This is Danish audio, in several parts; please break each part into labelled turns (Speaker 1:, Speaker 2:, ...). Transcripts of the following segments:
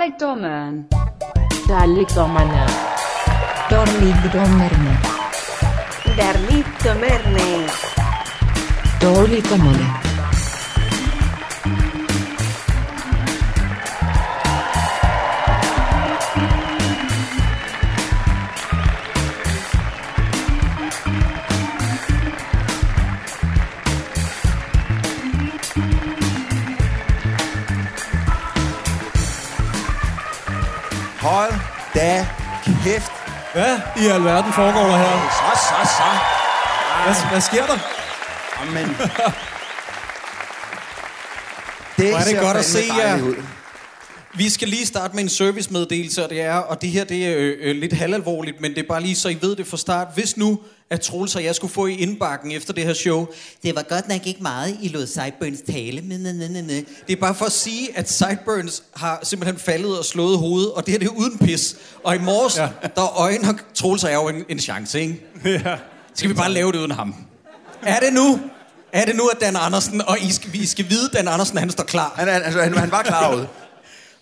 Speaker 1: Dalekdommeren.
Speaker 2: Dalekdommerne.
Speaker 3: Dårligdommerne.
Speaker 4: Dårligdommerne.
Speaker 3: Dårligdommerne.
Speaker 5: Hold da kæft.
Speaker 6: Hvad i alverden foregår der her?
Speaker 5: Så, så, så.
Speaker 6: Hvad, hvad sker der?
Speaker 5: Amen.
Speaker 6: Hvor er det
Speaker 5: ser
Speaker 6: godt at
Speaker 5: fandme
Speaker 6: se jer.
Speaker 5: dejligt ud.
Speaker 6: Vi skal lige starte med en servicemeddelelse, og det er, og det her det er øh, øh, lidt halvalvorligt, men det er bare lige, så I ved det fra start. Hvis nu, at Troels og jeg skulle få i indbakken efter det her show, det var godt nok ikke meget, I lod Sideburns tale, men næ, næ, næ, næ. Det er bare for at sige, at Sideburns har simpelthen faldet og slået hovedet, og det her det er uden pis. Og i morges, ja.
Speaker 7: Ja.
Speaker 6: der øjner Troels og jeg jo en, en chance, ikke? Ja. Skal vi bare lave det uden ham? Er det nu? Er det nu, at Dan Andersen, og I skal, I skal vide, Dan Andersen, han står klar.
Speaker 5: Han, han, altså, han, han var klar ud.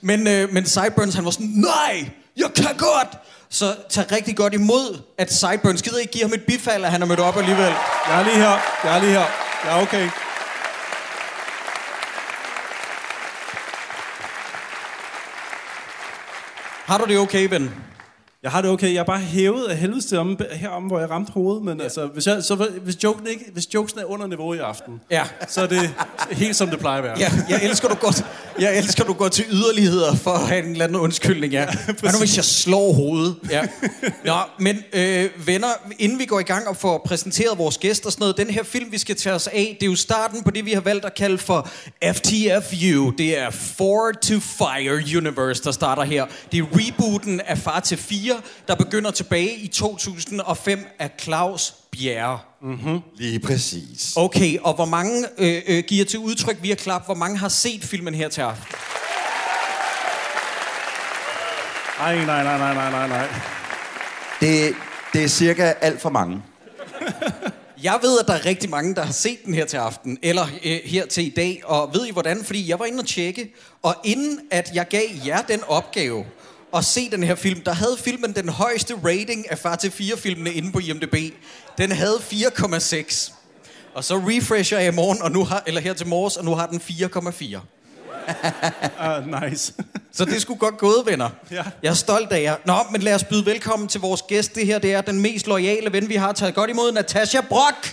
Speaker 6: Men, øh, men Sideburns, han var sådan, nej, jeg kan godt! Så tag rigtig godt imod, at Sideburns gider ikke give ham et bifald, at han er mødt op alligevel.
Speaker 7: Jeg er lige her. Jeg er lige her. Jeg er okay.
Speaker 6: Har du det okay, ven?
Speaker 7: Jeg har det okay. Jeg er bare hævet af helvede til om, herom, hvor jeg ramte hovedet. Men ja. altså, hvis, jeg, så, hvis, joken ikke, hvis jokesen er under niveau i aften,
Speaker 6: Ja.
Speaker 7: så er det helt som det plejer at være.
Speaker 6: Ja, jeg elsker, du går, jeg elsker, du går til yderligheder for at have en eller anden undskyldning, ja. Hvad nu, hvis jeg slår hovedet? Ja. Nå, men øh, venner, inden vi går i gang og får præsenteret vores gæster og sådan noget, den her film, vi skal tage os af, det er jo starten på det, vi har valgt at kalde for FTFU. Det er Four to Fire Universe, der starter her. Det er rebooten af Far til 4, der begynder tilbage i 2005 af Claus Bjerre.
Speaker 5: Lige præcis.
Speaker 6: Okay, og hvor mange øh, øh, giver til udtryk via klap? Hvor mange har set filmen her til aften?
Speaker 7: Ej, nej, nej, nej, nej, nej, nej.
Speaker 5: Det, det er cirka alt for mange.
Speaker 6: Jeg ved, at der er rigtig mange, der har set den her til aften, eller øh, her til i dag, og ved I hvordan? Fordi jeg var inde og tjekke, og inden at jeg gav jer den opgave at se den her film, der havde filmen den højeste rating af Far til 4-filmene inde på IMDb. Den havde 4,6. Og så refresher jeg i morgen, og nu har, eller her til morges, og nu har den 4,4.
Speaker 7: Uh, nice.
Speaker 6: Så det skulle godt gået, venner.
Speaker 7: Ja.
Speaker 6: Jeg er stolt af jer. Nå, men lad os byde velkommen til vores gæst. Det her det er den mest loyale ven, vi har taget godt imod, Natasha Brock.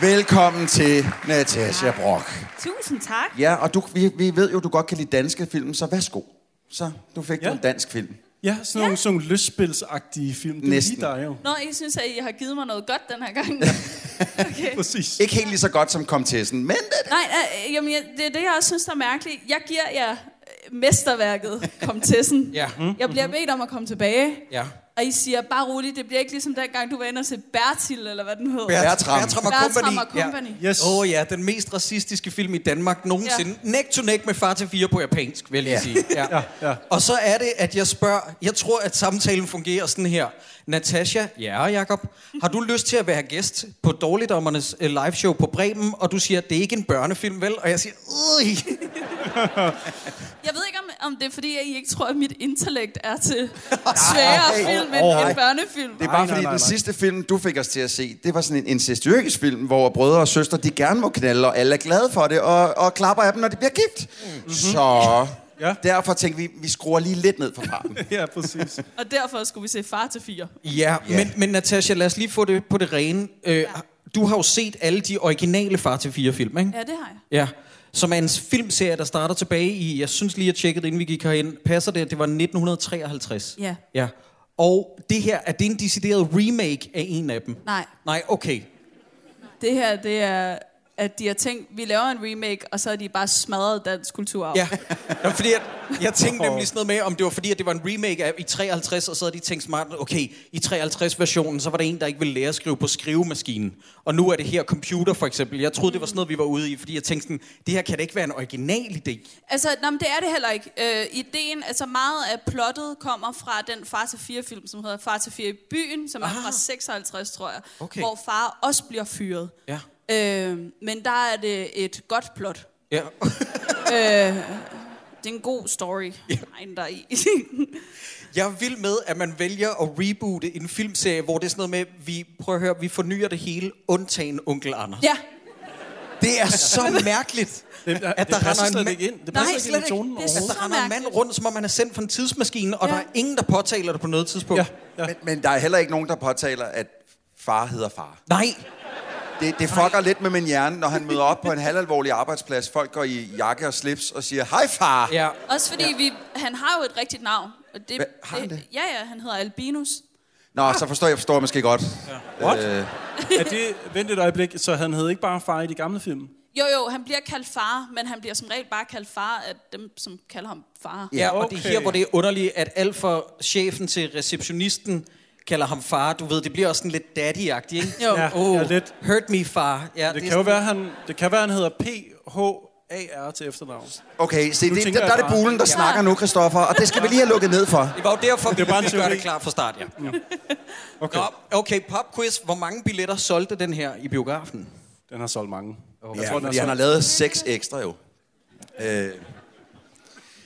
Speaker 5: Velkommen til Natasha Brock.
Speaker 4: Tusind tak.
Speaker 5: Ja, og du, vi, vi ved jo, du godt kan lide danske film, så værsgo. Så, du fik ja.
Speaker 7: Ja.
Speaker 5: en dansk film.
Speaker 7: Ja, sådan nogle, sådan nogle lystspilsagtige film. Det er
Speaker 5: Næsten.
Speaker 7: lige dig jo.
Speaker 8: Nå, I synes, at I har givet mig noget godt den her gang. Okay.
Speaker 7: Præcis.
Speaker 5: Ikke helt lige så godt som Kom til sådan, men det,
Speaker 8: Nej, øh, jamen, jeg, det er det, jeg også synes, der er mærkeligt. Jeg giver jer øh, mesterværket, Komtessen.
Speaker 6: Ja.
Speaker 8: Jeg bliver bedt om at komme tilbage.
Speaker 6: Ja.
Speaker 8: Og I siger, bare roligt, det bliver ikke ligesom dengang, du var inde og se Bertil, eller hvad den hed.
Speaker 5: Bertram.
Speaker 6: Bertram og Company.
Speaker 8: Bertram og Company.
Speaker 6: Ja. Yes. Åh oh, ja, den mest racistiske film i Danmark nogensinde. Ja. Neck to neck med far til fire på japansk, vil jeg lige
Speaker 5: Ja.
Speaker 6: sige. Ja.
Speaker 7: Ja, ja.
Speaker 6: Og så er det, at jeg spørger, jeg tror, at samtalen fungerer sådan her. Natasha, ja og Jacob, har du lyst til at være gæst på Dårligdommernes øh, liveshow på Bremen? Og du siger, det er ikke en børnefilm, vel? Og jeg siger, Øj.
Speaker 8: Jeg ved ikke, om, om det er fordi, at I ikke tror, at mit intellekt er til sværere
Speaker 5: Nej.
Speaker 8: film end
Speaker 5: Åh, nej.
Speaker 8: en børnefilm.
Speaker 5: det er bare
Speaker 7: Nej, nej,
Speaker 5: fordi,
Speaker 7: nej,
Speaker 5: den
Speaker 7: nej.
Speaker 5: sidste film, du fik os til at se, det var sådan en incestuøs film, hvor brødre og søstre, de gerne må knalde, og alle er glade for det, og, og klapper af dem, når de bliver gift. Mm-hmm. Så ja.
Speaker 7: Mhm. Ja.
Speaker 5: derfor tænkte vi, vi skruer lige lidt ned for farten.
Speaker 7: Ja, præcis.
Speaker 8: Og derfor skulle vi se Far til fire.
Speaker 6: Ja, men, men Natasha, lad os lige få det på det rene. Øh, Du har jo set alle de originale far til fire film, ikke?
Speaker 8: Ja, det har jeg.
Speaker 6: Ja, som er en filmserie, der starter tilbage i, jeg synes lige, jeg tjekkede, inden vi gik herind, passer det, at det var 1953?
Speaker 8: Ja.
Speaker 6: ja. Og det her, er det en decideret remake af en af dem?
Speaker 8: Nej.
Speaker 6: Nej, okay.
Speaker 8: Det her, det er at de har tænkt, vi laver en remake, og så har de bare smadret dansk kulturarv.
Speaker 6: Ja, Nå, fordi jeg, jeg tænkte nemlig sådan noget med, om det var fordi, at det var en remake af i 53, og så havde de tænkt smart, okay, i 53-versionen, så var der en, der ikke ville lære at skrive på skrivemaskinen. Og nu er det her computer, for eksempel. Jeg troede, det var sådan noget, vi var ude i, fordi jeg tænkte sådan, det her kan da ikke være en original idé.
Speaker 8: Altså, nå, men det er det heller ikke. Øh, ideen, altså meget af plottet kommer fra den Far til 4-film, som hedder Far til 4 i byen, som ah. er fra 56, tror jeg,
Speaker 6: Okay.
Speaker 8: hvor far også bliver fyret.
Speaker 6: Ja.
Speaker 8: Øh, men der er det et godt plot.
Speaker 6: Ja.
Speaker 8: Det er en god story. Yeah. Der er i.
Speaker 6: Jeg er vild med, at man vælger at reboote en filmserie, hvor det er sådan noget med, vi, prøv at høre, vi fornyer det hele, undtagen onkel Anders.
Speaker 8: ja,
Speaker 6: Det er så mærkeligt,
Speaker 7: Det- det
Speaker 6: at der
Speaker 7: passer
Speaker 6: render en
Speaker 7: slet
Speaker 6: ma-
Speaker 7: ikke ind. Det
Speaker 6: Nej,
Speaker 7: passer ikke
Speaker 6: slet
Speaker 7: ind i tonen
Speaker 8: Det er så
Speaker 6: at der Altså, render en mand
Speaker 8: mærkeligt.
Speaker 6: rundt, som om han er sendt fra en tidsmaskine, og
Speaker 8: Ja.
Speaker 6: der er ingen, der påtaler det på noget tidspunkt.
Speaker 7: Ja,
Speaker 6: Ja.
Speaker 7: ja.
Speaker 5: Men, men der er heller ikke nogen, der påtaler, at far hedder far.
Speaker 6: Nej,
Speaker 5: Det, det fucker lidt med min hjerne, når han møder op på en halvalvorlig arbejdsplads. Folk går i jakke og slips og siger, hej far!
Speaker 6: ja.
Speaker 8: også fordi ja. vi, han har jo et rigtigt navn. Og det,
Speaker 5: Hva- har han det?
Speaker 8: Ja, ja, han hedder Albinus.
Speaker 5: Nå, så forstår jeg, forstår jeg måske godt. Øh, Ja.
Speaker 7: What? Er det, vent et øjeblik, så han hed ikke bare far i de gamle film?
Speaker 8: Jo, jo, han bliver kaldt far, men han bliver som regel bare kaldt far af dem, som kalder ham far.
Speaker 6: ja og det er
Speaker 7: okay.
Speaker 6: her, hvor det er underligt, at alt fra chefen til receptionisten kalder ham far. Du ved, det bliver også sådan lidt daddy-agtigt, ikke?
Speaker 8: Jo.
Speaker 7: Ja,
Speaker 6: Oh,
Speaker 7: ja, lidt.
Speaker 6: hurt me, far. Ja,
Speaker 7: Det
Speaker 6: er
Speaker 7: kan jo
Speaker 6: sådan-
Speaker 7: være, han, det kan være, han hedder P-H-A-R til efternavn.
Speaker 5: Okay, se,
Speaker 7: Nu
Speaker 5: det,
Speaker 7: tænker
Speaker 5: der,
Speaker 7: jeg
Speaker 5: der er det
Speaker 7: bare-
Speaker 5: bulen, der ja. snakker nu, Christoffer, og det skal vi lige have lukket ned for.
Speaker 6: Det var jo derfor, vi
Speaker 7: er bare en
Speaker 6: ville gøre
Speaker 7: teori.
Speaker 6: det klart fra start, ja.
Speaker 7: Okay.
Speaker 6: Nå, okay, popquiz. Hvor mange billetter solgte den her i biografen?
Speaker 7: Den har solgt mange. Okay.
Speaker 5: Ja, fordi han har lavet seks ekstra jo. Øh, det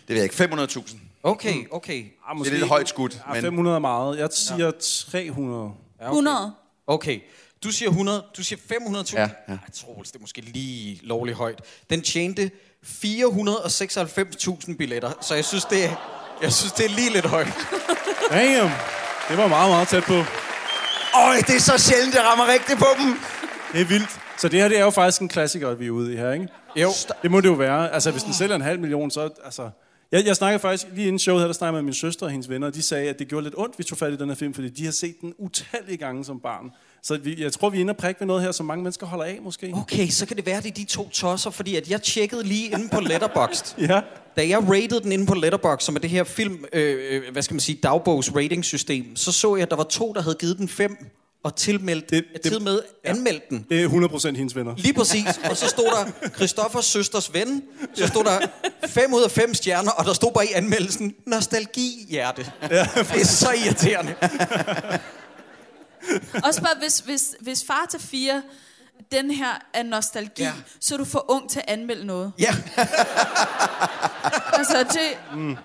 Speaker 5: ved jeg ikke, 500.000.
Speaker 6: Okay, okay.
Speaker 7: ah,
Speaker 5: Det er lidt højt skudt,
Speaker 7: Ja,
Speaker 5: men-
Speaker 7: 500 er meget. Jeg siger 300.
Speaker 6: Ja, okay.
Speaker 8: 100.
Speaker 6: Okay. Du siger 100, du siger 500.000.
Speaker 5: Ja, ja.
Speaker 6: Ej, Troels, det er måske lige lovligt højt. Den tjente 496.000 billetter, så jeg synes, det er, jeg synes, det er lige lidt højt.
Speaker 7: Damn! Det var meget, meget tæt på.
Speaker 5: Øj, det er så sjældent, jeg rammer rigtigt på dem.
Speaker 7: Det er vildt. Så det her, det er jo faktisk en klassiker, vi er ude i her, ikke?
Speaker 6: Jo.
Speaker 7: Det må det jo være. Altså, hvis den sælger en halv million, så... Altså, jeg, jeg snakkede faktisk lige inden showet her, der snakkede jeg med min søster og hendes venner, og de sagde, at det gjorde lidt ondt, vi tog fat i den her film, fordi de har set den utallige gange som barn. Så vi, jeg tror, vi er inde og prikke ved noget her, som mange mennesker holder af, måske.
Speaker 6: Okay, så kan det være, det er de to tosser, fordi at jeg tjekkede lige inde på Letterboxd.
Speaker 7: Ja.
Speaker 6: Da jeg rated den inde på Letterboxd, som er det her film, øh, øh, hvad skal man sige, dagbogs ratingsystem, så så jeg, at der var to, der havde givet den fem og tilmeldt, det,
Speaker 7: Det-
Speaker 6: det,
Speaker 7: det-
Speaker 6: tilmed, ja. anmeldt den.
Speaker 7: Det er 100% hendes venner.
Speaker 6: Lige præcis. Og så stod der Christoffers søsters ven. Så stod der 5 ud af 5 stjerner, og der stod bare i anmeldelsen, nostalgi hjerte. Ja. Det er så irriterende.
Speaker 8: Også bare, hvis, hvis, hvis far til fire, den her er nostalgi,
Speaker 6: Ja.
Speaker 8: ja. så er du for ung til at anmelde noget.
Speaker 6: Ja.
Speaker 8: Altså, det,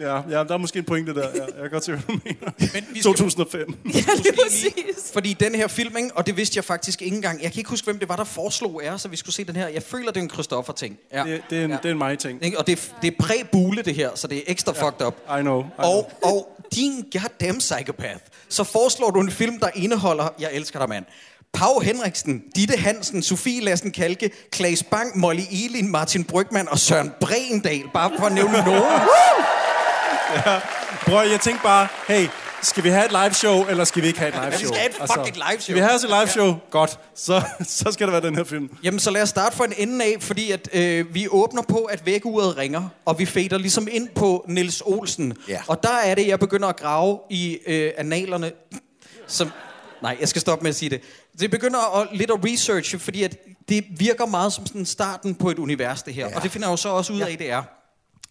Speaker 7: Ja, ja, der er måske en pointe der. Ja, jeg kan godt se, hvad du mener.
Speaker 6: Men vi skal-
Speaker 7: 2005.
Speaker 8: ja, lige præcis.
Speaker 6: Fordi den her film, ikke? og det vidste jeg faktisk ikke engang. Jeg kan ikke huske, hvem det var, der foreslog er, så vi skulle se den her. Jeg føler, det er en Christoffer-ting. Ja.
Speaker 7: Det, det, er en, det er en mig ting.
Speaker 6: Ikke? Og det, er- det er præ-bule, det her, så det er ekstra ja. fucked up.
Speaker 7: I know. I
Speaker 6: Og, og din goddamn psychopath, så foreslår du en film, der indeholder, jeg elsker dig mand, Pau Henriksen, Ditte Hansen, Sofie Lassen Kalke, Klaas Bang, Molly Elin, Martin Brygman og Søren Brendal, bare for at nævne nogen.
Speaker 7: Prøv, jeg tænkte bare, hey, skal vi have et live show, eller skal vi ikke have et live
Speaker 6: vi
Speaker 7: show? Altså,
Speaker 6: skal have et fucking live
Speaker 7: Skal
Speaker 6: show.
Speaker 7: vi have os et live show? Ja. Godt. Så, så skal der være den her film.
Speaker 6: Jamen, så lad os starte fra en ende af, fordi at, øh, vi åbner på, at vækkeuret ringer, og vi fader ligesom ind på Nils Olsen.
Speaker 5: Ja.
Speaker 6: Og der er det, jeg begynder at grave i øh, analerne, som... Nej, jeg skal stoppe med at sige det. Det begynder at, lidt at researche, fordi at det virker meget som sådan starten på et univers, det her. Ja. Og det finder jeg jo så også ud af, det er.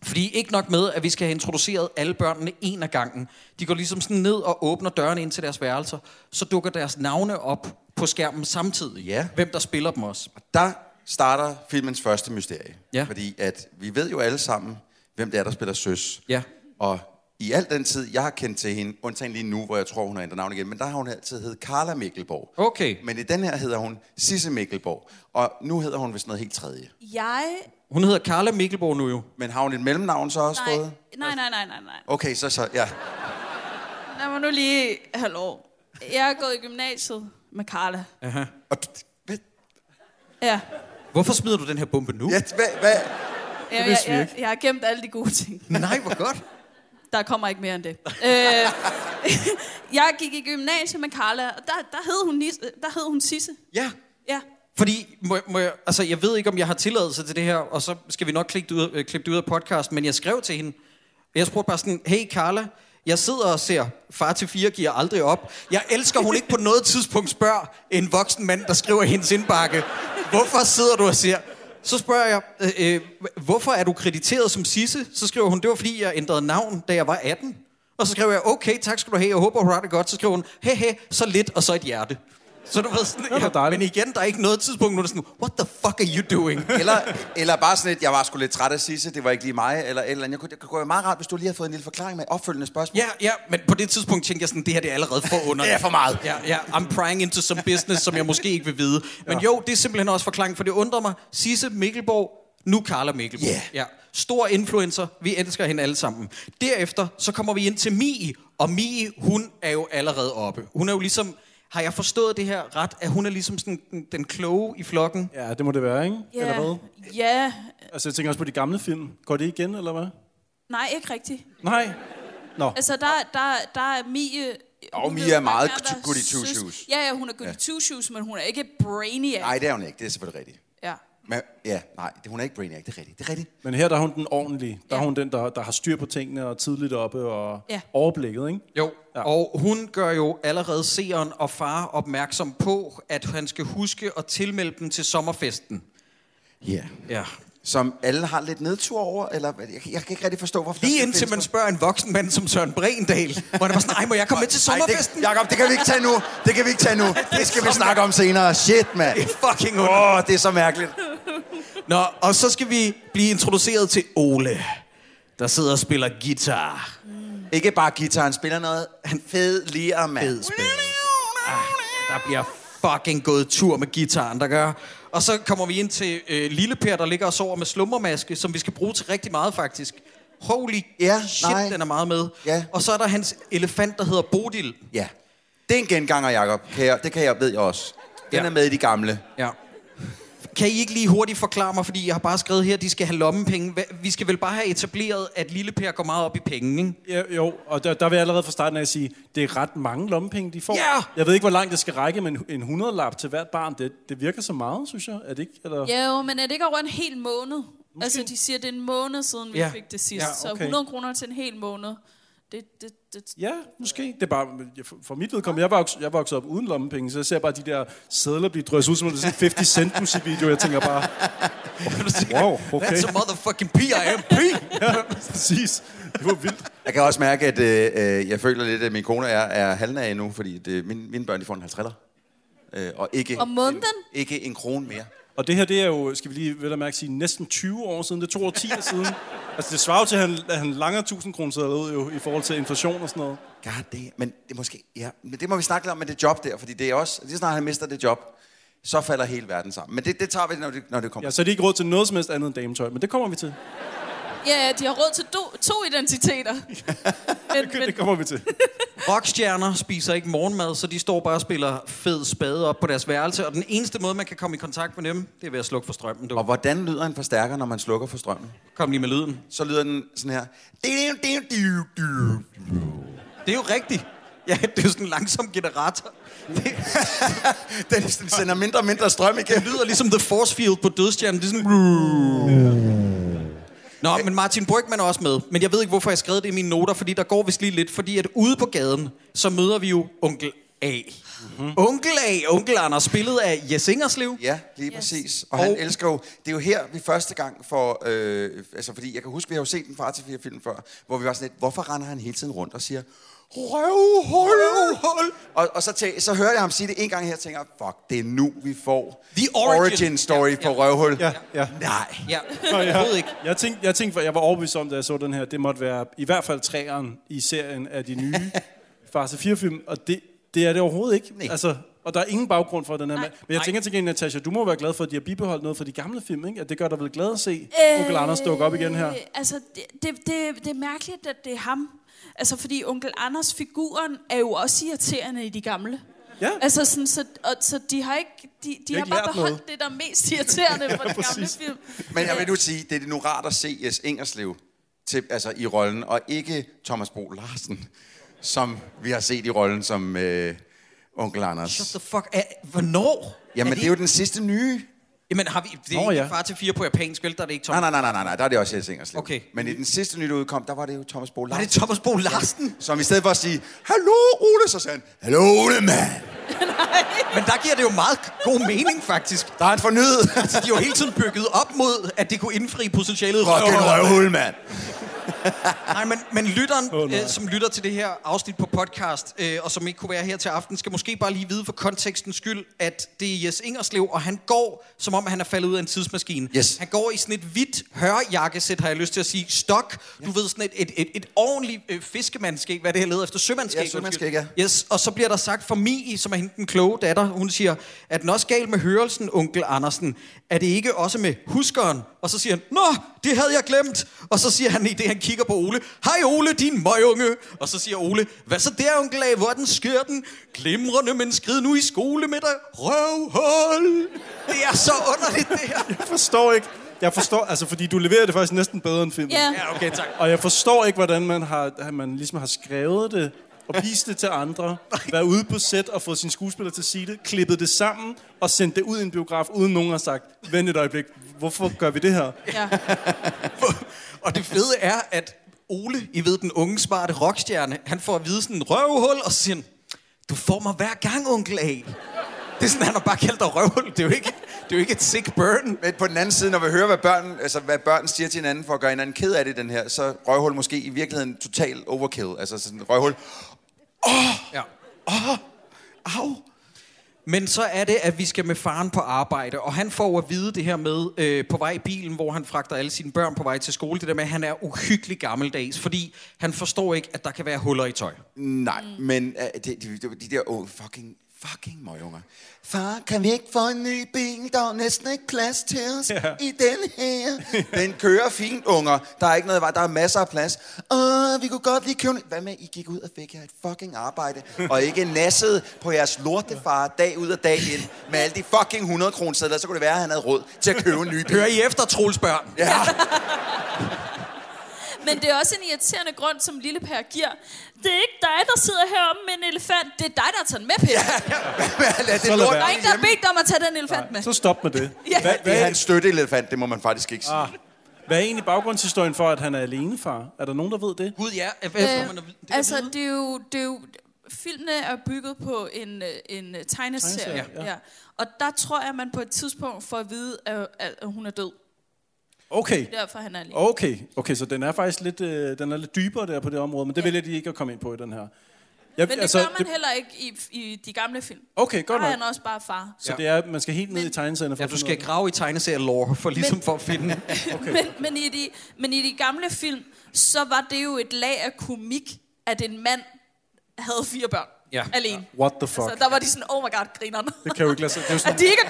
Speaker 6: Fordi ikke nok med, at vi skal have introduceret alle børnene en af gangen. De går ligesom sådan ned og åbner dørene ind til deres værelser. Så dukker deres navne op på skærmen samtidig.
Speaker 5: Ja.
Speaker 6: Hvem der spiller dem også.
Speaker 5: Der starter filmens første mysterie.
Speaker 6: Ja.
Speaker 5: Fordi at vi ved jo alle sammen, hvem det er, der spiller søs.
Speaker 6: Ja.
Speaker 5: Og i al den tid, jeg har kendt til hende, undtagen lige nu, hvor jeg tror, hun har ændret navn igen, men der har hun altid heddet Carla Mikkelborg.
Speaker 6: Okay.
Speaker 5: Men i den her hedder hun Sisse Mikkelborg. Og nu hedder hun vist noget helt tredje.
Speaker 8: Jeg...
Speaker 6: Hun hedder Carla Mikkelborg nu jo.
Speaker 5: Men har hun et mellemnavn så også
Speaker 8: Nej,
Speaker 5: fået?
Speaker 8: nej, nej, nej, nej, nej.
Speaker 5: Okay, så så, ja.
Speaker 8: Lad mig nu lige... Hallo. Jeg er gået i gymnasiet med Carla.
Speaker 5: Og, d- hvad,
Speaker 8: Ja.
Speaker 6: Hvorfor smider du den her bombe nu?
Speaker 5: ja, hvad, hvad?
Speaker 8: Jeg, jeg, jeg, jeg har gemt alle de gode ting.
Speaker 6: Nej, hvor godt.
Speaker 8: Der kommer ikke mere end det. øh, jeg gik i gymnasiet med Carla, og der, der, hed hun, Nis- der hed hun Sisse.
Speaker 6: Ja.
Speaker 8: Ja.
Speaker 6: Fordi, må, jeg- må jeg, altså, jeg ved ikke, om jeg har tilladelse til det her, og så skal vi nok klippe det ud, øh, klippe det ud af podcasten, men jeg skrev til hende, jeg spurgte bare sådan, hey Carla, jeg sidder og ser Far til fire giver aldrig op. Jeg elsker, hun ikke på noget tidspunkt spørger en voksen mand, der skriver i hendes indbakke, hvorfor sidder du og ser? Så spørger jeg, øh, øh, hvorfor er du krediteret som Sisse? Så skriver hun, det var fordi, jeg ændrede navn, da jeg var 18. Og så skriver jeg, okay, tak skal du have, jeg håber, du har det godt. Så skriver hun, hey, hey, så lidt, og så et hjerte. Så du ved sådan,
Speaker 7: var
Speaker 6: ja,
Speaker 7: dejligt.
Speaker 6: men igen, der er ikke noget tidspunkt, hvor du er sådan, what the fuck are you doing?
Speaker 5: Eller, eller bare sådan et, jeg var sgu lidt træt af Sisse, det var ikke lige mig, eller et eller andet. Jeg kunne, det kunne være meget rart, hvis du lige havde fået en lille forklaring med opfølgende spørgsmål.
Speaker 6: Ja, ja, men på det tidspunkt tænkte jeg sådan, det her det er allerede for under.
Speaker 5: Det er for meget.
Speaker 6: Ja, ja, I'm prying into some business, som jeg måske ikke vil vide. Men ja. jo, det er simpelthen også forklaringen, for det undrer mig. Sisse Mikkelborg, nu Carla Mikkelborg.
Speaker 5: Yeah.
Speaker 6: Ja. Stor influencer, vi elsker hende alle sammen. Derefter, så kommer vi ind til Mie, og Mie, hun er jo allerede oppe. Hun er jo ligesom, har jeg forstået det her ret, at hun er ligesom sådan den, den kloge i flokken?
Speaker 7: Ja, det må det være, ikke? Eller hvad?
Speaker 8: Ja,
Speaker 7: Altså, jeg tænker også på de gamle film. Går det igen, eller hvad?
Speaker 8: nej, ikke rigtigt.
Speaker 7: Nej. Nå,
Speaker 8: Altså, der, der, der er Mie...
Speaker 5: Og
Speaker 8: hun
Speaker 5: Mie
Speaker 8: ved
Speaker 5: er meget
Speaker 8: mange andre
Speaker 5: goody two
Speaker 8: søs-
Speaker 5: shoes.
Speaker 8: Ja, ja, hun er goody two shoes, men hun er ikke brainiac.
Speaker 5: Nej, det er hun ikke, det er selvfølgelig rigtigt.
Speaker 8: Ja.
Speaker 5: Men, ja, nej, det, hun er ikke brainiac, det er rigtigt. Det er rigtigt.
Speaker 7: men her der er hun den ordentlige. Der er
Speaker 8: Ja.
Speaker 7: hun den, der, der har styr på tingene og tidligt oppe og
Speaker 8: Ja.
Speaker 7: overblikket, ikke?
Speaker 6: Jo,
Speaker 7: Ja.
Speaker 6: ja. og hun gør jo allerede seeren og far opmærksom på, at han skal huske at tilmelde dem til sommerfesten.
Speaker 5: Ja.
Speaker 6: Ja.
Speaker 5: Som alle har lidt nedtur over, eller hvad? jeg, kan- jeg kan ikke rigtig forstå, hvorfor... der
Speaker 6: Lige
Speaker 5: skal
Speaker 6: indtil
Speaker 5: findes
Speaker 6: man
Speaker 5: noget.
Speaker 6: spørger en voksen mand som Søren Brendal, hvor han var sådan, ej, må jeg komme med til sommerfesten?
Speaker 5: Ej, det, Jacob, det kan vi ikke tage nu. Det kan vi ikke tage nu. Det skal vi snakke om senere. Shit, mand.
Speaker 6: Det er fucking under.
Speaker 5: Åh, oh, det er så mærkeligt.
Speaker 6: Nå, og så skal vi blive introduceret til Ole, der sidder og spiller guitar.
Speaker 5: Ikke bare guitar, han spiller noget. Han fed lirer, mand.
Speaker 6: Fed spil. Ah, der bliver fucking gået tur med gitaren, der gør. Og så kommer vi ind til øh, Lille Per, der ligger og sover med slummermaske, som vi skal bruge til rigtig meget, faktisk. Holy
Speaker 5: Ja,
Speaker 6: shit,
Speaker 5: nej.
Speaker 6: den er meget med.
Speaker 5: Ja.
Speaker 6: Og så er der hans elefant, der hedder Bodil.
Speaker 5: Ja. Det er en genganger, Jacob. Kan jeg, det kan jeg, ved jeg også. Den
Speaker 6: Ja.
Speaker 5: er med i de gamle.
Speaker 6: Ja. Kan I ikke lige hurtigt forklare mig, fordi jeg har bare skrevet her, at de skal have lommepenge. Hva- Vi skal vel bare have etableret, at Lille Per går meget op i penge, ikke?
Speaker 7: Ja, jo, og der, der vil jeg allerede fra starten af sige, det er ret mange lommepenge, de får.
Speaker 6: Ja!
Speaker 7: Jeg ved ikke, hvor langt det skal række, men en 100-lap til hvert barn, det, det virker så meget, synes jeg. Er det ikke? Eller...
Speaker 8: Ja, jo, men er det ikke over en hel måned? Måske. Altså, de siger, det er en måned siden, vi
Speaker 6: Ja.
Speaker 8: ja. fik det sidst.
Speaker 7: Ja,
Speaker 8: Ja, okay. Så
Speaker 7: okay.
Speaker 8: 100 kroner til en hel måned. Det, det, det,
Speaker 7: Ja, måske. Det er bare, jeg- for mit vedkommende, jeg voksede, jeg voksede op uden lommepenge, så jeg ser bare de der sædler blive drysset ud, som om det er sådan en 50 cent musikvideo. Jeg tænker bare, wow, okay,
Speaker 6: That's a motherfucking P.I.M.P.
Speaker 7: præcis. Det var vildt.
Speaker 5: Jeg kan også mærke, at øh, øh, jeg føler lidt, at min kone er, er halvnag nu, fordi det, mine, mine børn de får en 50'er. Øh, og ikke,
Speaker 8: Om måneden?
Speaker 5: En, ikke en krone mere.
Speaker 7: Og det her, det er jo, skal vi lige vel at mærke sige, næsten 20 år siden. Det er to årtier siden. Altså, det svarer jo til, at han, at han langer 1000 kroner sædler ud jo, i forhold til inflation og sådan noget.
Speaker 5: God damn. Men det, er måske, ja, men det må vi snakke lidt om med det job der, fordi det er også, lige så snart han mister det job, så falder hele verden sammen. Men det, det tager vi, når det, når det kommer.
Speaker 7: Ja, så er det ikke råd til noget som helst andet end dametøj, men det kommer vi til.
Speaker 8: Ja, ja, de har råd til do, to identiteter. men,
Speaker 7: Det
Speaker 8: men,
Speaker 7: kommer vi til.
Speaker 6: Rockstjerner spiser ikke morgenmad, så de står bare og spiller fed spade op på deres værelse. Og den eneste måde, man kan komme i kontakt med dem, det er ved at slukke for strømmen.
Speaker 5: Og
Speaker 6: Du.
Speaker 5: hvordan lyder en forstærker, når man slukker for strømmen?
Speaker 6: Kom lige med lyden.
Speaker 5: Så lyder den sådan her. Det
Speaker 6: Det er jo rigtigt. Ja, det er jo sådan en langsom generator. Det,
Speaker 5: Den sådan sender mindre og mindre strøm
Speaker 6: det
Speaker 5: igennem.
Speaker 6: lyder ligesom The Force Field på dødstjernen. Det er sådan...
Speaker 5: Mm.
Speaker 6: Nå, men Martin Brygman er også med. Men jeg ved ikke, hvorfor jeg skrev det i mine noter, fordi der går vist lige lidt. Fordi at ude på gaden, så møder vi jo onkel A. Mm-hmm. Onkel A, onkel Anders, spillet af Jes Ingerslev.
Speaker 5: Mhm. Ja, lige yes.
Speaker 8: Yes.
Speaker 5: præcis. Og, og
Speaker 6: Og-
Speaker 5: han elsker jo... Det er jo her, vi første gang får... Øh, altså, fordi jeg kan huske, vi har jo set den far til fire film før, hvor vi var sådan lidt, hvorfor render han hele tiden rundt og siger, røvhul, røvhul. Og, og så, tæ, så hører jeg ham sige det en gang her, og tænker, fuck, det er nu, vi får
Speaker 6: The origin.
Speaker 5: origin story
Speaker 6: Ja,
Speaker 5: på
Speaker 6: ja.
Speaker 5: røvhul.
Speaker 7: Ja, ja.
Speaker 5: Nej.
Speaker 6: Ja,
Speaker 7: Nå,
Speaker 6: jeg ved ikke.
Speaker 7: Jeg tænkte, jeg, tænkte, jeg var overbevist om, da jeg så den her, det måtte være i hvert fald træeren i serien af de nye Farse 4-film, og det, det er det overhovedet ikke.
Speaker 5: Nej.
Speaker 7: Altså, og der er ingen baggrund for den her
Speaker 8: Nej.
Speaker 7: mand. Men jeg
Speaker 6: Nej.
Speaker 7: tænker til gengæld, Natasha, du må være glad for, at de har bibeholdt noget fra de gamle film, ikke? At det gør dig vel glad at se øh... onkel Anders dukke op igen her.
Speaker 8: Øh, Altså, det, det, det, det er mærkeligt, at det er ham. Altså, fordi onkel Anders figuren er jo også irriterende i de gamle.
Speaker 7: Ja.
Speaker 8: Altså, sådan, så, og, så de har ikke, de, de har
Speaker 7: ikke
Speaker 8: bare
Speaker 7: lært
Speaker 8: beholdt
Speaker 7: noget.
Speaker 8: det, der er mest irriterende fra de gamle
Speaker 7: præcis.
Speaker 8: film.
Speaker 5: Men jeg vil nu sige, det er nu rart at se Jes Ingerslev til, altså, i rollen, og ikke Thomas Bo Larsen, som vi har set i rollen som øh, onkel Anders.
Speaker 6: What the fuck? Er, hvornår?
Speaker 5: Jamen,
Speaker 6: er
Speaker 5: det er jo den sidste nye.
Speaker 6: Jamen, har vi... Det er
Speaker 7: Nå,
Speaker 6: Nå, ja.
Speaker 7: ja.
Speaker 6: far til fire på japansk, vel? Der er det ikke Tom.
Speaker 5: Nej, nej, nej, nej, nej, nej, der er det også Jens Ingerslev.
Speaker 6: Okay.
Speaker 5: Men i den sidste nye, der udkom, der var det jo Thomas Bo
Speaker 6: Var
Speaker 5: Larsen.
Speaker 6: det Thomas Bo Larsen?
Speaker 5: Som i stedet for at sige, Hallo Ole, så sagde han, Hallo Ole, mand.
Speaker 6: Men der giver det jo meget god mening, faktisk.
Speaker 5: Der er en fornyet
Speaker 6: Altså, de har jo hele tiden bygget op mod, at det kunne indfri potentialet.
Speaker 5: fucking røvhul, mand.
Speaker 6: Nej, men, men lytteren, oh,
Speaker 7: Åh, nej.
Speaker 6: øh, som lytter til det her afsnit på podcast, øh, og som ikke kunne være her til aften, skal måske bare lige vide for kontekstens skyld, at det er Jes Ingerslev, og han går, som om han er faldet ud af en tidsmaskine.
Speaker 5: Yes.
Speaker 6: Han går i sådan et hvidt hørjakkesæt, har jeg lyst til at sige. Stok, du ved, sådan et, et, et, et ordentligt øh, fiskemandskab, hvad det her leder efter, sømandskab.
Speaker 5: Ja, sømandskab,
Speaker 6: undskyld. Yes, og så bliver der sagt for Mie, som er hende den kloge datter, hun siger, er den også gal med hørelsen, onkel Andersen? Er det ikke også med huskeren? Og så siger han, nå, det havde jeg glemt. Og så siger han i det, han kigger på Ole, hej Ole, din møgunge. Og så siger Ole, hvad så der, onkel A, hvor er den skørten? Glimrende, men skrid nu i skole med dig. Røvhul! Det er så underligt, det her.
Speaker 7: Jeg forstår ikke. Jeg forstår, altså fordi du leverer det faktisk næsten bedre end filmen.
Speaker 8: Ja.
Speaker 6: Ja, okay, tak.
Speaker 7: Og jeg forstår ikke, hvordan man har, at man ligesom har skrevet det og vist det til andre, været ude på set og fået sin skuespiller til at sige det, klippet det sammen og sendt det ud i en biograf, uden nogen har sagt, vent et øjeblik, hvorfor gør vi det her?
Speaker 8: Ja.
Speaker 6: og det fede er, at Ole, I ved, den unge, smarte rockstjerne, han får at vide sådan en røvhul, og så siger han, du får mig hver gang, onkel A. Det er sådan, han har bare kaldt dig røvhul. Det er jo ikke, det er jo ikke et sick burn.
Speaker 5: Men på den anden side, når vi hører, hvad børn, altså, hvad børn siger til hinanden for at gøre hinanden ked af det, den her, så røvhul måske i virkeligheden total overkill. Altså sådan røvhul.
Speaker 6: Ja. Oh, au. Men så er det, at vi skal med faren på arbejde, og han får at vide det her med øh, på vej i bilen, hvor han fragter alle sine børn på vej til skole, det der med, at han er uhyggelig gammeldags, fordi han forstår ikke, at der kan være huller i tøj.
Speaker 5: Nej, men uh, de, de, de, de der oh, fucking, fucking møgunger. Far, kan vi ikke få en ny bil? Der er næsten ikke plads til os ja.
Speaker 7: Ja.
Speaker 5: i den her. Den kører fint, unger. Der er ikke noget i vej. Der er masser af plads. Åh, vi kunne godt lige købe... en- Hvad med, I gik ud og fik jer et fucking arbejde, og ikke nassede på jeres lortefar dag ud og dag ind med alle de fucking 100 kroner sædler, så kunne det være, at han havde råd til at købe en ny bil.
Speaker 6: Hører I efter, Troels børn?
Speaker 5: Ja.
Speaker 8: Men det er også en irriterende grund, som lille Per giver. Det er ikke dig, der sidder heromme med en elefant. Det er dig, der har taget den med, Peter. Ja,
Speaker 5: Lad det
Speaker 7: lad
Speaker 5: lort
Speaker 7: være.
Speaker 8: der er ingen, der har bedt dig om at tage den elefant med.
Speaker 7: Så stop med det.
Speaker 8: Ja.
Speaker 7: Hvad,
Speaker 5: Det er
Speaker 7: hvad,
Speaker 5: hans støtteelefant, det må man faktisk ikke sige.
Speaker 7: ah, hvad er egentlig baggrundshistorien for, at han er alene, far? Er der nogen, der ved det?
Speaker 6: Gud, ja. Hvad får man at vide? Det
Speaker 8: Øh,
Speaker 6: kan
Speaker 8: altså,
Speaker 6: vide.
Speaker 8: det er jo... Det er jo Filmene er bygget på en, øh, en øh, tegneserie,
Speaker 7: Tegneserie,
Speaker 8: ja. Ja. og der tror jeg, man på et tidspunkt får at vide, at, at at hun er død.
Speaker 7: Okay.
Speaker 8: Derfor han er lige.
Speaker 7: Okay, okay, så den er faktisk lidt, øh, den er lidt dybere der på det område, men det vælger de ikke at komme ind på i den her. Jeg,
Speaker 8: Men det altså, gør man det... heller ikke i, i de gamle film.
Speaker 7: Okay,
Speaker 8: Der
Speaker 7: godt
Speaker 8: er
Speaker 7: nok.
Speaker 8: han også bare far.
Speaker 7: Så det er, man skal helt ned i tegneserierne for
Speaker 6: Ja,
Speaker 7: at
Speaker 6: du
Speaker 7: finde
Speaker 6: skal
Speaker 7: ud af
Speaker 6: grave i tegneserielore, for ligesom
Speaker 8: Men-
Speaker 6: for at finde...
Speaker 8: Okay. Men, men, i de, men i de gamle film, så var det jo et lag af komik, at en mand havde fire børn
Speaker 6: Ja.
Speaker 8: alene.
Speaker 7: det. What the fuck?
Speaker 8: Så der var de sådan, oh my god, grinerne.
Speaker 7: Det kan jo ikke lade sig. Det er jo sådan,
Speaker 8: At de ikke er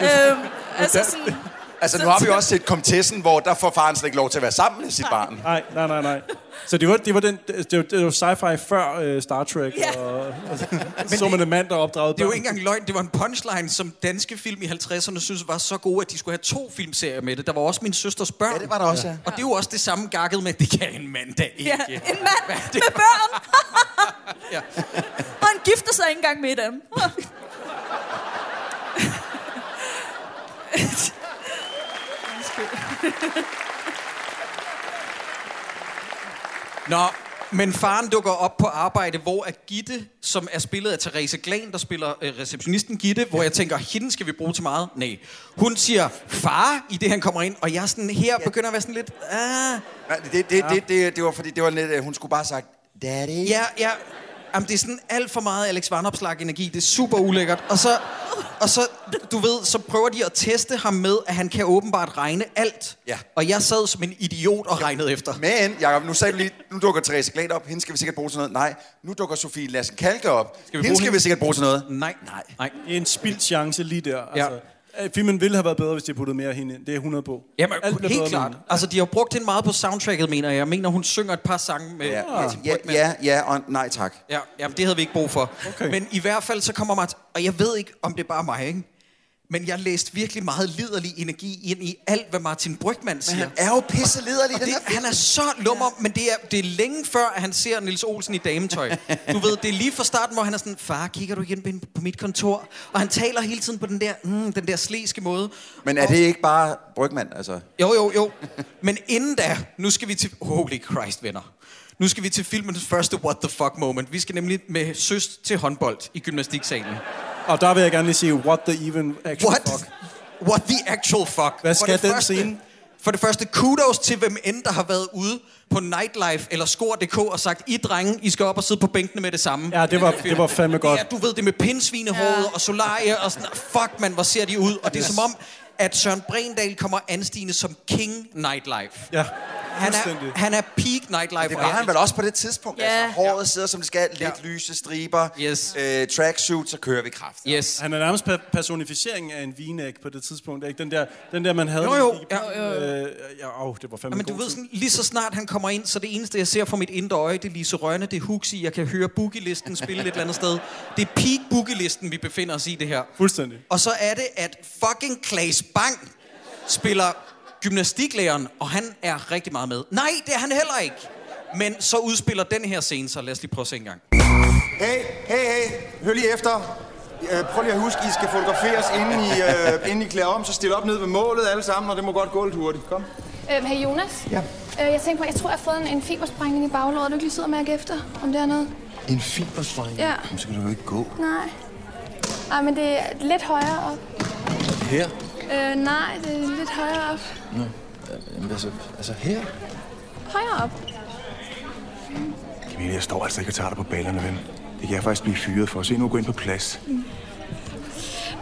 Speaker 8: døde. øhm, altså sådan,
Speaker 5: Altså, nu har vi også set Komtessen, hvor der får faren slet ikke lov til at være sammen med sit barn.
Speaker 7: Nej, nej, nej, nej. Så det var, det var, den, det var, det var sci-fi før øh, Star Trek,
Speaker 8: Ja.
Speaker 7: ja. og, og så, så man en mand, der opdragede
Speaker 6: Det er jo
Speaker 7: børn.
Speaker 6: ikke engang løgn, det var en punchline, som danske film i 50'erne synes var så gode, at de skulle have to filmserier med det. Der var også min søsters børn.
Speaker 5: Ja, det var der også, ja.
Speaker 6: Og det er jo også det samme gakket med, at det kan en mand da ikke.
Speaker 8: ja, en mand
Speaker 6: Hvad er det?
Speaker 8: med børn.
Speaker 6: Ja.
Speaker 8: Og han gifter sig ikke engang med dem.
Speaker 6: Nå, men faren dukker op på arbejde, hvor er Gitte, som er spillet af Therese Glan, der spiller øh, receptionisten Gitte, hvor jeg tænker, hende skal vi bruge til meget. Nej. Hun siger, far, i det han kommer ind, og jeg er sådan her begynder at være sådan lidt, ah,
Speaker 5: Nej, Det, det, det, det, det, det var fordi, det var lidt, øh, hun skulle bare have sagt, daddy.
Speaker 6: Ja, ja. Jamen, det er sådan alt for meget Alex Vanopslag energi. Det er super ulækkert. Og så, og så, du ved, så prøver de at teste ham med, at han kan åbenbart regne alt.
Speaker 5: Ja.
Speaker 6: Og jeg sad som en idiot og regnede efter.
Speaker 5: Men, Jacob, nu sagde du lige, nu dukker Therese Glad op, hende skal vi sikkert bruge til noget. Nej, nu dukker Sofie Lassen Kalke op, skal
Speaker 6: vi
Speaker 5: hende
Speaker 6: bruge
Speaker 5: skal
Speaker 6: hende?
Speaker 5: vi sikkert bruge til noget.
Speaker 6: Nej, nej, nej.
Speaker 7: Det er en spildt chance lige der.
Speaker 6: Ja.
Speaker 7: Altså, øh, filmen ville have været bedre, hvis de puttede mere af hende ind. Det er 100 på.
Speaker 6: Jamen,
Speaker 7: bliver
Speaker 6: helt
Speaker 7: bedre med
Speaker 6: klart.
Speaker 7: hende.
Speaker 6: Altså, de har brugt hende meget på soundtracket, mener jeg. Jeg mener, hun synger et par sange med...
Speaker 5: Ja,
Speaker 6: med sin
Speaker 5: ja,
Speaker 6: brygmand.
Speaker 5: ja, ja og nej tak.
Speaker 6: Ja, jamen, det havde vi ikke brug for.
Speaker 7: Okay.
Speaker 6: Men i hvert fald så kommer Mart, og jeg ved ikke, om det er bare mig, ikke? Men jeg læste virkelig meget liderlig energi ind i alt, hvad Martin Brygman siger.
Speaker 5: Han er jo pisse lederlig,
Speaker 6: Og
Speaker 5: den
Speaker 6: det,
Speaker 5: her
Speaker 6: han er så lummer, ja. men det er, det er længe før, at han ser Nils Olsen i dametøj. Du ved, det er lige fra starten, hvor han er sådan, far, kigger du igen på- på mit kontor? Og han taler hele tiden på den der, mm, den der sleske måde.
Speaker 5: Men er det ikke bare Brygman, altså?
Speaker 6: Jo, jo, jo. Men inden da, nu skal vi til... Holy Christ, venner. Nu skal vi til filmens første what the fuck moment. Vi skal nemlig med søst til håndbold i gymnastiksalen.
Speaker 7: Og der vil jeg gerne lige sige, what the even actual
Speaker 6: What?
Speaker 7: fuck.
Speaker 6: What the actual fuck?
Speaker 7: Hvad
Speaker 6: For
Speaker 7: skal
Speaker 6: det
Speaker 7: den
Speaker 6: første-
Speaker 7: scene?
Speaker 6: For det første, kudos til hvem end, der har været ude på Nightlife eller Skor.dk og sagt, I drenge, I skal op og sidde på bænkene med det samme.
Speaker 7: Ja, det var, det var fandme godt.
Speaker 6: Ja, du ved det med pindsvinehåret ja. og solarie og sådan, fuck man, hvor ser de ud. Og det er som om, at Søren Brendal kommer anstigende som King Nightlife.
Speaker 7: Ja,
Speaker 6: Han er,
Speaker 7: fuldstændig.
Speaker 6: han er peak nightlife.
Speaker 5: Det var han vel også på det tidspunkt.
Speaker 8: Ja.
Speaker 5: Altså, håret sidder, som det skal. Lidt
Speaker 6: Ja.
Speaker 5: lyse striber.
Speaker 6: Yes.
Speaker 5: Øh, tracksuit, så kører vi kraft.
Speaker 6: Yes.
Speaker 7: Han er nærmest per- personificeringen af en vinæg på det tidspunkt. Ikke? Den, der, den der, man havde...
Speaker 6: Jo, jo.
Speaker 7: i-
Speaker 6: Ja.
Speaker 7: Øh, ja, åh, det var fandme
Speaker 6: Men du
Speaker 7: god
Speaker 6: ved
Speaker 7: tid.
Speaker 6: sådan, lige så snart han kommer ind, så det eneste, jeg ser fra mit indre øje, det er Lise Rønne, det er Huxi, jeg kan høre boogie-listen spille et eller andet sted. Det er peak boogie-listen, vi befinder os i det her.
Speaker 7: Fuldstændig.
Speaker 6: Og så er det, at fucking Klaas Bang spiller gymnastiklæreren, og han er rigtig meget med. Nej, det er han heller ikke. Men så udspiller den her scene, så lad os lige prøve at se en gang.
Speaker 1: Hey, hey, hey. Hør lige efter. Øh, Prøv lige at huske, I skal fotograferes, inden I, øh, inden I klæder om. Så stil op ned ved målet alle sammen, og det må godt gå lidt hurtigt. Kom.
Speaker 3: Øhm, hey Jonas. Ja. Øh, jeg tænkte på, jeg tror, jeg har fået en, en fibersprængning i baglåret. Du kan lige sidde og mærke efter, om det er noget.
Speaker 4: En fiberstreng?
Speaker 3: Ja.
Speaker 4: Men så kan du jo ikke gå.
Speaker 3: Nej. Ej, men det er lidt højere op.
Speaker 4: Her?
Speaker 3: Øh, nej, det er lidt højere op.
Speaker 4: Nå.
Speaker 5: Øh,
Speaker 4: Jamen, altså, altså her?
Speaker 3: Højere op.
Speaker 4: Camilla, jeg står altså ikke og tager dig på ballerne, ven. Det kan jeg faktisk blive fyret for. Se nu gå ind på plads.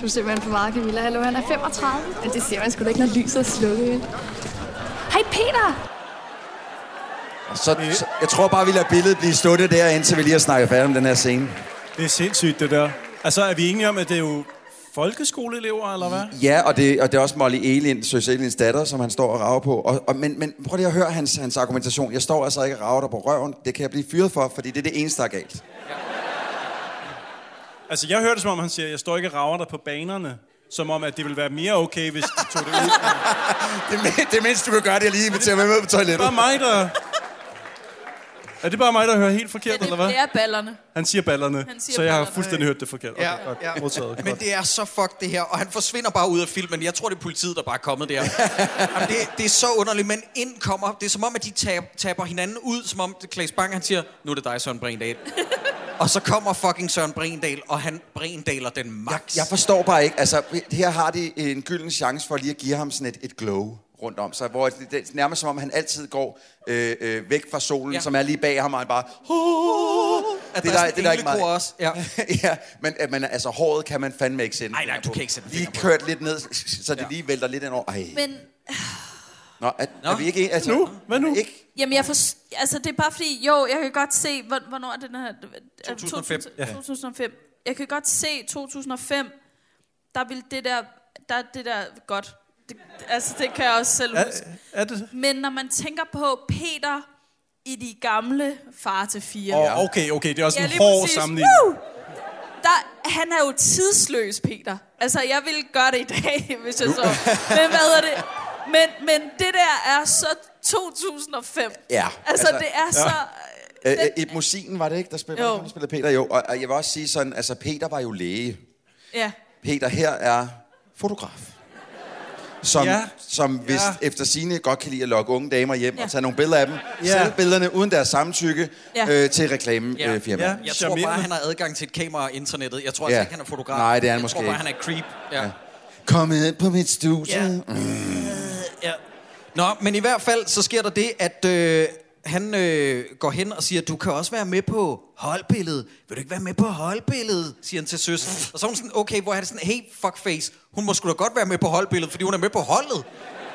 Speaker 3: Du er simpelthen for meget, Camilla. Hallo, han er 35. Men det ser man sgu da ikke, når lyset er slukket. Hej Peter!
Speaker 5: Så, så, jeg tror bare, vi lader billedet blive stået der, indtil vi lige har snakket færdigt om den her scene.
Speaker 7: Det er sindssygt, det der. Altså, er vi enige om, at det er jo folkeskoleelever, eller hvad?
Speaker 5: Ja, og det, og det er også Molly Elin, Søs Elins datter, som han står og rager på. Og, og, men, men prøv lige at høre hans, hans argumentation. Jeg står altså ikke og rager dig på røven. Det kan jeg blive fyret for, fordi det er det eneste, der er galt.
Speaker 7: Altså, jeg hørte, som om han siger, jeg står ikke og rager dig på banerne. Som om, at det ville være mere okay, hvis de tog det ud.
Speaker 5: Det, mi- det mindste, du kan gøre, det er lige at invitere mig med på toilettet.
Speaker 7: bare mig, der... Er det bare mig, der hører helt
Speaker 8: Men
Speaker 7: forkert,
Speaker 8: det,
Speaker 7: eller hvad?
Speaker 8: det er ballerne.
Speaker 7: Han siger ballerne,
Speaker 8: Han siger
Speaker 7: så jeg har
Speaker 8: ballerne.
Speaker 7: fuldstændig hørt det forkert. Okay,
Speaker 6: Ja,
Speaker 7: godt.
Speaker 6: ja.
Speaker 7: Modtaget.
Speaker 6: Men
Speaker 7: Godt.
Speaker 6: det er så fucked det her, og han forsvinder bare ud af filmen. Jeg tror, det er politiet, der bare er kommet der. Jamen, det, det er så underligt, men ind kommer... Det er som om, at de tab, taber hinanden ud, som om Klaas Bang, han siger, nu er det dig, Søren Brindal. og så kommer fucking Søren Brindal, og han Brindaler den max.
Speaker 5: Jeg forstår bare ikke. Altså, her har de en gylden chance for lige at give ham sådan et, et glow rundt om sig, hvor det, det er nærmest som om, han altid går øh, øh, væk fra solen,
Speaker 6: Ja.
Speaker 5: ja. som er lige bag ham, og han bare...
Speaker 6: at der er sådan en englekor også. Ja.
Speaker 5: ja, men at man, altså, håret kan man fandme ikke sende.
Speaker 6: Ej, nej,
Speaker 5: fingre
Speaker 6: du
Speaker 5: på.
Speaker 6: kan ikke sende
Speaker 5: Lige
Speaker 6: fingre på.
Speaker 5: kørt lidt ned, så det
Speaker 6: Ja.
Speaker 5: lige vælter lidt ind over. Ej.
Speaker 8: Men
Speaker 5: Nå, er, er vi ikke... en- Altså,
Speaker 7: Nu? Hvad nu?
Speaker 5: Ikke?
Speaker 8: Jamen, jeg for, altså, det er bare fordi, jo, jeg kan godt se, hvor- hvornår er den her... er det
Speaker 6: 2005.
Speaker 8: 2000- 2005. Jeg kan godt se 2005, der vil det der, der er det der godt. Det, altså, det kan jeg også selv
Speaker 7: Er,
Speaker 8: huske.
Speaker 7: er det...
Speaker 8: Men når man tænker på Peter i de gamle far til fire.
Speaker 7: Åh, okay, okay, det er også
Speaker 8: Ja,
Speaker 7: en
Speaker 8: lige
Speaker 7: hård
Speaker 8: præcis.
Speaker 7: sammenligning.
Speaker 8: Woo! Der, han er jo tidsløs, Peter. Altså, jeg ville gøre det i dag, hvis jeg så. Men hvad er det? Men, men det der er så 2005.
Speaker 5: Ja,
Speaker 8: Altså,
Speaker 5: altså,
Speaker 8: altså det er ja. så...
Speaker 5: Øh,
Speaker 8: Den,
Speaker 5: øh, musikken var det ikke, der spillede,
Speaker 8: Jo.
Speaker 5: var det, der spillede Peter? Jo, og, og jeg vil også sige sådan, altså Peter var jo læge.
Speaker 8: ja.
Speaker 5: Peter her er fotograf. Som,
Speaker 7: Ja.
Speaker 5: ja. som vist
Speaker 7: Ja.
Speaker 5: ja. efter sine godt kan lide at lokke unge damer hjem ja.
Speaker 8: Ja.
Speaker 5: og tage nogle billeder af dem.
Speaker 7: Ja.
Speaker 5: Ja. Sælge billederne uden deres samtykke
Speaker 8: Ja.
Speaker 5: ja. øh, til reklamefirmaet.
Speaker 7: Ja.
Speaker 5: Ja.
Speaker 6: Jeg tror bare,
Speaker 7: Charmerende.
Speaker 6: han har adgang til et kamera og internettet. Jeg tror altså
Speaker 5: Ja.
Speaker 6: ikke, han er fotograf.
Speaker 5: Nej, det er han
Speaker 6: jeg
Speaker 5: måske
Speaker 6: tror bare,
Speaker 5: ikke.
Speaker 6: han er creep. Ja. Ja.
Speaker 5: Kom ind på mit studie. Mm.
Speaker 6: Ja.
Speaker 5: Ja.
Speaker 6: Ja. Nå, men i hvert fald, så sker der det, at øh, han øh, går hen og siger, du kan også være med på holdbilledet. Vil du ikke være med på holdbilledet, siger han til søs. Og så er hun sådan, okay, hvor er det sådan, hey, fuckface, hun må sgu da godt være med på holdbilledet, fordi hun er med på holdet.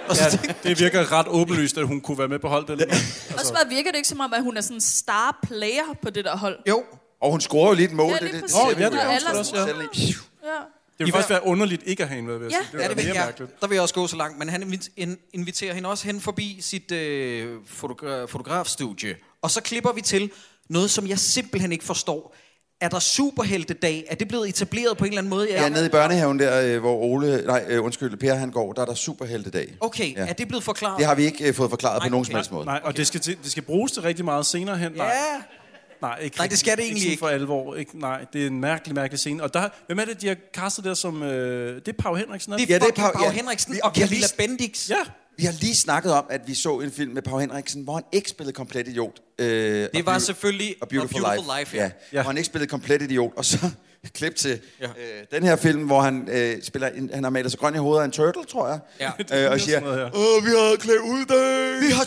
Speaker 6: Og så, ja.
Speaker 7: Det virker ret åbenlyst, at hun kunne være med på holdet. Eller
Speaker 8: Også bare virker det ikke som om, at hun er sådan en star player på det der hold.
Speaker 6: jo,
Speaker 5: Og hun scorer jo lige et mål.
Speaker 8: Ja,
Speaker 5: det,
Speaker 8: lige
Speaker 5: det, det,
Speaker 8: præcis.
Speaker 5: ser vi
Speaker 8: Nå,
Speaker 5: jo
Speaker 8: ja, det
Speaker 5: i
Speaker 8: gør hun
Speaker 5: afsnittet.
Speaker 8: sgu da også,
Speaker 5: Selv-
Speaker 8: Ja.
Speaker 7: Det ville faktisk være underligt ikke at have hende med, vil jeg
Speaker 8: Ja.
Speaker 7: sige.
Speaker 8: Ja,
Speaker 7: Det
Speaker 6: Ja,
Speaker 7: ville
Speaker 6: det
Speaker 7: være
Speaker 6: vil,
Speaker 7: mere
Speaker 6: ja,
Speaker 7: mærkeligt.
Speaker 6: der vil jeg også gå så langt, men han invit- in- inviterer hende også hen forbi sit øh, fotogra- fotografstudie. Og så klipper vi til noget, som jeg simpelthen ikke forstår. er der superheltedag? Er det blevet etableret på en eller anden måde?
Speaker 5: Ja, nede i børnehaven der, øh, hvor Ole, nej, øh, undskyld, Per han går, der er der superheltedag.
Speaker 6: Okay,
Speaker 5: Ja.
Speaker 6: er det blevet forklaret?
Speaker 5: Det har vi ikke øh, fået forklaret
Speaker 6: Nej,
Speaker 5: på nogen
Speaker 6: okay.
Speaker 5: som helst måde.
Speaker 7: Nej, og det skal, til, det skal bruges til rigtig meget senere hen. Nej,
Speaker 6: Ja.
Speaker 7: nej, ikke,
Speaker 6: Nej, det skal det
Speaker 7: ikke
Speaker 6: egentlig
Speaker 7: sådan
Speaker 6: ikke.
Speaker 7: for alvor. Ikke, nej, det er en mærkelig, mærkelig scene. Og der, hvem er det, de har kastet der som... Øh, det er Pau Henriksen, er
Speaker 6: Det
Speaker 7: det?
Speaker 6: er
Speaker 5: Ja, det
Speaker 6: ja,
Speaker 5: er
Speaker 6: fucking
Speaker 5: Pau-
Speaker 6: Pau
Speaker 5: ja.
Speaker 6: Henriksen
Speaker 5: Vi-
Speaker 6: og
Speaker 5: vi har
Speaker 6: Camilla
Speaker 5: lige-
Speaker 6: Bendix.
Speaker 7: Ja,
Speaker 5: Vi har lige snakket om, at vi så en film med Paul Henriksen, hvor han ikke spillede komplet idiot. Øh,
Speaker 6: Det var selvfølgelig
Speaker 5: og Beautiful,
Speaker 6: A Beautiful Life, ja.
Speaker 5: ja.
Speaker 7: Ja.
Speaker 5: Hvor han ikke spillede komplet idiot. Og så et klip til
Speaker 6: Ja.
Speaker 5: ja. øh, den her film, hvor han øh, spiller en, han har malet sig grøn i hovedet af en turtle, tror jeg.
Speaker 6: Ja.
Speaker 5: Øh, og siger,
Speaker 7: sådan noget her.
Speaker 5: Åh, vi har klædt ud dag.
Speaker 6: Vi har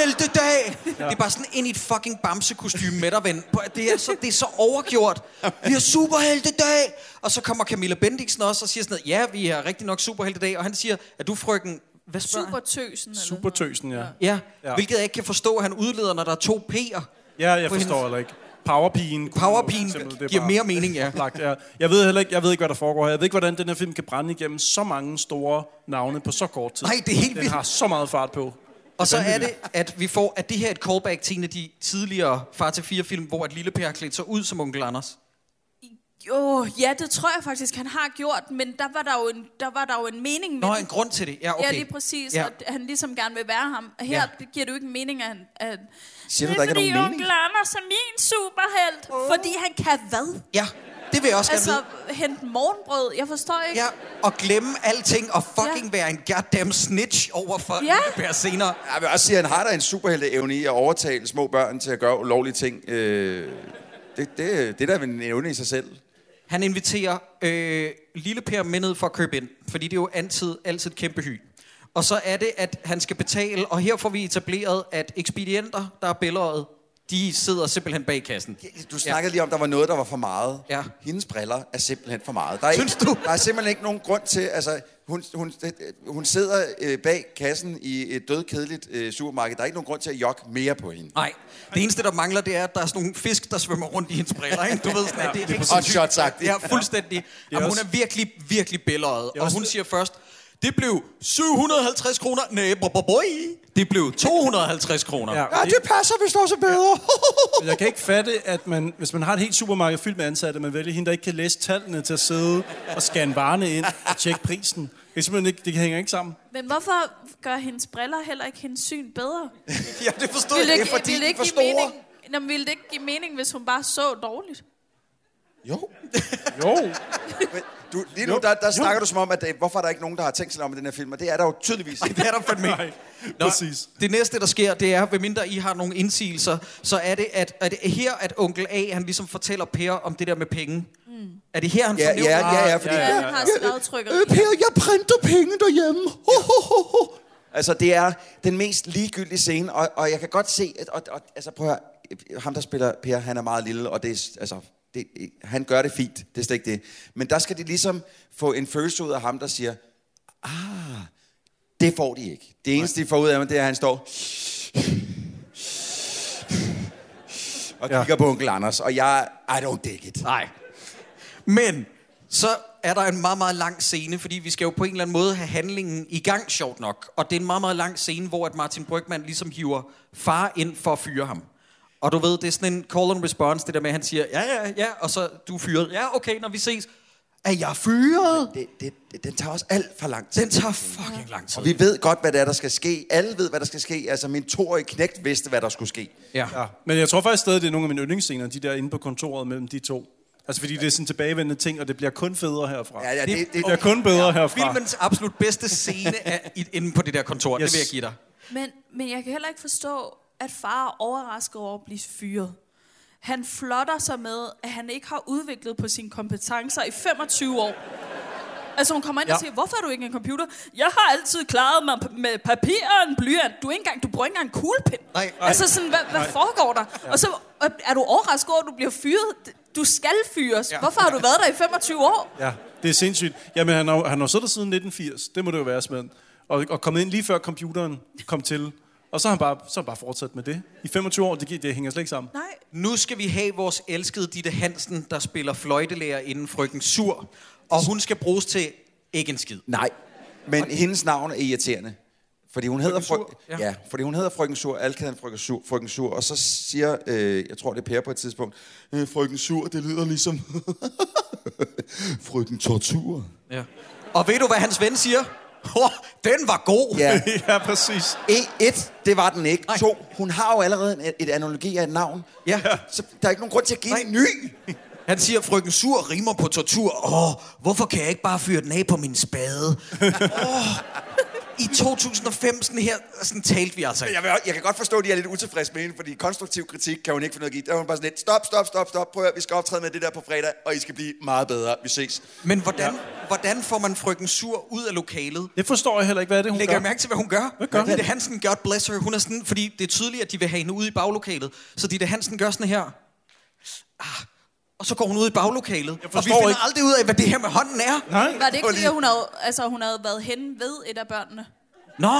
Speaker 6: superheltedag! Ja. Det er bare sådan ind i et fucking bamsekostyme med dig, ven. Det er, så, det er så overgjort. Vi har superheltedag! Og så kommer Camilla Bendiksen også og siger sådan noget, ja, vi har rigtig nok superheltedag. Og han siger, er du frøken... Hvad spørger
Speaker 8: Super
Speaker 6: han?
Speaker 8: tøsen. Eller sådan noget.
Speaker 7: supertøsen, ja.
Speaker 6: Ja, ja,
Speaker 7: Ja.
Speaker 6: hvilket jeg ikke kan forstå, at han udleder, når der er to P'er.
Speaker 7: Ja, jeg
Speaker 6: På hendes-
Speaker 7: forstår heller ikke. Powerpigen. kunne
Speaker 6: Powerpigen
Speaker 7: for eksempel, det er
Speaker 6: giver
Speaker 7: bare
Speaker 6: mere mening, ja.
Speaker 7: oplagt, ja. Jeg ved heller ikke, jeg ved ikke, hvad der foregår her. Jeg ved ikke, hvordan den her film kan brænde igennem så mange store navne på så kort tid.
Speaker 6: Nej, det er helt
Speaker 7: den
Speaker 6: vildt.
Speaker 7: har så meget fart på.
Speaker 6: Og så er det, at vi får, at det her er et callback til en af de tidligere Far til 4 film, hvor at lille Per har klædt sig ud som onkel Anders.
Speaker 8: Jo, ja, det tror jeg faktisk, han har gjort, men der var der jo en, der var der jo en mening med
Speaker 6: Nå,
Speaker 8: det.
Speaker 6: en grund til det. Ja, okay.
Speaker 8: Ja, lige præcis,
Speaker 6: Ja.
Speaker 8: ja. at han ligesom gerne vil være ham. Her
Speaker 6: Ja.
Speaker 8: ja. giver det jo ikke mening, at han... At
Speaker 5: Siger du,
Speaker 8: det
Speaker 5: der
Speaker 8: er
Speaker 5: ikke er
Speaker 8: fordi
Speaker 5: nogen mening?
Speaker 8: onkel Anders er min superhelt, oh. fordi han kan hvad?
Speaker 6: Ja, det vil jeg også
Speaker 8: Altså,
Speaker 6: gerne vide.
Speaker 8: hente morgenbrød, jeg forstår ikke.
Speaker 6: Ja, og glemme alting og fucking ja.
Speaker 8: Ja.
Speaker 6: være en goddamn snitch over for ja.
Speaker 8: Ja.
Speaker 6: Per senere.
Speaker 5: Jeg vil også sige, at han har da en superhelteevne i at overtale små børn til at gøre ulovlige ting. Øh, det, det, det er da en evne i sig selv.
Speaker 6: Han inviterer øh, lille Per med ned for at købe ind, fordi det er jo altid, altid et kæmpe hy. Og så er det, at han skal betale, og her får vi etableret, at ekspedienter, der er billedet, de sidder simpelthen bag kassen.
Speaker 5: Du snakkede ja. lige om, der var noget, der var for meget.
Speaker 6: Ja.
Speaker 5: Hendes briller er simpelthen for meget. Der er
Speaker 6: Synes
Speaker 5: ikke,
Speaker 6: du?
Speaker 5: Der er simpelthen ikke nogen grund til... Altså, hun, hun, det- hun sidder øh, bag kassen i et dødkedeligt øh, supermarked. Der er ikke nogen grund til at jokke mere på hende.
Speaker 6: Nej, det eneste, der mangler, det er, at der er sådan nogle fisk, der svømmer rundt i hendes briller. Ikke? Du ved sådan, at det er ikke
Speaker 5: Og shotsagtigt.
Speaker 6: Ja, fuldstændig. Jamen, hun
Speaker 7: også-
Speaker 6: er virkelig, virkelig billeret. Og
Speaker 7: også-
Speaker 6: hun siger først, det blev 750 kroner. Nej, bo- bo- boy. Det blev 250 kroner. Ja.
Speaker 5: Ja, det passer, hvis det også bedre.
Speaker 7: Men Jeg kan ikke fatte, at man, hvis man har et helt supermarked fyldt med ansatte, man vælger hende, der ikke kan læse tallene til at sidde og scanne varerne ind og tjekke prisen. Det, kan simpelthen ikke, det hænger ikke sammen.
Speaker 8: Men hvorfor gør hendes briller heller ikke hendes syn bedre?
Speaker 6: ja, det forstod
Speaker 8: Ville
Speaker 6: jeg.
Speaker 5: det er fordi, de er for
Speaker 8: give
Speaker 5: store.
Speaker 8: mening? Nå, men ville det ikke give mening, hvis hun bare så dårligt?
Speaker 5: Jo.
Speaker 7: Jo,
Speaker 5: Men Du, lige nu, der, der snakker du som om, at øh, hvorfor er der ikke nogen, der har tænkt sig om i den her film? Og det er der jo tydeligvis ikke.
Speaker 6: Det er der fandme
Speaker 7: Nej,
Speaker 6: ikke.
Speaker 7: præcis.
Speaker 6: Det næste, der sker, det er, medmindre I har nogle indsigelser, så er det, at, at her, at onkel A, han ligesom fortæller Per om det der med penge. Mm. Er det her, han
Speaker 5: Ja,
Speaker 6: fornævner?
Speaker 5: ja, ja, ja, fordi...
Speaker 8: Ja, ja, ja. har slagtrykkeri.
Speaker 5: Øh, jeg printer penge derhjemme. Ho, ho, ho, ho. Altså, det er den mest ligegyldige scene, og, og jeg kan godt se, at, og, og, altså prøv at høre, ham der spiller Per, han er meget lille, og det er, altså, det, han gør det fint, det er slet ikke det. Men der skal de ligesom få en følelse ud af ham, der siger, ah, det får de ikke. Det eneste, de får ud af ham, det er, at han står og
Speaker 7: Ja.
Speaker 5: kigger på onkel Anders, og jeg, I don't dig it.
Speaker 6: Nej. Men så er der en meget, meget lang scene, fordi vi skal jo på en eller anden måde have handlingen i gang, sjovt nok. Og det er en meget, meget lang scene, hvor at Martin Brygman ligesom hiver far ind for at fyre ham. Og du ved, det er sådan en call and response, det der med, at han siger, ja, ja, ja, og så du er fyret. Ja, okay, når vi ses. Er jeg fyret?
Speaker 5: Det, det, det, den tager også alt for lang tid.
Speaker 6: Den tager fucking lang tid.
Speaker 5: Og vi ved godt, hvad der er, der skal ske. Alle ved, hvad der skal ske. Altså, min toårige knægt vidste, hvad der skulle ske.
Speaker 6: Ja.
Speaker 7: Ja, men jeg tror faktisk stadig, det er nogle af mine yndlingsscener, de der inde på kontoret mellem de to. Altså fordi det er sådan tilbagevendende ting, og det bliver kun federe herfra.
Speaker 5: Ja, ja, det, det, det,
Speaker 7: Det bliver kun bedre herfra.
Speaker 6: Filmens absolut bedste scene er i- inde på det der kontor, yes. det
Speaker 7: Yes.
Speaker 6: vil jeg give dig.
Speaker 8: Men, men jeg kan heller ikke forstå, at far er overrasket over at blive fyret. Han flotter sig med, at han ikke har udviklet på sine kompetencer i 25 år. Altså hun kommer ind ja.
Speaker 6: Ja.
Speaker 8: og siger, hvorfor er du ikke en computer? Jeg har altid klaret mig p- med papir og en blyant. Du, er ikke engang, du bruger ikke engang en kuglepen.
Speaker 6: Nej, nej.
Speaker 8: altså sådan, hvad, hvad foregår der? Ja. Og så øh, er du overrasket over, at du bliver fyret? Du skal fyres.
Speaker 6: Ja.
Speaker 8: Ja. Hvorfor har du været der i 25 år?
Speaker 7: Ja, det er sindssygt. Jamen, han har, han har siddet der siden 1980, det må det jo være, Svend. Og, og kommet ind lige før computeren kom til. Og så har han bare, så har han bare fortsat med det. I 25 år, det, gi- det hænger slet ikke sammen.
Speaker 8: Nej,
Speaker 6: Nu skal vi have vores elskede Ditte Hansen, der spiller fløjtelærer inden frygten Sur. Og hun skal bruges til ikke en skid.
Speaker 5: Nej. Men hendes navn er irriterende. Fordi hun hedder
Speaker 7: Frøken
Speaker 5: frøken, ja. ja, fordi hun hedder frøken Sur, alkaden frøken Sur, frøken Sur, og så siger, øh, jeg tror det er Per på et tidspunkt, øh, frøken Sur, det lyder ligesom frøken Tortur.
Speaker 6: Ja. Og ved du, hvad hans ven siger? Oh, den var god.
Speaker 5: Ja,
Speaker 7: ja, præcis.
Speaker 5: E- et, det var den ikke.
Speaker 6: Nej.
Speaker 5: To, hun har jo allerede en, et analogi af et navn.
Speaker 6: Ja.
Speaker 5: Så der er ikke nogen grund til at give
Speaker 6: Nej.
Speaker 5: en ny.
Speaker 6: Han siger, frøken sur rimer på tortur. Åh, hvorfor kan jeg ikke bare fyre den af på min spade? Åh, I 2005, sådan her, sådan talte vi altså. ikke.
Speaker 5: Jeg, vil, jeg kan godt forstå, at de er lidt utilfredse med hende, fordi konstruktiv kritik kan hun ikke få noget at give. Der er hun bare sådan lidt, stop, stop, stop, stop, prøv at høre, vi skal optræde med det der på fredag, og I skal blive meget bedre. Vi ses.
Speaker 6: Men hvordan, hvordan får man frøken sur ud af lokalet?
Speaker 7: Det forstår jeg heller ikke, hvad er det, hun
Speaker 6: Lægger
Speaker 7: gør.
Speaker 6: jeg mærke til, hvad hun gør? Hvad
Speaker 7: gør hun?
Speaker 6: Ditte Hansen, God bless her, hun er sådan, fordi det er tydeligt, at de vil have hende ude i baglokalet. Så Ditte Hansen gør sådan her. Ah, og så går hun ud i baglokalet. Og vi
Speaker 7: forstår
Speaker 6: finder
Speaker 7: ikke.
Speaker 6: aldrig ud af, hvad det her med hånden er.
Speaker 7: Nej,
Speaker 8: Var det ikke fordi, at hun havde, altså, hun havde været henne ved et af børnene?
Speaker 6: Nå,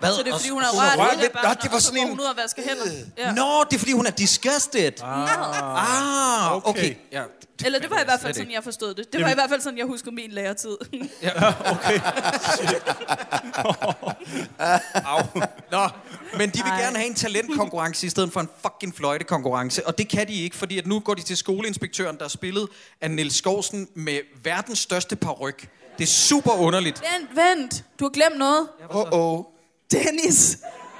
Speaker 6: hvad?
Speaker 8: Så det er fordi, hun har
Speaker 6: Og-
Speaker 8: rørt,
Speaker 5: rørt
Speaker 8: et af
Speaker 5: lidt. Nå,
Speaker 8: børnene,
Speaker 5: det var
Speaker 8: og så
Speaker 5: sådan
Speaker 8: går
Speaker 5: en-
Speaker 8: hun ud og vasker hænder. Ja.
Speaker 6: Nå, det er fordi, hun er disgusted. Ah, okay. okay.
Speaker 7: okay.
Speaker 6: Ja,
Speaker 8: Eller det var i hvert fald
Speaker 6: Slet
Speaker 8: sådan,
Speaker 6: ikke.
Speaker 8: jeg forstod det. Det var i hvert fald sådan, jeg husker min læretid.
Speaker 6: Au. Nå, men de vil Ej. gerne have en talentkonkurrence i stedet for en fucking fløjtekonkurrence. Og det kan de ikke, fordi at nu går de til skoleinspektøren, der er spillet af Niels Skovsen med verdens største paryk. Det er super underligt.
Speaker 8: vent, vent. Du har glemt noget.
Speaker 5: Åh, åh.
Speaker 8: Dennis.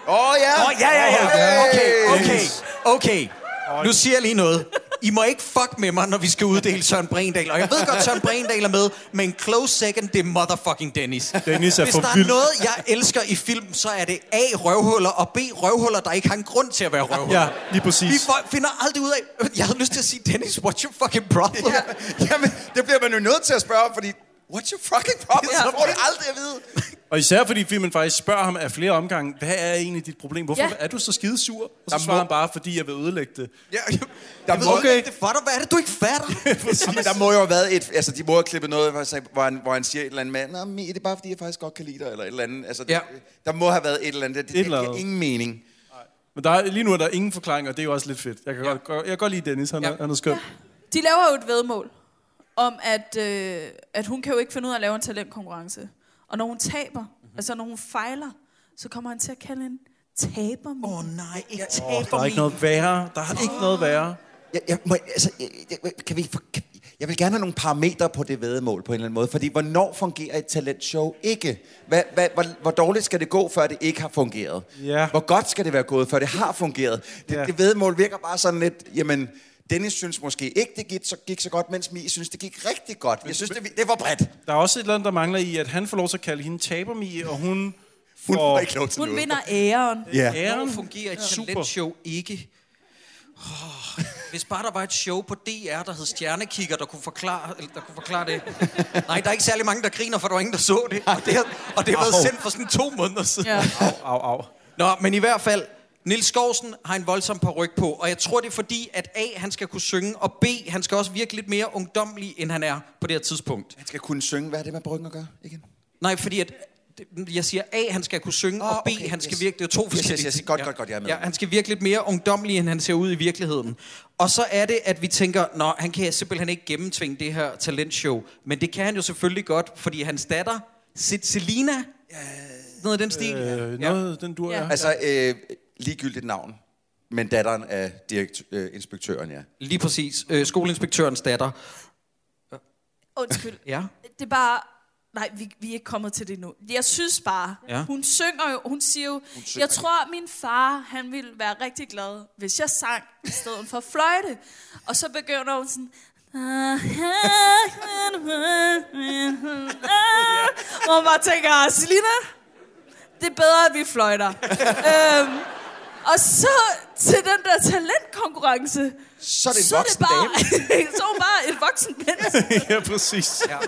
Speaker 5: Åh, ja.
Speaker 6: Åh, oh, ja, ja, ja. Okay, okay, okay. Nu siger jeg lige noget. I må ikke fuck med mig, når vi skal uddele Søren Brindal. Og jeg ved godt, Søren Brindal er med, men close second, det er motherfucking Dennis.
Speaker 7: Dennis er
Speaker 6: Hvis
Speaker 7: for
Speaker 6: der er
Speaker 7: vild.
Speaker 6: noget, jeg elsker i film, så er det A, røvhuller, og B, røvhuller, der ikke har en grund til at være røvhuller.
Speaker 7: Ja, lige præcis.
Speaker 6: Vi for- finder aldrig ud af... Jeg havde lyst til at sige, Dennis, what's your fucking problem?
Speaker 5: Ja, jamen, det bliver man jo nødt til at spørge om, fordi what's your fucking problem?
Speaker 6: Ja.
Speaker 5: Så får du aldrig at vide.
Speaker 7: Og især fordi filmen faktisk spørger ham af flere omgange, hvad er egentlig dit problem? Hvorfor
Speaker 8: Ja.
Speaker 7: ja. er du så skidesur? Og så
Speaker 5: Der må-
Speaker 7: svarer han bare, fordi jeg vil ødelægge det.
Speaker 5: Ja,
Speaker 6: Der
Speaker 5: der,
Speaker 6: jeg ved
Speaker 5: må,
Speaker 6: okay. ikke, det er for dig. Hvad er det, du ikke fatter?
Speaker 5: jamen, der må jo have været et... Altså, de må have klippet noget, hvor han sagde- hvor han, hvor han siger et eller andet med, Nå, men, det er bare, fordi jeg faktisk godt kan lide dig, eller et eller andet. Altså,
Speaker 6: Ja.
Speaker 5: ja. der må have været et eller andet. Det, det,
Speaker 7: Et eller
Speaker 5: giver
Speaker 7: andet.
Speaker 5: ingen mening.
Speaker 7: Men der er, lige nu er der ingen forklaring, og det er jo også lidt fedt. Jeg kan, ja. godt, jeg kan godt lide Dennis, han,
Speaker 6: Ja.
Speaker 7: ja. er, han er skøn. Ja.
Speaker 8: De laver jo et vedmål om, at, øh, at hun kan jo ikke finde ud af at lave en talentkonkurrence. Og når hun taber, mm-hmm. altså når hun fejler, så kommer han til at kalde hende taber.
Speaker 6: Åh oh, nej, ikke
Speaker 7: Oh,
Speaker 6: taber
Speaker 7: der er ikke noget værre. Der er ikke noget værre.
Speaker 5: Jeg, jeg, må, altså, jeg, jeg, kan vi, få- kan, jeg vil gerne have nogle parametre på det vedemål på en eller anden måde, fordi hvornår fungerer et talentshow ikke? Hvad, hvad, hvor, hvor dårligt skal det gå, før det ikke har fungeret?
Speaker 7: Ja.
Speaker 5: Hvor godt skal det være gået, før det har fungeret? Det,
Speaker 7: Ja.
Speaker 5: det vedemål virker bare sådan lidt, jamen, Dennis synes måske ikke, det gik så, gik så godt, mens Mie synes, det gik rigtig godt. Jeg synes, det, det var bredt.
Speaker 7: Der er også et eller andet, der mangler i, at han får lov til at kalde hende tabermi, og hun
Speaker 5: Hun
Speaker 7: får
Speaker 5: var ikke lov til
Speaker 8: Hun
Speaker 5: noget.
Speaker 8: vinder æren.
Speaker 5: Ja.
Speaker 6: Hvornår
Speaker 7: æren.
Speaker 6: fungerer et
Speaker 7: Super.
Speaker 6: talentshow ikke? Oh, hvis bare der var et show på DR, der hed Stjernekigger, der kunne forklare, eller der kunne forklare det. Nej, der er ikke særlig mange, der griner, for der var ingen, der så det. Og det, har- og det har været sendt for sådan to måneder siden.
Speaker 8: Ja.
Speaker 7: Au, au.
Speaker 6: Nå, men i hvert fald, Nils Skovsen har en voldsom paryk på, og jeg tror, det er fordi, at A, han skal kunne synge, og B, han skal også virke lidt mere ungdomlig, end han er på det her tidspunkt.
Speaker 5: Han skal kunne synge. Hvad er det, man brygger at gøre? Igen?
Speaker 6: Nej, fordi at jeg siger A, han skal kunne synge,
Speaker 5: Åh,
Speaker 6: og B,
Speaker 5: Ah, okay,
Speaker 6: han skal
Speaker 5: yes.
Speaker 6: virke... Det er to
Speaker 5: Yes,
Speaker 6: forskellige
Speaker 5: yes, yes.
Speaker 6: ting.
Speaker 5: Godt,
Speaker 6: Ja.
Speaker 5: godt, godt, jeg er med.
Speaker 6: Ja, han skal virke lidt mere ungdomlig, end han ser ud i virkeligheden. Og så er det, at vi tænker, nå, han kan simpelthen ikke gennemtvinge det her talentshow. Men det kan han jo selvfølgelig godt, fordi hans datter, Se- Selina, noget af den stil.
Speaker 7: Øh, noget, den dur,
Speaker 8: Ja.
Speaker 7: ja. ja.
Speaker 5: Altså, øh, ligegyldigt navn. Men datteren af direkt, øh, inspektøren, ja.
Speaker 6: Lige præcis. Øh, skoleinspektørens datter.
Speaker 8: Undskyld.
Speaker 6: Ja.
Speaker 8: Det er bare... Nej, vi, vi er ikke kommet til det nu. Jeg synes bare,
Speaker 6: Ja.
Speaker 8: ja. hun synger jo, hun siger jo, hun
Speaker 5: synger.
Speaker 8: jeg tror, min far, han ville være rigtig glad, hvis jeg sang i stedet for fløjte. Og så begynder hun sådan, og man bare tænker, Selina, det er bedre, at vi fløjter. øhm, og så til den der talentkonkurrence,
Speaker 5: Så er det en
Speaker 8: så er det
Speaker 5: voksen
Speaker 8: bare,
Speaker 5: dame.
Speaker 8: så er hun bare et voksen menneske.
Speaker 7: ja, præcis. Ja.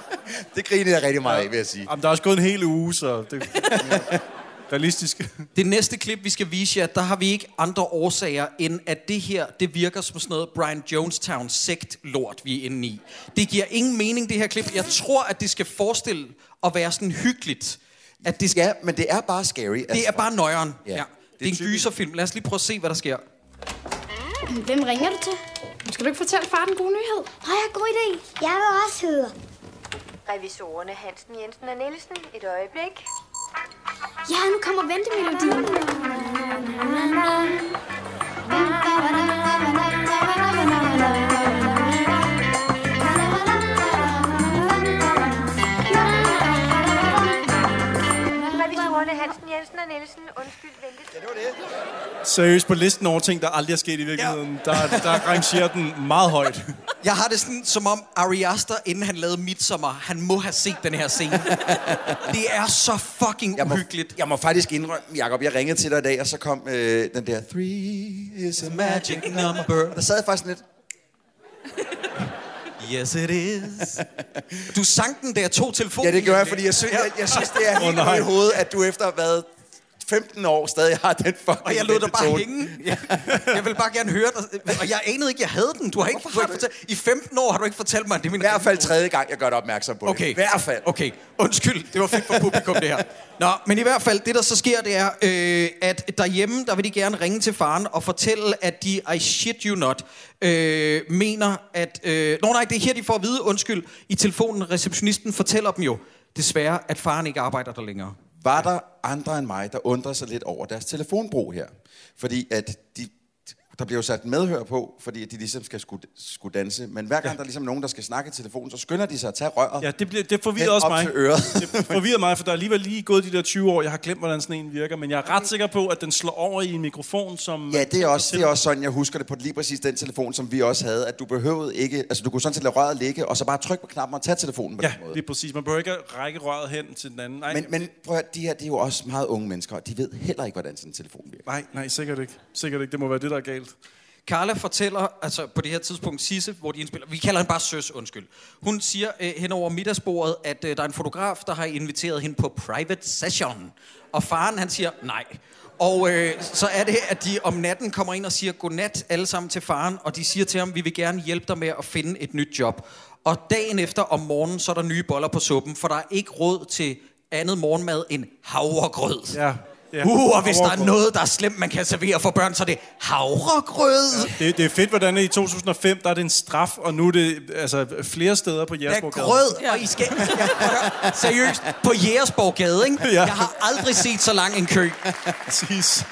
Speaker 5: Det griner jeg rigtig meget af, vil jeg sige.
Speaker 7: Jamen, der er også gået en hel uge, så det er realistisk.
Speaker 6: Det næste klip, vi skal vise jer, der har vi ikke andre årsager, end at det her, det virker som sådan noget Brian Jonestown sekt-lort, vi er inde i. Det giver ingen mening, det her klip. Jeg tror, at det skal forestille at være sådan hyggeligt. At det, skal,
Speaker 5: Ja, men det er bare scary. Altså,
Speaker 6: det er bare nøjeren. Ja.
Speaker 5: Ja.
Speaker 6: Ja. Det
Speaker 5: Det
Speaker 6: er
Speaker 5: er
Speaker 6: en
Speaker 5: typisk.
Speaker 6: gyserfilm. Lad os lige prøve at se, hvad der sker.
Speaker 9: Hvem ringer du til? Skal du ikke fortælle far den gode nyhed?
Speaker 10: Har jeg god idé? Jeg vil også høre.
Speaker 11: Revisorerne Hansen, Jensen og Nielsen. Et øjeblik.
Speaker 10: Ja, nu kommer ventemelodien.
Speaker 11: Revis Rønne Hansen Jensen og Nielsen, undskyld, ventet. Ja, det var det.
Speaker 7: Seriøst, på listen over ting, der aldrig er sket i virkeligheden, ja. der, der rangerer den meget højt.
Speaker 6: Jeg har det sådan, som om Ari Aster, inden han lavede Midsommar, han må have set den her scene. det er så fucking
Speaker 5: jeg må, uhyggeligt. Jeg må faktisk indrømme, Jacob, jeg ringede til dig i dag, og så kom øh, den der... Three is a magic number. Der sad jeg faktisk lidt...
Speaker 6: Yes, it is. Du sang den der to telefoner.
Speaker 5: Ja, det gør jeg, fordi jeg synes, jeg, jeg synes det er helt oh, i hovedet, at du efter at have været 15 år stadig har den fucking
Speaker 6: Og jeg lod dig bare
Speaker 5: ventetone.
Speaker 6: hænge. Ja. Jeg vil bare gerne høre dig. Og jeg anede ikke, jeg havde den. Du har ikke, du har ikke fortalt, I 15 år har du ikke fortalt mig, at det er min I hvert
Speaker 5: fald tredje gang, jeg gør dig opmærksom på
Speaker 6: okay. det.
Speaker 5: I hvert fald.
Speaker 6: Okay. Undskyld, det var fedt for publikum, det her. Nå, men i hvert fald, det der så sker, det er, øh, at derhjemme, der vil de gerne ringe til faren og fortælle, at de, I shit you not, øh, mener, at... Øh, nå nej, det er her, de får at vide, undskyld, i telefonen, receptionisten fortæller dem jo, desværre, at faren ikke arbejder der længere.
Speaker 5: Var der andre end mig, der undrede sig lidt over deres telefonbrug her? Fordi at de, der bliver jo sat medhør på, fordi at de ligesom skal skulle, skulle danse. Men hver gang ja. der er ligesom nogen, der skal snakke i telefonen, så skynder de sig at tage røret.
Speaker 7: Ja, det, bliver, det forvirrer
Speaker 5: Hen
Speaker 7: også
Speaker 5: op
Speaker 7: mig.
Speaker 5: til øret.
Speaker 7: Det forvirrer mig, for der er alligevel lige gået de der 20 år. Jeg har glemt, hvordan sådan en virker, men jeg er ret sikker på, at den slår over i en mikrofon, som...
Speaker 5: Ja, det er, også, det er også sådan, jeg husker det på lige præcis den telefon, som vi også havde, at du behøvede ikke, altså du kunne sådan set lade røret ligge, og så bare trykke på knappen og tage telefonen på
Speaker 7: Ja,
Speaker 5: den måde.
Speaker 7: det er præcis. Man behøver ikke at række røret hen til den anden. Nej,
Speaker 5: Men, men prøv at høre, de her, det er jo også meget unge mennesker, og de ved heller ikke, hvordan sådan en telefon virker.
Speaker 7: nej, nej, sikkert ikke. Sikkert ikke. Det må være det, der er galt.
Speaker 6: Carla fortæller, altså på det her tidspunkt, Sisse, hvor de indspiller, vi kalder hende bare Søs, undskyld. Hun siger øh, hen over middagsbordet, at øh, der er en fotograf, der har inviteret hende på private session. Og faren, han siger nej. Og øh, så er det, at de om natten kommer ind og siger godnat alle sammen til faren, og de siger til ham, vi vil gerne hjælpe dig med at finde et nyt job. Og dagen efter om morgenen, så er der nye boller på suppen, for der er ikke råd til andet morgenmad end havregrød.
Speaker 7: Ja. ja.
Speaker 6: Uh, og hvis der er
Speaker 7: Havregrød.
Speaker 6: noget, der er slemt, man kan servere for børn, så er det havregrød.
Speaker 7: Det, det er fedt, hvordan i 2005, der er det en straf, og nu er det altså, flere steder på
Speaker 6: Der er
Speaker 7: Jægersborg.
Speaker 6: grød, og I skal... Ja, prøv at høre. seriøst, på Jægersborg Gade, ikke?
Speaker 7: Ja.
Speaker 6: Jeg har aldrig set så lang en kø.
Speaker 7: Præcis.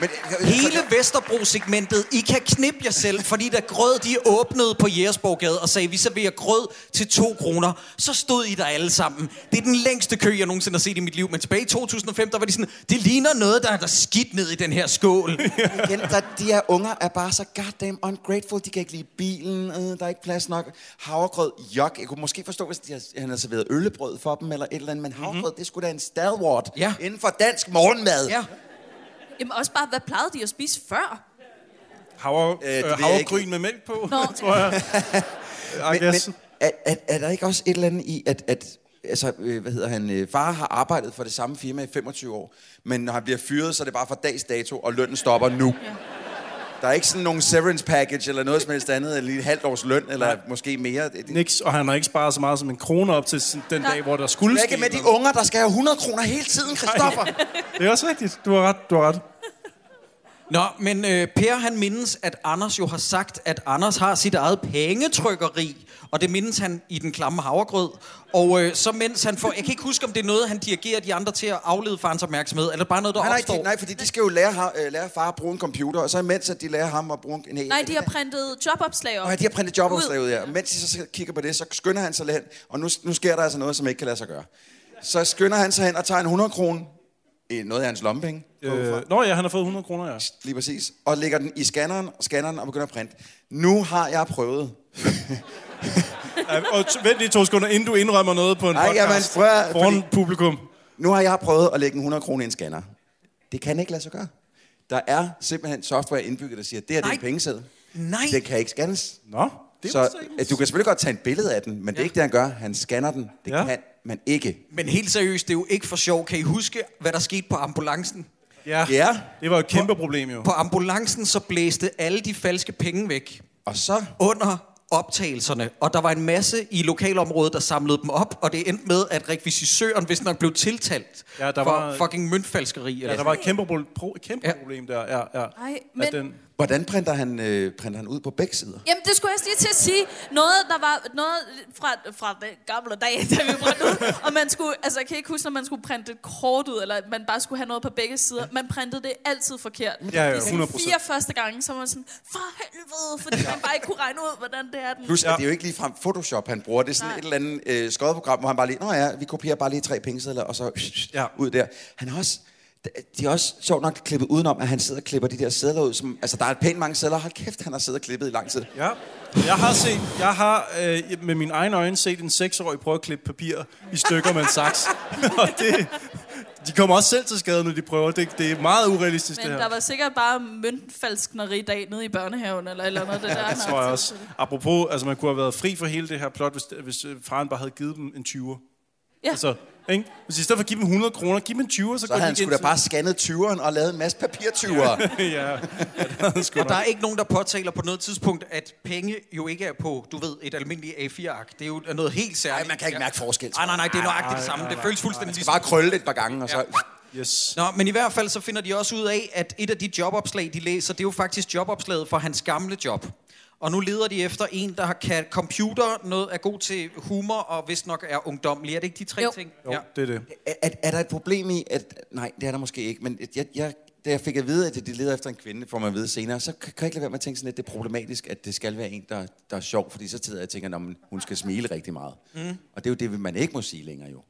Speaker 5: Men,
Speaker 6: Hele Vesterbro-segmentet, I kan knippe jer selv, fordi da grød, de åbnede på Jægersborg Gade og sagde, vi serverer grød til 2 kroner, så stod I der alle sammen. Det er den længste kø, jeg nogensinde har set i mit liv, men tilbage i 2005, der var de sådan, det ligner noget, der er der er skidt ned i den her skål.
Speaker 5: Igen, der, de her unger er bare så goddamn ungrateful. De kan ikke lide bilen, øh, der er ikke plads nok. Havregrød, jok. Jeg kunne måske forstå, hvis de havde, han havde serveret øllebrød for dem eller et eller andet, men havregrød, mm-hmm. det skulle da en stalwart
Speaker 6: Mhm. Ja.
Speaker 5: inden for dansk morgenmad.
Speaker 6: Ja.
Speaker 8: Jamen også bare, hvad plejede de at spise før?
Speaker 7: Havre,
Speaker 5: det
Speaker 7: øh,
Speaker 5: ved jeg
Speaker 7: havregryn med mælk på,
Speaker 8: Nå.
Speaker 7: tror jeg. I
Speaker 5: Men,
Speaker 7: guess.
Speaker 5: men er, er, er der ikke også et eller andet i, at, at altså, øh, hvad hedder han, øh, far har arbejdet for det samme firma i 25 år, men når han bliver fyret, så er det bare fra dags dato, og lønnen stopper nu. Ja. Der er ikke sådan nogen severance package eller noget som helst andet, eller lige et halvt års løn, eller måske mere. Det, det,
Speaker 7: Niks, og han har ikke sparet så meget som en krone op til sin- den dag, hvor der skulle
Speaker 5: Hvad ikke
Speaker 7: ske
Speaker 5: med de
Speaker 7: noget.
Speaker 5: unger, der skal have 100 kroner hele tiden, Christoffer?
Speaker 7: Det er også rigtigt. Du har ret, du har ret.
Speaker 6: Nå, men øh, Per han mindes, at Anders jo har sagt, at Anders har sit eget pengetrykkeri, og det mindes han i den klamme havregrød. Og øh, så mens han får, jeg kan ikke huske, om det er noget, han dirigerer de andre til at aflede farens opmærksomhed, eller bare noget, der
Speaker 5: Nej, nej,
Speaker 6: opstår.
Speaker 5: de, nej, fordi de skal jo lære, har, øh, lære far at bruge en computer, og så imens at de lærer ham at bruge en...
Speaker 8: Nej, de har printet jobopslag op.
Speaker 5: Og de har printet jobopslag ud, ja. Og Mens de så kigger på det, så skynder han sig hen, og nu, nu sker der altså noget, som ikke kan lade sig gøre. Så skynder han sig hen og tager en 100 kroner, noget af hans lommepenge,
Speaker 7: Øh, nå ja, han har fået 100 kroner, ja.
Speaker 5: lige præcis, og lægger den i scanneren, scanneren og begynder at printe. Nu har jeg prøvet.
Speaker 7: Ej, Og t- vent lige to sekunder, inden du indrømmer noget på en
Speaker 5: Ej, jamen,
Speaker 7: podcast
Speaker 5: prøv at-
Speaker 7: foran
Speaker 5: fordi-
Speaker 7: publikum.
Speaker 5: Nu har jeg prøvet at lægge en 100 kroner i en scanner. Det kan ikke lade sig gøre. Der er simpelthen software indbygget, der siger, det her det er
Speaker 6: Nej.
Speaker 5: en pengeseddel.
Speaker 6: Nej.
Speaker 5: Den kan ikke scannes.
Speaker 7: Nå, det er
Speaker 5: Så
Speaker 7: jo
Speaker 5: at du kan selvfølgelig godt tage et billede af den, men ja. det er ikke det, han gør. Han scanner den. Det
Speaker 7: Ja.
Speaker 5: ja. kan man ikke.
Speaker 6: Men helt seriøst, det er jo ikke for sjov. Kan I huske, hvad der skete på ambulancen?
Speaker 7: Ja,
Speaker 5: Ja.
Speaker 7: det var et kæmpe problem jo.
Speaker 6: På ambulancen så blæste alle de falske penge væk.
Speaker 5: Og så...
Speaker 6: under optagelserne, og der var en masse i lokalområdet, der samlede dem op, og det endte med, at rekvisitøren vist nok blev tiltalt
Speaker 7: Ja, der
Speaker 6: for
Speaker 7: var-
Speaker 6: fucking møntfalskeri.
Speaker 7: Ja,
Speaker 6: Eller
Speaker 7: der var et kæmpe, pro- pro- kæmpe
Speaker 6: Ja.
Speaker 7: problem der. Ja, ja.
Speaker 8: Nej,
Speaker 7: At
Speaker 8: men
Speaker 7: den,
Speaker 5: Hvordan printer han, øh, printer han ud på begge sider?
Speaker 8: Jamen, det skulle jeg også lige til at sige. Noget, der var noget fra, fra den gamle dag, da vi brændte ud. Og man skulle, altså jeg kan ikke huske, når man skulle printe et kort ud, eller man bare skulle have noget på begge sider. Man printede det altid forkert.
Speaker 7: Ja, ja,
Speaker 8: De sådan
Speaker 7: 100%.
Speaker 8: fire første gange, så var man sådan, for helvede, fordi man bare ikke kunne regne ud, hvordan det er den.
Speaker 5: Plus, ja. at det er jo ikke ligefrem Photoshop, han bruger. Det er sådan
Speaker 8: Nej.
Speaker 5: Nej. et eller andet øh, skodprogram, hvor han bare lige, nå ja, vi kopierer bare lige tre pengesedler, og så ja. ud der. Han har også, de er også sjovt nok klippet udenom, at han sidder og klipper de der sædler ud. Som, altså, der er pænt mange sædler. Hold kæft, han har siddet og klippet i lang tid.
Speaker 7: Ja. Jeg har, set, jeg har øh, med mine egne øjne set en seksårig prøve at klippe papir i stykker med en saks. og det, de kommer også selv til skade, når de prøver. Det, det er meget urealistisk,
Speaker 8: Men
Speaker 7: det
Speaker 8: der
Speaker 7: her.
Speaker 8: var sikkert bare møntfalskneri dag nede i børnehaven, eller et eller andet. Det der,
Speaker 7: det tror jeg også. Apropos, altså man kunne have været fri for hele det her plot, hvis, hvis øh, faren bare havde givet dem en 20'er.
Speaker 8: Ja.
Speaker 7: Altså, ikke? Hvis i stedet for at give dem 100 kroner, giv dem en 20'er, så,
Speaker 5: Så
Speaker 7: går
Speaker 5: havde
Speaker 7: de
Speaker 5: han
Speaker 7: ikke
Speaker 5: sgu
Speaker 7: ind
Speaker 5: da
Speaker 7: til-
Speaker 5: bare scannet 20'eren og lavet en masse papirtyvere.
Speaker 7: ja. ja.
Speaker 6: Og der er ikke nogen, der påtaler på noget tidspunkt, at penge jo ikke er på, du ved, et almindeligt A4-ark. Det er jo noget helt særligt. Nej, man
Speaker 5: kan ikke mærke forskel.
Speaker 6: Nej, nej, nej, det er nøjagtigt det
Speaker 5: Nej,
Speaker 6: samme.
Speaker 5: nej,
Speaker 6: Det
Speaker 5: nej,
Speaker 6: føles fuldstændig ligesom-
Speaker 5: Bare krølle et par gange, og så...
Speaker 7: Yes.
Speaker 6: Nå, men i hvert fald så finder de også ud af, at et af de jobopslag, de læser, det er jo faktisk jobopslaget for hans gamle job. Og nu leder de efter en, der kan computer, noget er god til humor og vist nok er ungdommelig. Er det ikke de tre
Speaker 5: Jo.
Speaker 6: ting?
Speaker 7: Jo, det er det.
Speaker 5: Er, er, er der et problem i, at... Nej, det er der måske ikke, men jeg, jeg, da jeg fik at vide, at de leder efter en kvinde, får man at vide senere, så kan kan jeg ikke lade være med at tænke sådan, at det er problematisk, at det skal være en, der, der er sjov, fordi så sidder jeg og tænker, at hun skal smile rigtig meget. Mm. Og det er jo det, man ikke må sige længere, jo.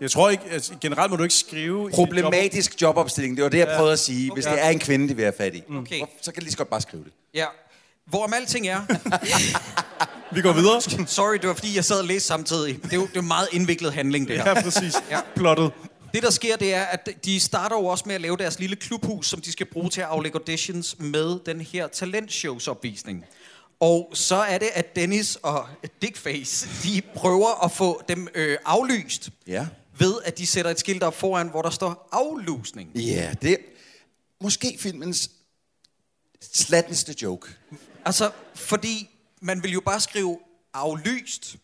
Speaker 7: Jeg tror ikke, altså, generelt må du ikke skrive... i
Speaker 5: Problematisk jobopstilling, det var det, jeg
Speaker 7: Ja.
Speaker 5: prøvede at sige. Hvis
Speaker 7: Okay.
Speaker 5: det er en kvinde, det vil have fat i,
Speaker 6: Okay.
Speaker 5: Hvor- så kan de lige så godt bare skrive det.
Speaker 6: Ja. Hvorom alting er...
Speaker 7: Vi går videre.
Speaker 6: Sorry, det var fordi, jeg sad og læste samtidig. Det er jo det er en meget indviklet handling, det her.
Speaker 7: Ja, præcis. Plottet.
Speaker 6: Det, der sker, det er, at de starter jo også med at lave deres lille klubhus, som de skal bruge til at aflægge auditions med den her talentshowsopvisning. Og så er det, at Dennis og Dickface, de prøver at få dem øh, aflyst
Speaker 5: Ja.
Speaker 6: ved, at de sætter et skilt op foran, hvor der står aflusning.
Speaker 5: Ja, det er måske filmens slatteste joke.
Speaker 6: Altså, fordi man vil jo bare skrive aflyst,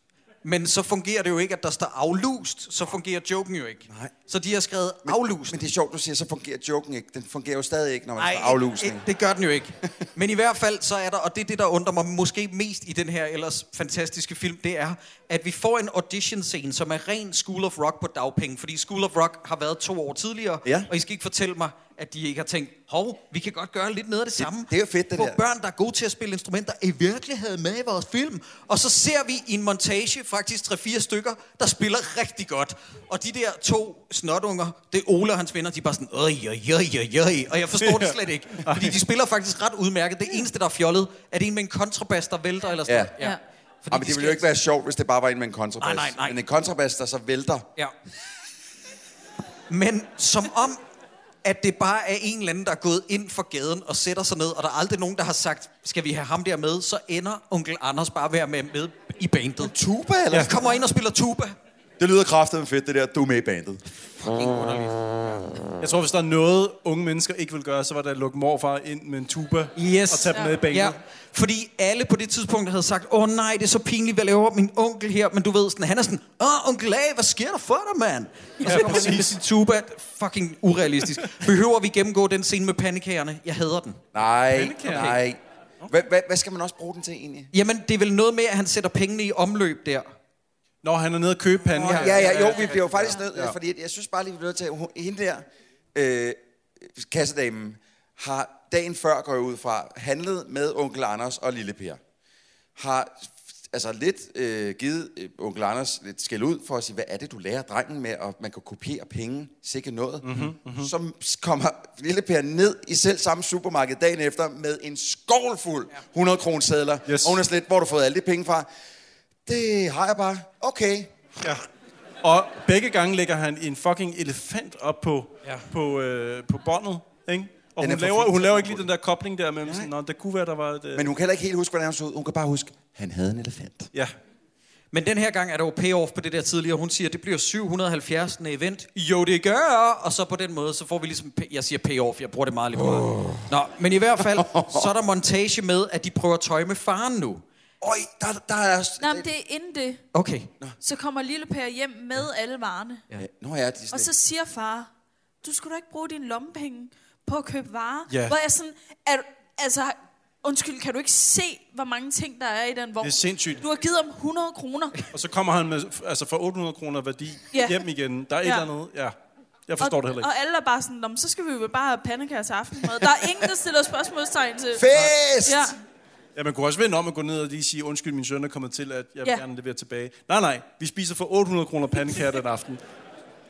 Speaker 6: men så fungerer det jo ikke, at der står aflust, så fungerer joken jo ikke. Nej. Så de har skrevet aflust.
Speaker 5: Men det er sjovt, du siger, så fungerer joken ikke. Den fungerer jo stadig ikke, når man
Speaker 6: Nej,
Speaker 5: skal aflusning.
Speaker 6: ikke- ikke- øh, Det gør den jo ikke. Men i hvert fald så er der, og det er det, der undrer mig måske mest i den her ellers fantastiske film, det er, at vi får en audition-scene, som er ren School of Rock på dagpenge. Fordi School of Rock har været to år tidligere,
Speaker 5: Ja.
Speaker 6: og I skal ikke fortælle mig, at de ikke har tænkt, hov, vi kan godt gøre lidt noget af det samme.
Speaker 5: det er jo fedt, det
Speaker 6: Få
Speaker 5: der.
Speaker 6: børn, der er gode til at spille instrumenter, i virkeligheden med i vores film. Og så ser vi i en montage faktisk 3-4 stykker, der spiller rigtig godt. Og de der to snotunger, det er Ole og hans venner, de er bare sådan, øj, øj, øj, øj, øj. Og jeg forstår det slet ikke, fordi de spiller faktisk ret udmærket. Det eneste, der er fjollet, er det en med en kontrabas, der vælter eller sådan
Speaker 5: Ja.
Speaker 6: noget.
Speaker 5: Ja.
Speaker 6: Fordi
Speaker 5: Jamen, det
Speaker 6: de
Speaker 5: ville jo ikke
Speaker 6: skal-
Speaker 5: være sjovt, hvis det bare var en med en kontrabas.
Speaker 6: Nej, nej, nej.
Speaker 5: Men en kontrabas, der så vælter.
Speaker 6: Ja. Men som om, at det bare er en eller anden, der er gået ind for gaden og sætter sig ned, og der er aldrig nogen, der har sagt, skal vi have ham der med, så ender onkel Anders bare ved at være med, med i bandet.
Speaker 5: Tuba, eller?
Speaker 6: Ja. Kommer ind og spiller tuba.
Speaker 5: Det lyder kraftigt med fedt, det der, du er med i bandet.
Speaker 6: Fucking underligt.
Speaker 7: Jeg tror, hvis der er noget, unge mennesker ikke vil gøre, så var det at lukke morfar ind med en tuba
Speaker 6: Yes.
Speaker 7: og tage dem med i banen.
Speaker 6: Ja, fordi alle på det tidspunkt havde sagt, åh nej, det er så pinligt, hvad laver min onkel her? Men du ved, sådan, han er sådan, åh onkel A, hvad sker der for dig, mand? Og så
Speaker 7: Ja,
Speaker 6: kommer han ind med
Speaker 7: præcis.
Speaker 6: sin tuba. Fucking urealistisk. Behøver vi gennemgå den scene med pandekagerne? Jeg hader den.
Speaker 5: Nej,
Speaker 7: Pandekager.
Speaker 5: nej. Hvad, hvad, hvad skal man også bruge den til egentlig?
Speaker 6: Jamen, det er vel noget med, at han sætter pengene i omløb der.
Speaker 7: Når han er nede og købe panden.
Speaker 5: Ja, ja, jo, vi bliver jo faktisk nødt, ja. fordi jeg synes bare lige, vi bliver nødt til, at hun- hende der, øh, kassedamen, har dagen før, går jeg ud fra, handlet med onkel Anders og lille Per. Har altså lidt øh, givet øh, onkel Anders lidt skæld ud for at sige, hvad er det, du lærer drengen med, og man kan kopiere penge, sikke noget. Mm-hmm, mm-hmm. Så kommer lille Per ned i selv samme supermarked dagen efter med en skovl fuld 100 kroner sædler.
Speaker 7: Yes.
Speaker 5: Og hun er slet, hvor har du fået alle de penge fra? Det har jeg bare. Okay,
Speaker 7: Ja. Og begge gange lægger han en fucking elefant op på,
Speaker 6: Ja.
Speaker 7: ja. på, øh, på båndet, ikke? Og
Speaker 5: Den er
Speaker 7: hun
Speaker 5: for
Speaker 7: laver,
Speaker 5: fin
Speaker 7: hun
Speaker 5: til
Speaker 7: laver
Speaker 5: at
Speaker 7: ikke lige den der kobling der mellem sådan, "Nå, der kunne være, der var et... Øh...
Speaker 5: Men hun kan heller ikke helt huske, hvordan han så ud. Hun kan bare huske, han havde en elefant.
Speaker 7: Ja.
Speaker 6: Men den her gang er der jo payoff på det der tidligere. Hun siger, det bliver 770. event. Jo, det gør. Og så på den måde, så får vi ligesom... pay- Jeg siger payoff, jeg bruger det meget lige meget. Nå, men i hvert fald, så er der montage med, at de prøver tøj med faren nu.
Speaker 5: Øj, der, der er...
Speaker 8: Nå, men det er inden det.
Speaker 6: Okay.
Speaker 8: Så kommer lille Per hjem med alle varerne.
Speaker 5: Ja. Øh, Nå ja, de er
Speaker 8: Og
Speaker 5: sådan
Speaker 8: så
Speaker 5: lidt-
Speaker 8: siger far, du skulle da ikke bruge dine lommepenge på at købe varer.
Speaker 7: Ja.
Speaker 8: Hvor jeg sådan, er, altså, undskyld, kan du ikke se, hvor mange ting, der er i den vogn?
Speaker 7: Det er sindssygt.
Speaker 8: Du har givet ham 100 kroner.
Speaker 7: Og så kommer han med, altså for 800 kroner værdi
Speaker 8: Ja.
Speaker 7: ja. hjem igen. Der er et
Speaker 8: Ja.
Speaker 7: eller andet, ja. Jeg forstår
Speaker 8: og,
Speaker 7: det heller ikke.
Speaker 8: Og alle er bare sådan, "Nå, men så skal vi jo bare have pandekager til aftensmad. Der er ingen, der stiller spørgsmålstegn til.
Speaker 7: Fest!
Speaker 8: Ja.
Speaker 7: Ja, man kunne også vende om og gå ned og lige sige, undskyld, min søn er kommet til, at jeg vil
Speaker 8: Ja.
Speaker 7: ja. gerne levere tilbage. Nej, nej, vi spiser for 800 kroner pandekager den aften.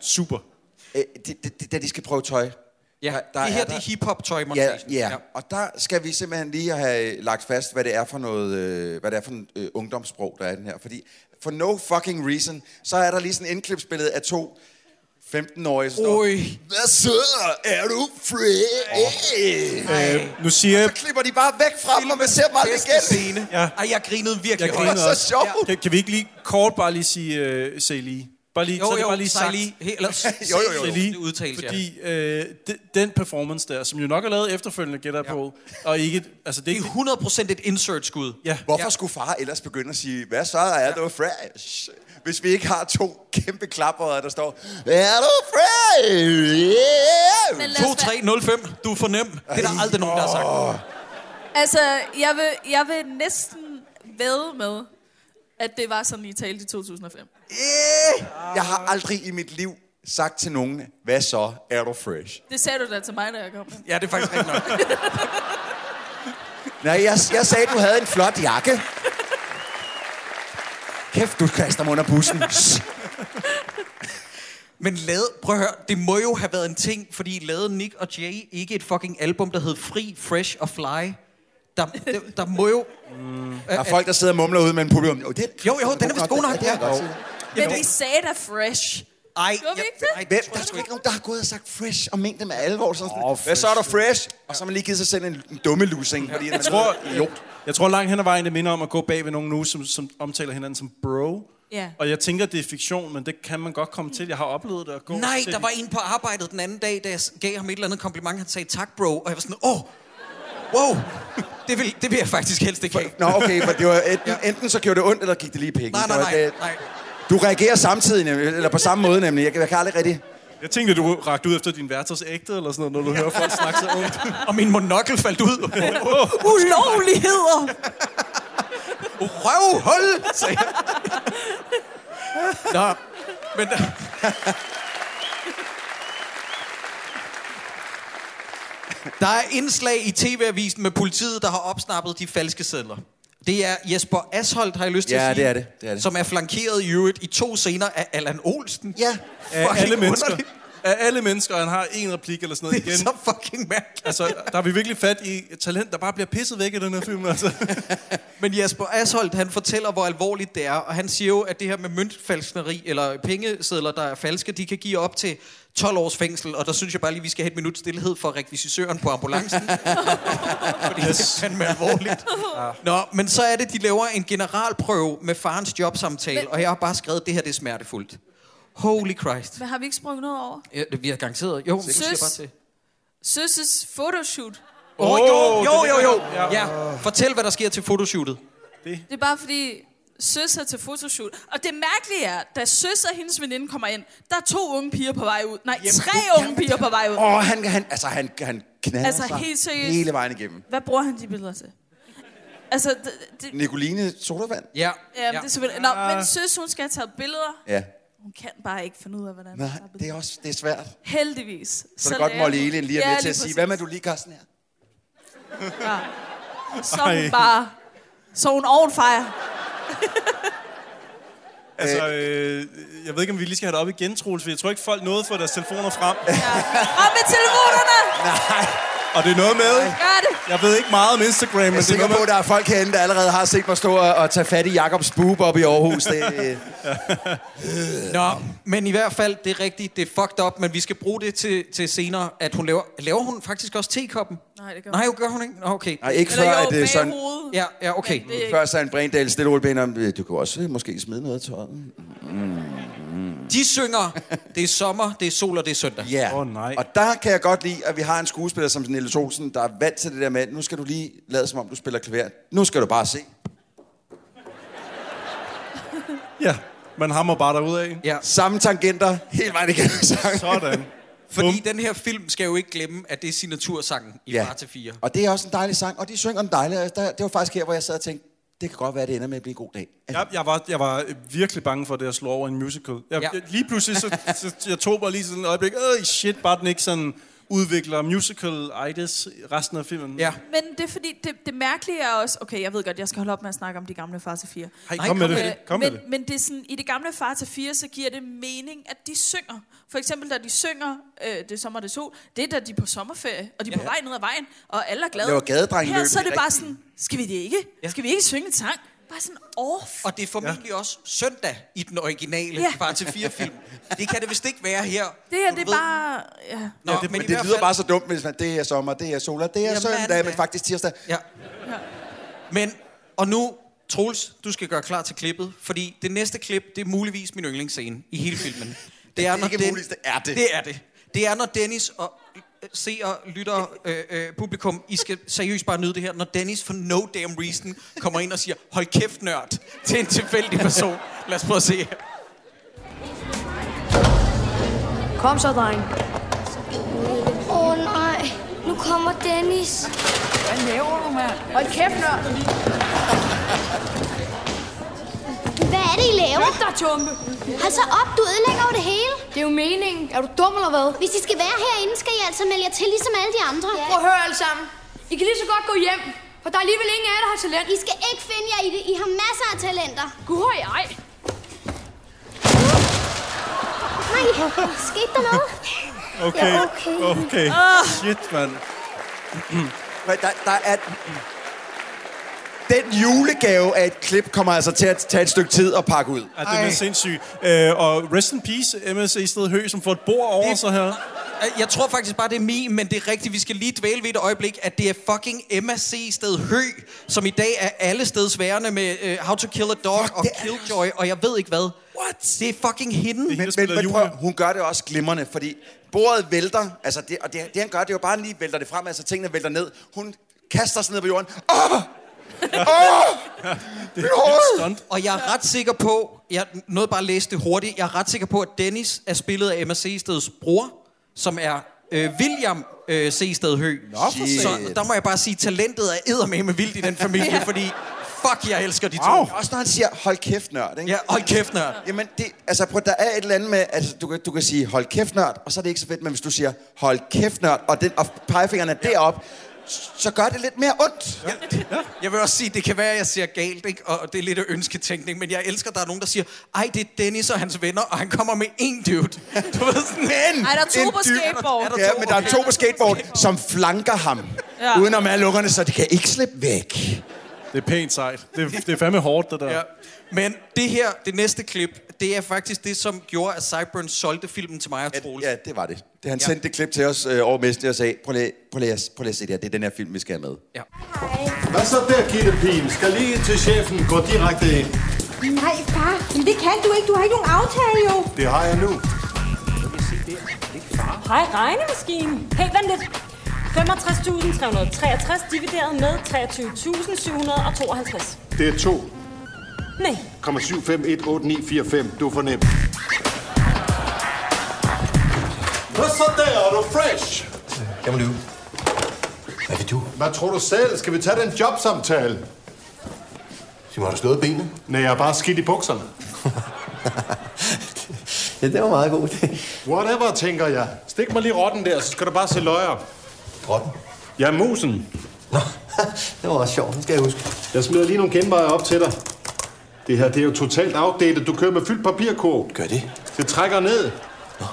Speaker 7: Super.
Speaker 5: Øh, det, det, det, da de skal prøve tøj.
Speaker 6: Ja,
Speaker 5: der
Speaker 6: det her,
Speaker 5: er
Speaker 6: det
Speaker 5: der-
Speaker 6: er hip-hop-tøj,
Speaker 5: Ja, ja, ja, og der skal vi simpelthen lige have øh, lagt fast, hvad det er for noget, øh, hvad det er for en øh, ungdomssprog, der er i den her. Fordi for no fucking reason, så er der lige sådan en indklipsbillede af to 15-årige, som står, Hvad så? Er du free?
Speaker 7: Øh, nu siger jeg...
Speaker 5: Så klipper de bare væk fra dem, og man ser dem aldrig igen.
Speaker 6: Scene.
Speaker 7: Ja.
Speaker 6: Ej, jeg grinede virkelig
Speaker 7: Jeg
Speaker 6: højt.
Speaker 7: griner også.
Speaker 8: Uh.
Speaker 7: Kan, kan vi ikke lige kort bare lige sige, uh, se lige? Bare lige,
Speaker 6: Jo,
Speaker 7: så er det
Speaker 6: jo,
Speaker 7: bare lige
Speaker 6: sig
Speaker 7: sagt.
Speaker 6: lige. He- eller-
Speaker 7: jo, jo, jo.
Speaker 6: Se
Speaker 7: jo.
Speaker 6: lige. Det udtales, ja.
Speaker 7: Fordi øh, de, den performance der, som jo nok er lavet efterfølgende, gætter jeg på, og ikke... et- Altså, det er ikke...
Speaker 6: 100% et insert-skud.
Speaker 7: Ja.
Speaker 5: Hvorfor skulle far ellers begynde at sige, hvad så er du fresh? Hvis vi ikke har to kæmpe klapper, der står, er du
Speaker 8: Men
Speaker 5: fresh?
Speaker 8: lad os være-
Speaker 6: 2305, du er for nem. Det er der aldrig nogen, der har sagt.
Speaker 8: Altså, jeg vil, jeg vil næsten ved med, at det var sådan, I talte i 2005.
Speaker 5: Jeg har aldrig i mit liv sagt til nogen, hvad så er du fresh?
Speaker 8: Det sagde du da til mig, da jeg kom.
Speaker 6: Ja, det er faktisk rigtigt nok.
Speaker 5: Nej, jeg, jeg sagde, du havde en flot jakke. Kæft, du kaster mig under bussen. Shh.
Speaker 6: Men lavede, prøv at høre, det må jo have været en ting, fordi lavede Nick og Jay ikke et fucking album, der hed Fri, Fresh og Fly? Der, der, der må jo...
Speaker 5: Der er folk, der sidder og mumler ud med en publikum. Jo, det,
Speaker 6: Jo, jo, den er vist god nok.
Speaker 5: det er godt.
Speaker 6: Ja.
Speaker 8: Men vi sagde da fresh.
Speaker 6: Ej,
Speaker 8: Gjorde vi ikke det?
Speaker 6: ej, det
Speaker 5: Hvem?
Speaker 6: tror
Speaker 5: Der
Speaker 6: jeg
Speaker 5: er
Speaker 6: sgu
Speaker 5: sgu
Speaker 6: ikke.
Speaker 5: ikke nogen, der har gået og sagt fresh og ment det med alvor. Sådan, oh, Hvad så er der fresh? Og så har man lige givet sig selv en, en dumme lusing. Fordi man
Speaker 7: Jeg tror, jeg, jeg tror langt hen ad vejen, det minder om at gå bag ved nogen nu, som, som omtaler hinanden som bro.
Speaker 8: Ja.
Speaker 7: Og jeg tænker, det er fiktion, men det kan man godt komme til. Jeg har oplevet det at gå
Speaker 6: Nej,
Speaker 7: til
Speaker 6: der var en på arbejdet den anden dag, da jeg gav ham et eller andet kompliment. Han sagde, tak bro. Og jeg var sådan, åh, wow, det vil, det vil jeg faktisk helst ikke have.
Speaker 5: Nå, okay, for det var enten, enten så gjorde det ondt, eller gik det lige i pikken.
Speaker 6: Nej,
Speaker 5: Det
Speaker 6: nej,
Speaker 5: var-
Speaker 6: nej,
Speaker 5: det-
Speaker 6: nej.
Speaker 5: Du reagerer samtidig, nemlig, eller på samme måde nemlig. Jeg, kan- jeg kan aldrig rigtig...
Speaker 7: Jeg tænkte, du rakte ud efter din værters ægte, eller sådan noget, når du hører folk snakke så ungt.
Speaker 6: Og min monokkel faldt ud.
Speaker 5: Uhuh.
Speaker 8: Ulovligheder!
Speaker 6: Røvhul, sagde jeg. Nå, men... Der er indslag i TV-avisen med politiet, der har opsnappet de falske sædler. Det er Jesper Asholdt, har jeg lyst til
Speaker 5: Ja,
Speaker 6: at sige.
Speaker 5: det er det. Det er det.
Speaker 6: Som er flankeret i øvrigt i to scener af Allan Olsen.
Speaker 5: Ja.
Speaker 7: Af
Speaker 6: Fucking
Speaker 7: alle mennesker.
Speaker 6: underligt.
Speaker 7: Af alle mennesker, og han har en replik eller sådan noget
Speaker 6: Det er
Speaker 7: igen.
Speaker 6: så fucking mærkeligt.
Speaker 7: Altså, der har vi virkelig fat i et talent, der bare bliver pisset væk i den her film. Altså.
Speaker 6: Men Jesper Asholdt, han fortæller, hvor alvorligt det er, og han siger jo, at det her med møntfalskneri, eller pengesedler, der er falske, de kan give op til 12 års fængsel, og der synes jeg bare lige, vi skal have et minut stillhed for rekvisitøren på ambulancen. Fordi yes. det er fandme alvorligt. Nå, men så er det, de laver en generalprøve med farens jobsamtale,
Speaker 8: Men-
Speaker 6: og jeg har bare skrevet, det her det er smertefuldt. Holy Christ.
Speaker 8: Men har vi ikke sprunget noget over?
Speaker 6: Ja, det vi har garanteret. Jo, det skal jeg
Speaker 8: Søs.
Speaker 6: bare til.
Speaker 8: Søsses photoshoot.
Speaker 6: Åh, oh, jo,
Speaker 7: det
Speaker 6: jo,
Speaker 7: er
Speaker 6: jo, jo.
Speaker 7: det,
Speaker 6: Ja. ja, fortæl, hvad der sker til fotoshootet.
Speaker 8: Det er bare fordi, søs er til fotoshoot. Og det mærkelige er, da søs og hendes veninde kommer ind, der er to unge piger på vej ud. Nej, tre unge piger på vej ud.
Speaker 5: Åh, han, han, altså, han, han knaller
Speaker 8: Altså,
Speaker 5: sig
Speaker 8: helt seriøst.
Speaker 5: hele vejen igennem.
Speaker 8: Hvad bruger han de billeder til? Altså, det, det,
Speaker 5: Nicoline sodavand?
Speaker 6: Ja.
Speaker 8: ja, det er selvfølgelig... Nå, men søs, hun skal have taget billeder.
Speaker 5: Ja.
Speaker 8: Hun kan bare ikke finde ud af, hvordan hun
Speaker 5: Nej,
Speaker 8: tager
Speaker 5: det
Speaker 8: billeder.
Speaker 5: er også det er svært. Så,
Speaker 8: Heldigvis. Så,
Speaker 5: så det er godt,
Speaker 8: lærer
Speaker 5: Molly
Speaker 8: hun-
Speaker 5: Elin lige er
Speaker 8: Ja,
Speaker 5: med til at sige,
Speaker 8: præcis.
Speaker 5: hvad med du lige, Carsten her?
Speaker 8: Så er hun
Speaker 7: Ej.
Speaker 8: bare... Så er hun on fire.
Speaker 7: altså øh, jeg ved ikke, om vi lige skal have det op igen, Troels, for jeg tror ikke, folk nåede for deres telefoner frem.
Speaker 8: Op med telefonerne!
Speaker 7: Og det er noget med...
Speaker 8: Gør det!
Speaker 7: Jeg ved ikke meget om Instagram, men
Speaker 5: Jeg er
Speaker 7: det er
Speaker 5: sikker
Speaker 7: noget
Speaker 5: på, at
Speaker 7: med...
Speaker 5: der er folk herinde, der allerede har set mig stå og, og tage fat i Jakobs boob op i Aarhus. Det, øh,
Speaker 6: Nå, men i hvert fald, det er rigtigt, det er fucked up, men vi skal bruge det til, til senere, at hun laver... Laver hun faktisk også tekoppen?
Speaker 8: Nej, det gør
Speaker 6: Nej, jo, gør hun ikke? Nå, okay.
Speaker 5: nej, ikke før,
Speaker 8: Eller jo,
Speaker 5: at det er
Speaker 8: bag
Speaker 5: sådan...
Speaker 8: hovedet.
Speaker 6: Ja, ja, okay.
Speaker 8: Men det-
Speaker 5: Før Søren Brindahl stille og roligt bedt om, øh, du kan også øh, måske smide noget af tøjet.
Speaker 6: De synger, det er sommer, det er sol og det er søndag.
Speaker 5: Ja.
Speaker 7: Åh, nej.
Speaker 5: Og der kan jeg godt lide, at vi har en skuespiller som Niels Olsen, der er vant til det der med, nu skal du lige lade som om, du spiller klaver. Nu skal du bare se.
Speaker 7: Ja, man hammer bare derudad.
Speaker 6: Ja.
Speaker 5: Samme tangenter, helt vejen igennem sangen.
Speaker 7: Sådan.
Speaker 6: Fordi den her film skal jo ikke glemme, at det er signatursangen i ja. Far til 4.
Speaker 5: Og det er også en dejlig sang, og de synger en dejlig... og Der, det var faktisk her, hvor jeg sad og tænkte, det kan godt være, det ender med at blive en god dag.
Speaker 7: Jeg, jeg, var, jeg var virkelig bange for, at det at slå over en musical. Jeg,
Speaker 5: Ja.
Speaker 7: ja. jeg, lige pludselig, så, så jeg tog bare lige sådan et øjeblik, øh, shit, bare den ikke sådan udvikler musical-itis resten af filmen.
Speaker 6: Ja.
Speaker 8: Men det er fordi, det, det mærkelige er også... Okay, jeg ved godt, jeg skal holde op med at snakke om de gamle Far til 4.
Speaker 7: Ej, kom med det. Kom med
Speaker 8: men,
Speaker 7: det.
Speaker 8: Men det er sådan, i det gamle Far til 4, så giver det mening, at de synger. For eksempel, da de synger øh, Det er sommer, det er sol, det er da de er på sommerferie, og de er på vej ned ad vejen, og alle er glade.
Speaker 5: Laver gadedrengeløb
Speaker 8: Her så er
Speaker 5: i
Speaker 8: det bare
Speaker 5: rigtige.
Speaker 8: sådan, skal vi det ikke? Skal vi ikke synge en sang? Bare sådan off.
Speaker 6: Og det er formentlig ja. også søndag i den originale
Speaker 8: Ja.
Speaker 6: ja. Far til 4 film. Det kan det vist ikke være her.
Speaker 8: Det her, det er bare... Ja.
Speaker 6: Nå,
Speaker 5: ja, det, men det lyder fald... bare så dumt, hvis man, det er sommer, det er sol, og det er
Speaker 6: Jamen,
Speaker 5: søndag,
Speaker 6: ja.
Speaker 5: men faktisk tirsdag.
Speaker 6: Ja. Men, og nu, Troels, du skal gøre klar til klippet, fordi det næste klip, det er muligvis min yndlingsscene i hele filmen. Det er, når
Speaker 5: ikke
Speaker 6: Den-
Speaker 5: muligvis, det er det.
Speaker 6: Det er det. Det er, når Dennis og øh, seere, lyttere, øh, øh, publikum, I skal seriøst bare nyde det her, når Dennis for no damn reason kommer ind og siger, hold kæft, nørd, til en tilfældig person. Lad os prøve at se her.
Speaker 12: Kom så, dreng.
Speaker 10: Åh oh, nej, nu kommer Dennis. Hvad laver du, mand? Hold kæft, nørd.
Speaker 9: Hvad er det, I laver? Flyt dig, Tumpe! Hold så op, du ødelægger jo det hele. Det er jo meningen. Er du dum eller hvad? Hvis I skal være herinde, skal I altså melde jer til, ligesom alle de andre. Ja.
Speaker 12: Prøv at høre alle sammen. I kan lige så godt gå hjem, for der er alligevel ingen af jer, der har talent.
Speaker 9: I skal ikke finde jer i det. I har masser af talenter.
Speaker 12: Gud, høj, ej.
Speaker 9: Nej, skete der noget?
Speaker 7: Okay,
Speaker 9: Ja,
Speaker 7: okay. okay.
Speaker 9: Ah.
Speaker 7: Shit, mand.
Speaker 5: Men der, der er... Den julegave af et klip kommer altså til at tage et stykke tid at pakke ud.
Speaker 7: Ja, den er sindssyg. Øh, og rest in peace, MS Isted Høgh, som får et bord over sig her.
Speaker 6: Øh, Jeg tror faktisk bare, det er min, men det er rigtigt. Vi skal lige dvæle ved et øjeblik, at det er fucking MSC sted Hø, som i dag er alle steds værende med uh, How to Kill a Dog Fuck, og Killjoy, og jeg ved ikke hvad. What? Det er fucking hende.
Speaker 5: Men, men, men prøv, hun gør det også glimrende, fordi bordet vælter, altså det, og det, det han gør, det er jo bare lige vælter det frem, altså tingene vælter ned. Hun kaster sig ned på jorden. Åh! Åh!
Speaker 6: Det er stunt. Og jeg er ret sikker på, jeg nåede bare at læse det hurtigt, jeg er ret sikker på, at Dennis er spillet af Emma Sesteds bror, som er øh, William øh, Sested Hø. Nå,
Speaker 5: for
Speaker 6: Så
Speaker 5: satan.
Speaker 6: der må jeg bare sige, talentet er eddermame vildt i den familie,
Speaker 5: Ja.
Speaker 6: ja. fordi fuck, jeg elsker de to.
Speaker 5: Wow. Også når han siger, hold kæft, nørd. Ikke?
Speaker 6: Ja, hold kæft, nørd.
Speaker 5: Jamen, det, altså, prøv, der er et eller andet med, at altså, du, kan- du kan sige, hold kæft, nørd, og så er det ikke så fedt, men hvis du siger, hold kæft, nørd, og, den, og pegefingeren er ja. deroppe, s- så gør det lidt mere ondt. Ja.
Speaker 6: Jeg vil også sige, det kan være, at jeg ser galt, ikke? og det er lidt af ønsketænkning, men jeg elsker, at der er nogen, der siger, ej, det er Dennis og hans venner, og han kommer med én dude. Du ved sådan,
Speaker 5: Men
Speaker 8: Ej, der er to
Speaker 5: en
Speaker 8: på
Speaker 5: dyr-
Speaker 8: skateboard.
Speaker 5: Er der, ja, men der er to på skateboard, som flanker ham. Ja. Udenom alle ungerne, så de kan ikke slippe væk.
Speaker 7: Det er pænt sejt. Det, det er fandme hårdt, det der.
Speaker 6: Ja. Men det her, det næste klip, det er faktisk det, som gjorde, at Cyburn solgte filmen til mig og Troels.
Speaker 5: Ja, det var det. Det, han ja. sendte det klip til os øh, over Messenger og sagde, prøv lige, prøv, lige, at- prøv lige at se det her, det er den her film, vi skal have med.
Speaker 6: Ja.
Speaker 13: Hvad så der, Gittepin? Skal lige til chefen. Gå direkte ind.
Speaker 14: Nej, far. Men det kan du ikke. Du har ikke nogen aftale, jo.
Speaker 13: Det har jeg nu.
Speaker 15: Hej, regnemaskinen. Hey, vent lidt. 65.363 divideret med 23.752.
Speaker 13: Det er 2.
Speaker 15: Nej,
Speaker 13: 7518945. Du er for nem. Hvad så der? Er du fresh? Jeg må lyve. Hvad vil du? Hvad tror du selv? Skal vi tage den jobsamtale? Simon, har du stået benene? Nej, jeg er bare skidt i bukserne.
Speaker 16: Ja, det var meget god.
Speaker 13: Whatever, tænker jeg. Stik mig lige rotten der, så skal du bare se løjer. Rotten? Ja, musen. Nå, det var også sjovt. Det skal jeg huske. Jeg smider lige nogle genveje op til dig. Det her, det er jo totalt outdated. Du kører med fyldt papirkurv. Gør det? Det trækker ned. Nå.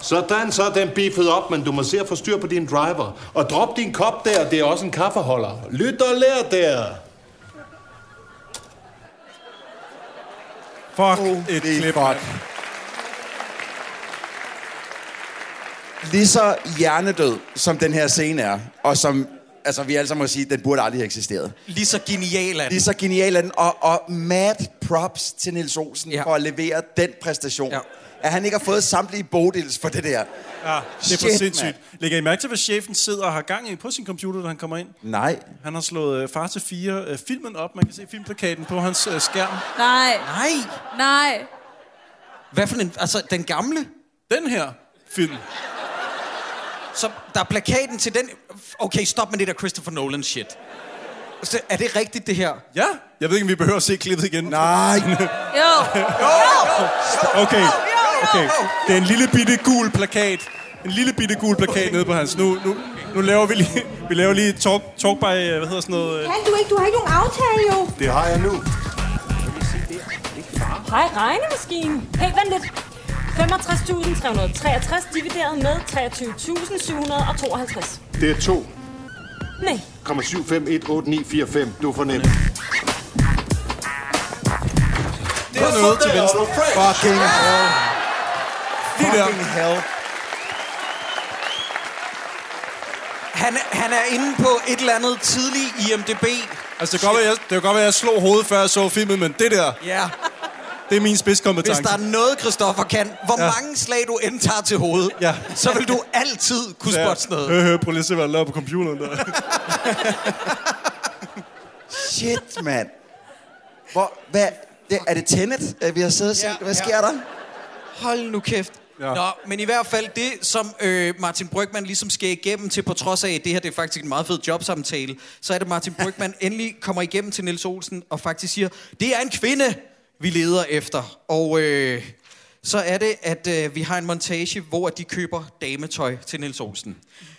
Speaker 13: Sådan, så er den beefet op, men du må se at få styr på din driver. Og drop din kop der, det er også en kaffeholder. Lyt og lær der.
Speaker 7: Fuck et klip. Fuck.
Speaker 5: Lige så hjernedød, som den her scene er, og som altså, vi alle sammen må sige, den burde aldrig have eksisteret.
Speaker 6: Lige så genial er den.
Speaker 5: Lige så genial er den, og, og mad props til Nils Olsen ja. for at levere den præstation. Ja. At han ikke har fået samtlige bodils for det der.
Speaker 7: Ja, det er for
Speaker 5: Shit,
Speaker 7: sindssygt.
Speaker 5: mand.
Speaker 7: Lægger I mærke til, hvad chefen sidder og har gang i på sin computer, da han kommer ind?
Speaker 5: Nej.
Speaker 7: Han har slået øh, Far til 4 øh, filmen op. Man kan se filmplakaten på hans øh, skærm.
Speaker 8: Nej.
Speaker 6: Nej.
Speaker 8: Nej.
Speaker 6: Hvad for en, altså den gamle?
Speaker 7: Den her film.
Speaker 6: Så der er plakaten til den... Okay, stop med det der Christopher Nolan shit. Så er det rigtigt, det her?
Speaker 7: Ja. Jeg ved ikke, om vi behøver at se klippet igen. Nej.
Speaker 8: Jo.
Speaker 7: Øh, Okay. okay. Det er en lille bitte gul plakat. En lille bitte gul plakat nede på hans. Nu, nu, nu laver vi lige, vi laver lige talk, talk by, øh, hvad hedder sådan noget? øh,
Speaker 14: Kan du ikke? Du har ikke nogen aftale, jo.
Speaker 7: Det har jeg nu.
Speaker 15: Hej, regnemaskinen. Hey, vent lidt. 65.363 divideret med 23.752.
Speaker 13: Det er 2.
Speaker 15: Nej.
Speaker 13: 7518945. Du er for nem.
Speaker 6: Det er noget til venstre.
Speaker 13: Fucking hell.
Speaker 6: Lige der. Fucking hell. Han, er- han er inde på et eller andet tidlig IMDB.
Speaker 7: Altså, det kan godt være, jeg, det kan godt være, jeg slog hovedet, før jeg så filmen, men det der,
Speaker 6: Ja.
Speaker 7: det er min spidskompetence.
Speaker 6: Hvis der er noget, Christoffer kan, hvor
Speaker 7: Ja.
Speaker 6: ja. mange slag du end tager til hovedet, ja. så vil du altid kunne spotte sådan noget.
Speaker 7: Hør, hør, prøv lige at se, hvad jeg laver på computeren der.
Speaker 5: Shit, mand. Hvor, hvad, det, er det Tenet, øh, vi har siddet og set? Ja, hvad sker der?
Speaker 6: Hold nu kæft. Ja. Nå, men i hvert fald det, som øh, Martin Brygman ligesom skal igennem til, på trods af, at det her det er faktisk en meget fed jobsamtale, så er det, Martin Brygman endelig kommer igennem til Niels Olsen og faktisk siger, det er en kvinde, vi leder efter. Og øh, så er det, at øh, vi har en montage, hvor de køber dametøj til Niels Olsen.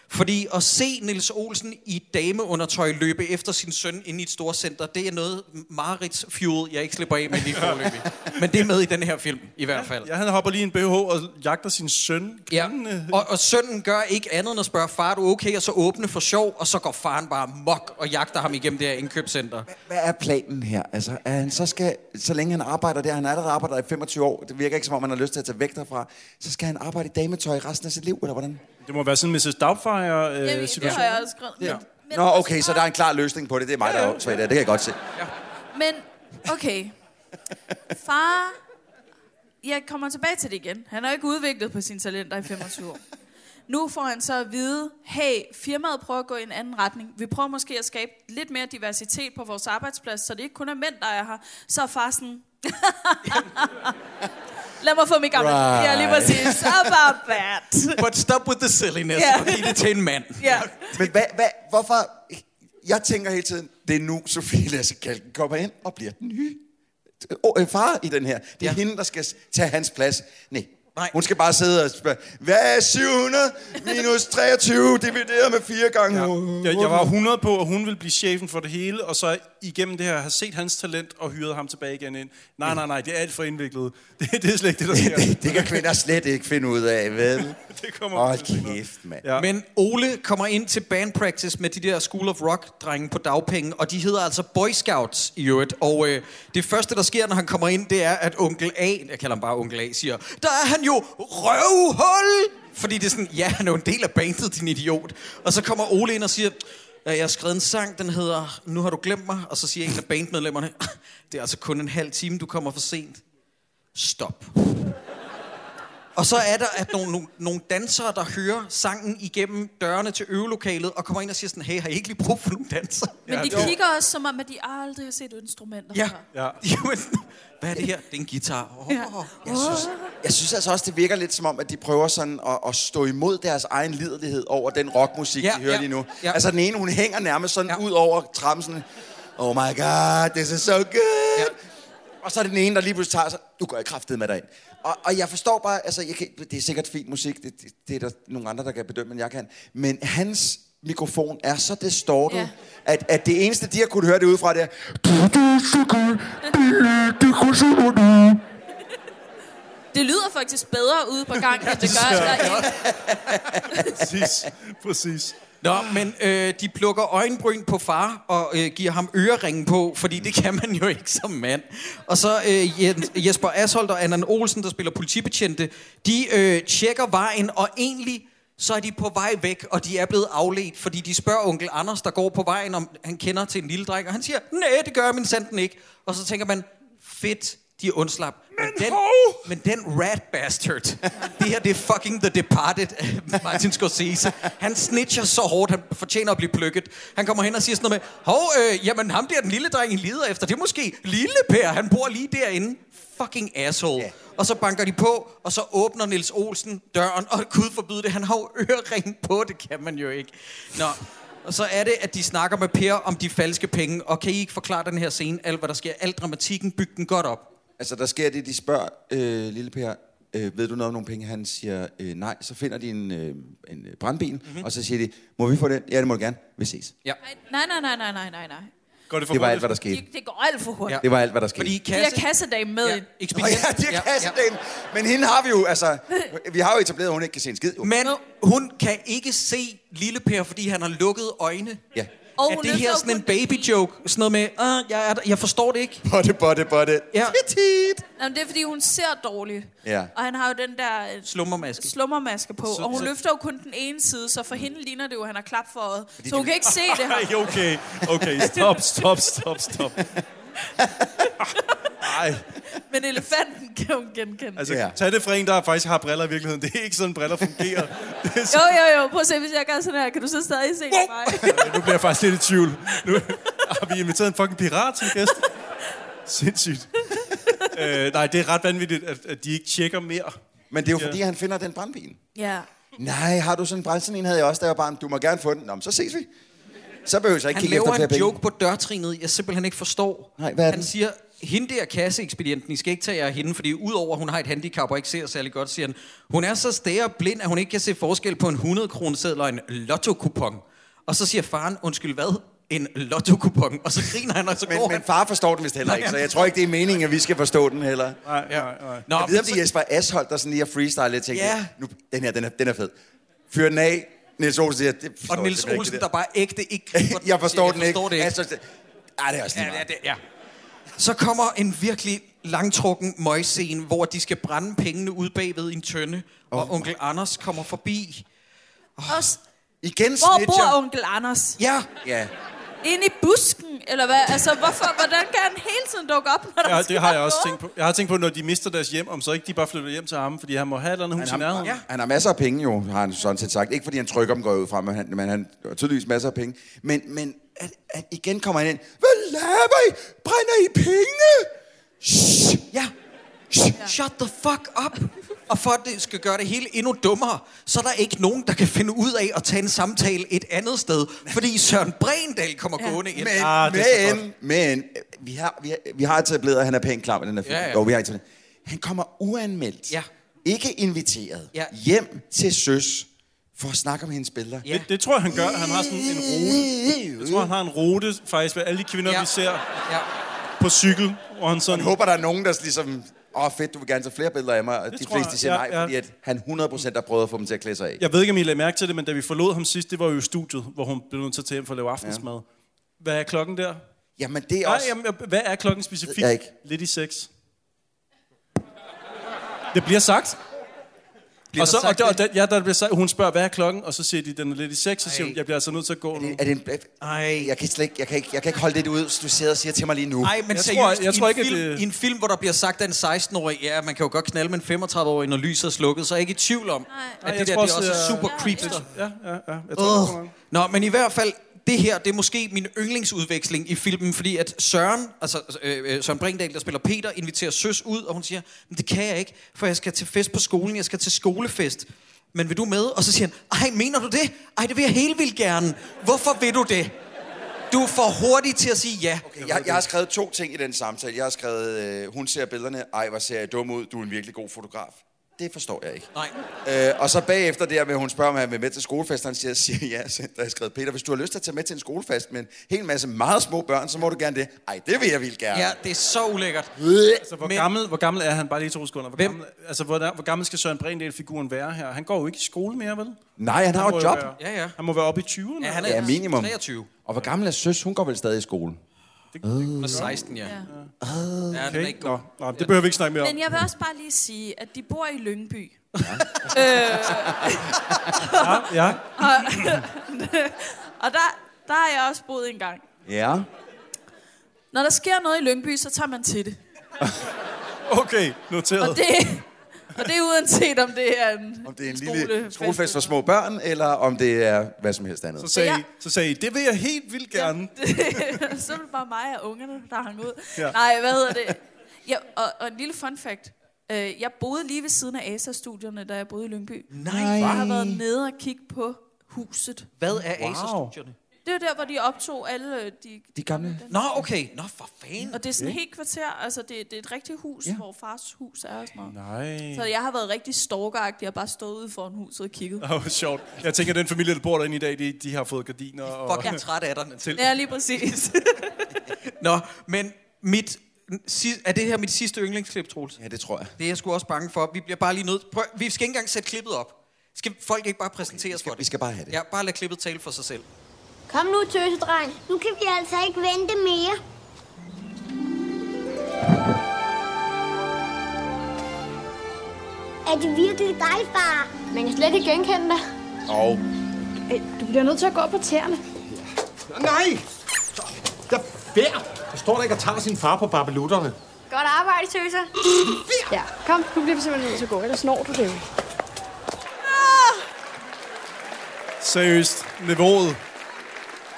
Speaker 6: Fordi at se Niels Olsen i dameundertøj løbe efter sin søn inde i et stort center, det er noget Marits fuel, jeg ikke slipper af med lige forløbig. Men det er med i den her film, i hvert fald.
Speaker 7: ja, han hopper lige i en BH og jagter sin søn.
Speaker 6: Ja, og, og sønnen gør ikke andet end at spørge, far er du okay? Og så åbne for sjov, og så går faren bare mok og jagter ham igennem det her indkøbscenter.
Speaker 5: Hvad er planen her? Altså, at han så skal, så længe han arbejder der, han har allerede arbejder i 25 år, det virker ikke som om, han har lyst til at tage væk derfra, så skal han arbejde i dametøj resten af sit liv, eller hvordan?
Speaker 7: Det må være sådan en Mrs. Doubtfire-situation. Øh,
Speaker 8: Det
Speaker 7: situation.
Speaker 8: har jeg også skrevet.
Speaker 5: Ja. Nå, okay, så der er en klar løsning på det. Det er mig, der er åndssvagt der. Det kan jeg godt se.
Speaker 8: Men, okay. Far, jeg kommer tilbage til det igen. Han har ikke udviklet på sine talenter i 25 år. Nu får han så at vide, hey, firmaet prøver at gå i en anden retning. Vi prøver måske at skabe lidt mere diversitet på vores arbejdsplads, så det ikke kun er mænd, der er her. Så er far sådan, lad mig få min gamle.
Speaker 6: Right.
Speaker 8: Ja, lige præcis. Så bare bad.
Speaker 6: But stop with the silliness,
Speaker 8: Ja.
Speaker 6: yeah. og giv det til en mand.
Speaker 8: Ja.
Speaker 5: Men hvad, hvad, hvorfor... Jeg tænker hele tiden, det er nu, Sofie Lasse Kalken kommer ind og bliver den nye oh, øh, far i den her. Det er ja. hende, der skal s- tage hans plads. Nej. Nej. Hun skal bare sidde og spørge, hvad er 700 minus 23 divideret med 4 gange? Ja.
Speaker 7: Jeg, jeg var 100 på, at hun ville blive chefen for det hele, og så igennem det her have set hans talent og hyret ham tilbage igen ind. Nej, nej, nej, det er alt for indviklet. Det, det er slet ikke det, der sker.
Speaker 5: Det kan kvinder slet ikke finde ud af, vel?
Speaker 7: det kommer
Speaker 5: Hold kæft, mand.
Speaker 7: Ja.
Speaker 6: Men Ole kommer ind til band practice med de der School of Rock-drenge på dagpenge, og de hedder altså Boy Scouts i øvrigt. Og øh, det første, der sker, når han kommer ind, det er, at onkel A, jeg kalder ham bare onkel A, siger, der er han jo røvhul! Fordi det er sådan, ja, han er jo en del af bandet, din idiot. Og så kommer Ole ind og siger, "Ja, jeg har skrevet en sang, den hedder Nu har du glemt mig, og så siger en af bandmedlemmerne, det er altså kun en halv time, du kommer for sent. Stop. Og så er der at nogle, nogle, nogle dansere, der hører sangen igennem dørene til øvelokalet, og kommer ind og siger sådan, hey, har I ikke lige brug for nogle dansere?
Speaker 8: Men de kigger også som om, at de aldrig har set instrumenter
Speaker 6: Ja.
Speaker 8: før.
Speaker 7: ja.
Speaker 6: Jamen, hvad er det her? Det er en guitar. Oh.
Speaker 8: Ja.
Speaker 5: Jeg synes, jeg synes altså også, det virker lidt som om, at de prøver sådan at, at stå imod deres egen liderlighed over den rockmusik, ja, de hører ja, lige nu. Ja. Altså den ene, hun hænger nærmest sådan ja. ud over trappen sådan, oh my god, this is so good. Ja. Og så er det den ene, der lige pludselig tager sig, du går jeg kraftet med dig ind. Og, og jeg forstår bare, altså jeg kan, det er sikkert fin musik, det, det, det er der nogle andre, der kan bedømme, end jeg kan. Men hans mikrofon er så distortet, ja. at, at det eneste, de har kunne høre det udefra, det er...
Speaker 8: Det lyder faktisk bedre ude på gangen, end det gør
Speaker 7: Ja.
Speaker 8: derinde.
Speaker 7: præcis, præcis.
Speaker 6: Nå, men øh, de plukker øjenbryn på far og øh, giver ham øreringen på, fordi det kan man jo ikke som mand. Og så øh, Jens- Jesper Asholdt og Anna Olsen, der spiller politibetjente, de øh, tjekker vejen, og egentlig så er de på vej væk, og de er blevet afledt, fordi de spørger onkel Anders, der går på vejen, om han kender til en lille dreng, og han siger, nej, det gør jeg min sanden ikke. Og så tænker man, fedt, de er undslap. Men den, men den rat bastard, det her det er fucking The Departed, af Martin Scorsese. Han snitcher så hårdt, han fortjener at blive plukket. Han kommer hen og siger sådan noget med, hov, øh, jamen ham der, den lille dreng, I lider efter, det er måske Lille Per, han bor lige derinde. Fucking asshole. Og så banker de på, og så åbner Nils Olsen døren, og gud forbyde det, han har jo ørering på, det kan man jo ikke. Nå, og så er det, at de snakker med Per om de falske penge, og kan I ikke forklare den her scene, alt hvad der sker, alt dramatikken, byg den godt op.
Speaker 5: Altså, der sker det, de spørger øh, Lille Per, øh, ved du noget om nogle penge? Han siger øh, nej. Så finder de en, øh, en øh, brandbil,
Speaker 6: Mhm.
Speaker 5: mm-hmm. og så siger de, må vi få den? Ja, det må du gerne. Vi ses.
Speaker 6: Ja.
Speaker 8: Nej, nej, nej, nej, nej, nej, nej.
Speaker 5: Går det, for det var alt, hvad der skete.
Speaker 8: Det, det går alt for hurtigt.
Speaker 5: Ja. Det var alt, hvad der skete.
Speaker 8: Fordi kasse... De har kassedame med. Ja.
Speaker 5: Nå, ja, det er kassedamen. Men hende har vi jo, altså... Vi har jo etableret, at hun ikke kan se en skid. Jo.
Speaker 6: Men hun kan ikke se Lille Per, fordi han har lukket øjne.
Speaker 5: Ja.
Speaker 6: Og
Speaker 5: Og
Speaker 6: er
Speaker 5: hun
Speaker 6: det
Speaker 5: er
Speaker 6: her
Speaker 5: så
Speaker 6: sådan en baby joke? Sådan noget med, "Ah, jeg, er der, jeg forstår det ikke.
Speaker 5: Botte, botte, botte.
Speaker 6: Ja.
Speaker 8: Petit. Jamen, det er, fordi hun ser dårligt.
Speaker 5: Ja.
Speaker 8: Og han har jo den der øh,
Speaker 6: Slummermaske.
Speaker 8: slummermaske på,
Speaker 6: Så-
Speaker 8: og hun
Speaker 6: så-
Speaker 8: løfter jo kun den ene side, så for hende ligner det jo, at han har klap for øjet.
Speaker 7: Fordi
Speaker 8: så
Speaker 7: det-
Speaker 8: hun kan ikke se det
Speaker 7: Ej,
Speaker 8: her.
Speaker 7: okay, okay, stop, stop, stop, stop. Nej,
Speaker 8: Men elefanten kan hun genkende.
Speaker 7: altså ja. tag det fra en, der faktisk har briller i virkeligheden. Det er ikke sådan, briller fungerer.
Speaker 8: Jo, jo, jo. Prøv at se, hvis jeg gør sådan her. Kan du så stadig se mig?
Speaker 7: nu bliver jeg faktisk lidt i tvivl. Nu har vi inviteret en fucking pirat som gæst. Sindssygt. øh, nej, det er ret vanvittigt, at, at de ikke tjekker mere.
Speaker 5: Men det er jo fordi, han finder den brandbil.
Speaker 8: Ja.
Speaker 5: Nej, har du sådan en brand? Sådan en havde jeg også, da jeg var barn. Du må gerne få den. Nå, men så ses vi. Så behøver jeg ikke
Speaker 6: Han
Speaker 5: kigge efter
Speaker 6: laver
Speaker 5: flere
Speaker 6: en
Speaker 5: penge.
Speaker 6: joke på dørtrinet, jeg simpelthen ikke forstår.
Speaker 5: Nej, hvad er
Speaker 6: han
Speaker 5: den?
Speaker 6: siger, hende der kasseekspedienten, I skal ikke tage jer af hende, fordi udover at hun har et handicap og ikke ser særlig godt, siger han, hun er så stær og blind, at hun ikke kan se forskel på en 100 kroneseddel og en lottokupon. Og så siger faren, undskyld hvad? En lottokupon. Og så griner han, og så
Speaker 5: Men,
Speaker 6: går
Speaker 5: men
Speaker 6: han.
Speaker 5: far forstår den vist heller
Speaker 6: Nej,
Speaker 5: ikke,
Speaker 6: han
Speaker 5: så jeg tror ikke, det er meningen, at vi skal forstå den heller.
Speaker 7: Nej, nej, nej.
Speaker 5: Nå, jeg ved, om det er Jesper Asholdt, der sådan lige har freestyle lidt, tænkte,
Speaker 6: Ja.
Speaker 5: ja. nu, den her, den er, den er fed. Fyr den af. Niels Olsen siger, det forstår
Speaker 6: Og
Speaker 5: jeg
Speaker 6: Niels
Speaker 5: simpelthen ikke,
Speaker 6: Olsen,
Speaker 5: det
Speaker 6: der bare ægte ikke griber
Speaker 5: Jeg forstår den ikke.
Speaker 6: forstår det ikke.
Speaker 5: Altså, det- Ej, det er også lige
Speaker 6: ja, det, ja. Så kommer en virkelig langtrukken møgscene, hvor de skal brænde pengene ud bagved i en tønde, oh, og onkel Anders kommer forbi.
Speaker 8: Og s-
Speaker 5: Igen
Speaker 8: Hvor bor onkel Anders?
Speaker 6: Ja.
Speaker 5: Ja.
Speaker 8: Inde i busken, eller hvad? Altså, hvorfor, hvordan kan han hele tiden dukke op, når der
Speaker 7: Ja,
Speaker 8: sker
Speaker 7: det har jeg også tænkt
Speaker 8: noget?
Speaker 7: på. Jeg har tænkt på, når de mister deres hjem, om så ikke de bare flytter hjem til ham, fordi han må have et eller andet hus i
Speaker 5: Han
Speaker 7: nærheden.
Speaker 5: har, han har masser af penge jo, har han sådan set sagt. Ikke fordi han trykker dem, går jeg ud fra, men han, men han har tydeligvis masser af penge. Men, men at, at igen kommer han ind. Hvad laver I? Brænder I penge? Shh.
Speaker 6: Ja. Shh. Shut the fuck up. Og for at det skal gøre det hele endnu dummere, så er der ikke nogen, der kan finde ud af at tage en samtale et andet sted, fordi Søren Brendal kommer ja. gående ind.
Speaker 5: Men, ah, men, men, øh, vi har, vi, har, vi har etableret, at han er pænt klar med den her film.
Speaker 6: Ja, ja.
Speaker 5: Jo, vi har etableret. Han kommer uanmeldt.
Speaker 6: Ja.
Speaker 5: Ikke inviteret.
Speaker 6: Ja.
Speaker 5: Hjem til søs for at snakke om hendes billeder.
Speaker 7: Ja. Det, det tror jeg, han gør. Han har sådan en rute. Jeg tror, han har en rute faktisk med alle de kvinder, ja. vi ser
Speaker 6: ja.
Speaker 7: på cykel. Og han sådan...
Speaker 5: Jeg håber, der er nogen, der ligesom... Åh, oh, fedt, du vil gerne tage flere billeder af mig. Og de
Speaker 7: tror
Speaker 5: fleste
Speaker 7: jeg,
Speaker 5: siger
Speaker 7: ja,
Speaker 5: nej,
Speaker 7: ja.
Speaker 5: fordi at han 100% har prøvet at få dem til at klæde sig af.
Speaker 7: Jeg ved ikke, om I lagde mærke til det, men da vi forlod ham sidst, det var jo i studiet, hvor hun blev nødt til at tage hjem for at lave aftensmad. Ja. Hvad er klokken der?
Speaker 5: Jamen, det er
Speaker 7: Nej,
Speaker 5: også...
Speaker 7: jamen, jeg- hvad er klokken specifikt?
Speaker 5: Ved jeg ikke.
Speaker 7: Lidt i seks. Det bliver sagt. Bliver og så,
Speaker 5: der sagt
Speaker 7: og, der, og der, ja, der bliver sagt, hun spørger, hvad er klokken? Og så siger de, den er lidt i seks, og siger hun, jeg bliver altså nødt til at gå nu.
Speaker 5: Er det en...
Speaker 6: Ej.
Speaker 5: Jeg kan, slet ikke, jeg, kan ikke, jeg kan ikke holde det ud, du sidder og siger til mig lige nu.
Speaker 6: Nej, men jeg seriøst, tror, jeg tror ikke, film, det... i en film, hvor der bliver sagt af en 16-årig, ja, man kan jo godt knalde med en 35-årig, når lyset er slukket, så er jeg ikke i tvivl om,
Speaker 7: Nej,
Speaker 6: at
Speaker 7: jeg
Speaker 6: det der
Speaker 7: tror
Speaker 6: det er
Speaker 7: også,
Speaker 6: også er
Speaker 7: jeg-
Speaker 6: super creepster.
Speaker 7: Ja, ja, ja. Jeg tror, det kommer
Speaker 6: Ugh. Nå, men i hvert fald, det her, det er måske min yndlingsudveksling i filmen, fordi at Søren, altså øh, øh, Søren Brindahl, der spiller Peter, inviterer Søs ud, og hun siger, men det kan jeg ikke, for jeg skal til fest på skolen, jeg skal til skolefest. Men vil du med? Og så siger han, ej, mener du det? Ej, det vil jeg helt vildt gerne. Hvorfor vil du det? Du er for hurtig til at sige ja.
Speaker 5: Okay, jeg, jeg har skrevet to ting i den samtale. Jeg har skrevet, øh, hun ser billederne, ej, hvor ser jeg dum ud, du er en virkelig god fotograf. Det forstår jeg ikke.
Speaker 6: Nej.
Speaker 5: Øh, og så bagefter der med, hun spørger, om han vil med til skolefest, og han siger, siger ja, så der har jeg skrevet, Peter, hvis du har lyst til at tage med til en skolefest med en hel masse meget små børn, så må du gerne det. Ej, det vil jeg vildt gerne.
Speaker 6: Ja, det er så ulækkert.
Speaker 7: Altså, hvor, men, gammel, hvor gammel er han? Bare lige to sekunder. Hvor gammel, altså, hvor, der, hvor gammel skal Søren Brindahl-figuren være her? Han går jo ikke i skole mere, vel?
Speaker 5: Nej, han har jo
Speaker 7: må
Speaker 5: et job.
Speaker 7: Være,
Speaker 6: ja, ja.
Speaker 7: Han må være oppe i 20'erne.
Speaker 6: Ja, han er
Speaker 5: Ja, minimum.
Speaker 6: 23.
Speaker 5: Og hvor gammel er søs? Hun går vel stadig i skole?
Speaker 6: Og 16, ja. Ja, den er
Speaker 7: Okay.
Speaker 6: ikke
Speaker 7: Nå,
Speaker 6: god.
Speaker 7: nå, det behøver vi ikke snakke mere om.
Speaker 8: Men jeg vil også bare lige sige, at de bor i Lyngby.
Speaker 7: Ja, ja.
Speaker 8: Og, og der, der har jeg også boet en gang.
Speaker 5: Ja.
Speaker 8: Når der sker noget i Lyngby, så tager man til det.
Speaker 7: Okay, noteret.
Speaker 8: Og det, og det er uanset, om det er en,
Speaker 5: Om det er en lille skolefest for små børn, eller om det er hvad som helst andet.
Speaker 8: Så sagde Ja. I-
Speaker 7: så sagde I, det vil jeg helt vildt gerne.
Speaker 8: så er det bare mig og ungerne, der hang ud.
Speaker 7: Ja.
Speaker 8: Ja. Nej, hvad hedder det? Ja, og, og en lille fun fact. Øh, Jeg boede lige ved siden af ASA-studierne, da jeg boede i Lyngby.
Speaker 6: Nej.
Speaker 8: Jeg har været nede og kigge på huset.
Speaker 6: Hvad er wow. Acer-studierne?
Speaker 8: Det er der, hvor de optog alle øh, de...
Speaker 6: De gamle. Nå, okay. Nå, for fanden.
Speaker 8: Og det er sådan
Speaker 6: Okay.
Speaker 8: et helt kvarter, altså det, det er et rigtigt hus, ja. hvor fars hus er og sådan noget.
Speaker 7: Nej.
Speaker 8: Så jeg har været rigtig stalkeragtig og bare stået ude foran huset og kigget.
Speaker 7: Åh, oh, sjovt. Jeg tænker, den familie, der bor derinde i dag, de, de har fået gardiner. Og...
Speaker 6: fucking trætte af dig.
Speaker 7: Til.
Speaker 8: Ja, lige præcis.
Speaker 6: Nå, men mit, si- er det her mit sidste yndlingsklip, Troels?
Speaker 5: Ja, det tror jeg.
Speaker 6: Det er jeg sgu også bange for. Vi bliver bare lige nødt... Prøv, vi skal ikke engang sætte klippet op. Skal folk ikke bare præsenteres for det? Vi
Speaker 5: skal bare have det.
Speaker 6: Ja, bare lad klippet tale for sig selv.
Speaker 9: Kom nu, tøsedreng. Nu kan vi altså ikke vente mere. Er det virkelig dig, far?
Speaker 12: Man kan slet ikke genkende dig.
Speaker 5: Og
Speaker 12: Ej, du bliver nødt til at gå op på tæerne.
Speaker 13: Nej! Der bær! Der står der ikke og tager sin far på barbelutterne.
Speaker 12: Godt arbejde, tøser. Ja, kom, du bliver simpelthen nødt til at gå, ellers når du det jo.
Speaker 7: Seriøst, niveauet.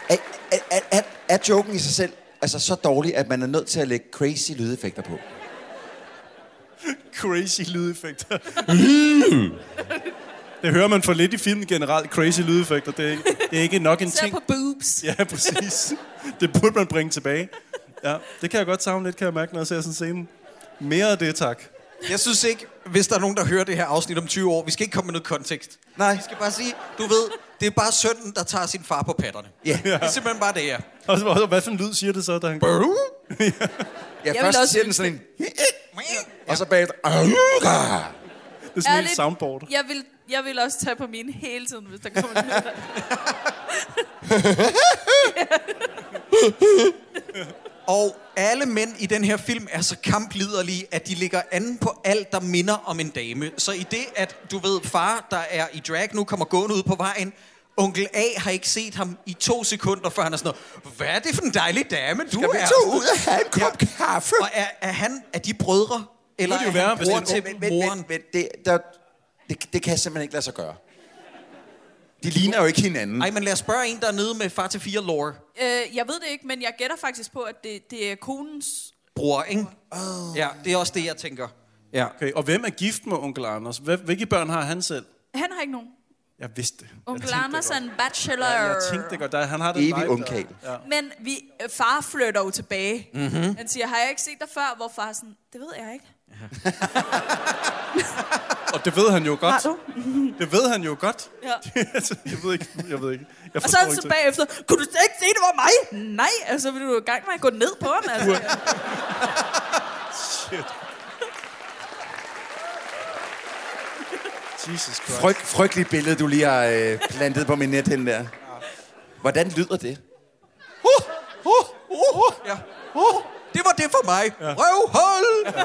Speaker 5: Er, er, er, er, er joken i sig selv altså så dårlig, at man er nødt til at lægge crazy lydeffekter på?
Speaker 7: Crazy lydeffekter. det hører man for lidt i filmen generelt. Crazy lydeffekter. Det er, ikke- det er ikke nok en ting.
Speaker 8: på boobs.
Speaker 7: Ja, præcis. Det burde man bringe tilbage. Ja, det kan jeg godt savne lidt, kan jeg mærke, når jeg ser sådan en scene. Mere af det, tak.
Speaker 6: Jeg synes ikke, hvis der er nogen, der hører det her afsnit om 20 år, vi skal ikke komme med noget kontekst.
Speaker 5: Nej.
Speaker 6: Vi skal bare sige, du ved, det er bare sønnen, der tager sin far på patterne.
Speaker 5: Ja.
Speaker 6: Det er simpelthen bare det, ja.
Speaker 7: Og så- og så, hvad for en lyd siger det så, da han...
Speaker 6: Brrr.
Speaker 5: Ja,
Speaker 6: Jeg vil
Speaker 5: først
Speaker 6: også
Speaker 5: siger den sådan en... Og så bagefter... "Aura!"
Speaker 7: Det er sådan et soundboard.
Speaker 8: Jeg vil, jeg vil også tage på mine hele tiden, hvis der kommer en
Speaker 6: Og alle mænd i den her film er så kampliderlige, at de ligger an på alt, der minder om en dame. Så i det, at du ved, far, der er i drag nu, kommer gående ud på vejen, onkel A har ikke set ham i to sekunder, før han er sådan noget, hvad er det for en dejlig dame, du
Speaker 5: Skal vi
Speaker 6: er?
Speaker 5: tage ud og altså have en kop
Speaker 6: ja. kaffe? Og er, er han, er de brødre? Eller er han bror til
Speaker 5: altså, men, men, men, men det, der, det, det kan simpelthen ikke lade sig gøre. De ligner jo ikke hinanden.
Speaker 6: Nej, men lad os spørge en, der er nede med far til fire lore.
Speaker 8: øh, Jeg ved det ikke, men jeg gætter faktisk på, at det, det er konens...
Speaker 6: Bror, ikke? Oh. Ja, det er også det, jeg tænker. Ja.
Speaker 7: Okay, og hvem er gift med onkel Anders? Hvil- Hvilke børn har han selv?
Speaker 8: Han har ikke nogen.
Speaker 7: Jeg vidste det.
Speaker 8: Onkel
Speaker 7: tænkte det
Speaker 8: Anders er en bachelor.
Speaker 7: Ja, jeg tænkte det godt. Der, han har den
Speaker 5: Evig
Speaker 7: vibe der.
Speaker 5: ungkarl.
Speaker 7: Ja.
Speaker 8: Men vi, øh, far flytter jo tilbage.
Speaker 5: Mhm.
Speaker 8: Han siger, har jeg ikke set dig før? Hvor far er sådan, det ved jeg ikke.
Speaker 7: Og det ved han jo godt.
Speaker 8: Har du?
Speaker 7: Det ved han jo godt.
Speaker 8: Ja.
Speaker 7: Altså, jeg ved ikke. Jeg ved ikke. Jeg
Speaker 8: og så
Speaker 7: forstår
Speaker 8: er han
Speaker 7: ikke
Speaker 8: så
Speaker 7: det.
Speaker 8: bagefter, kunne du slet ikke se, det var mig? Nej, altså vil du i gang med at gå ned på ham? Altså.
Speaker 7: Shit. Jesus Christ.
Speaker 5: Fryg, frygteligt billede, du lige har øh, plantet på min net den der. Hvordan lyder det?
Speaker 6: Uh, uh, uh. Ja. Uh, det var det for mig. Ja. Røvhul!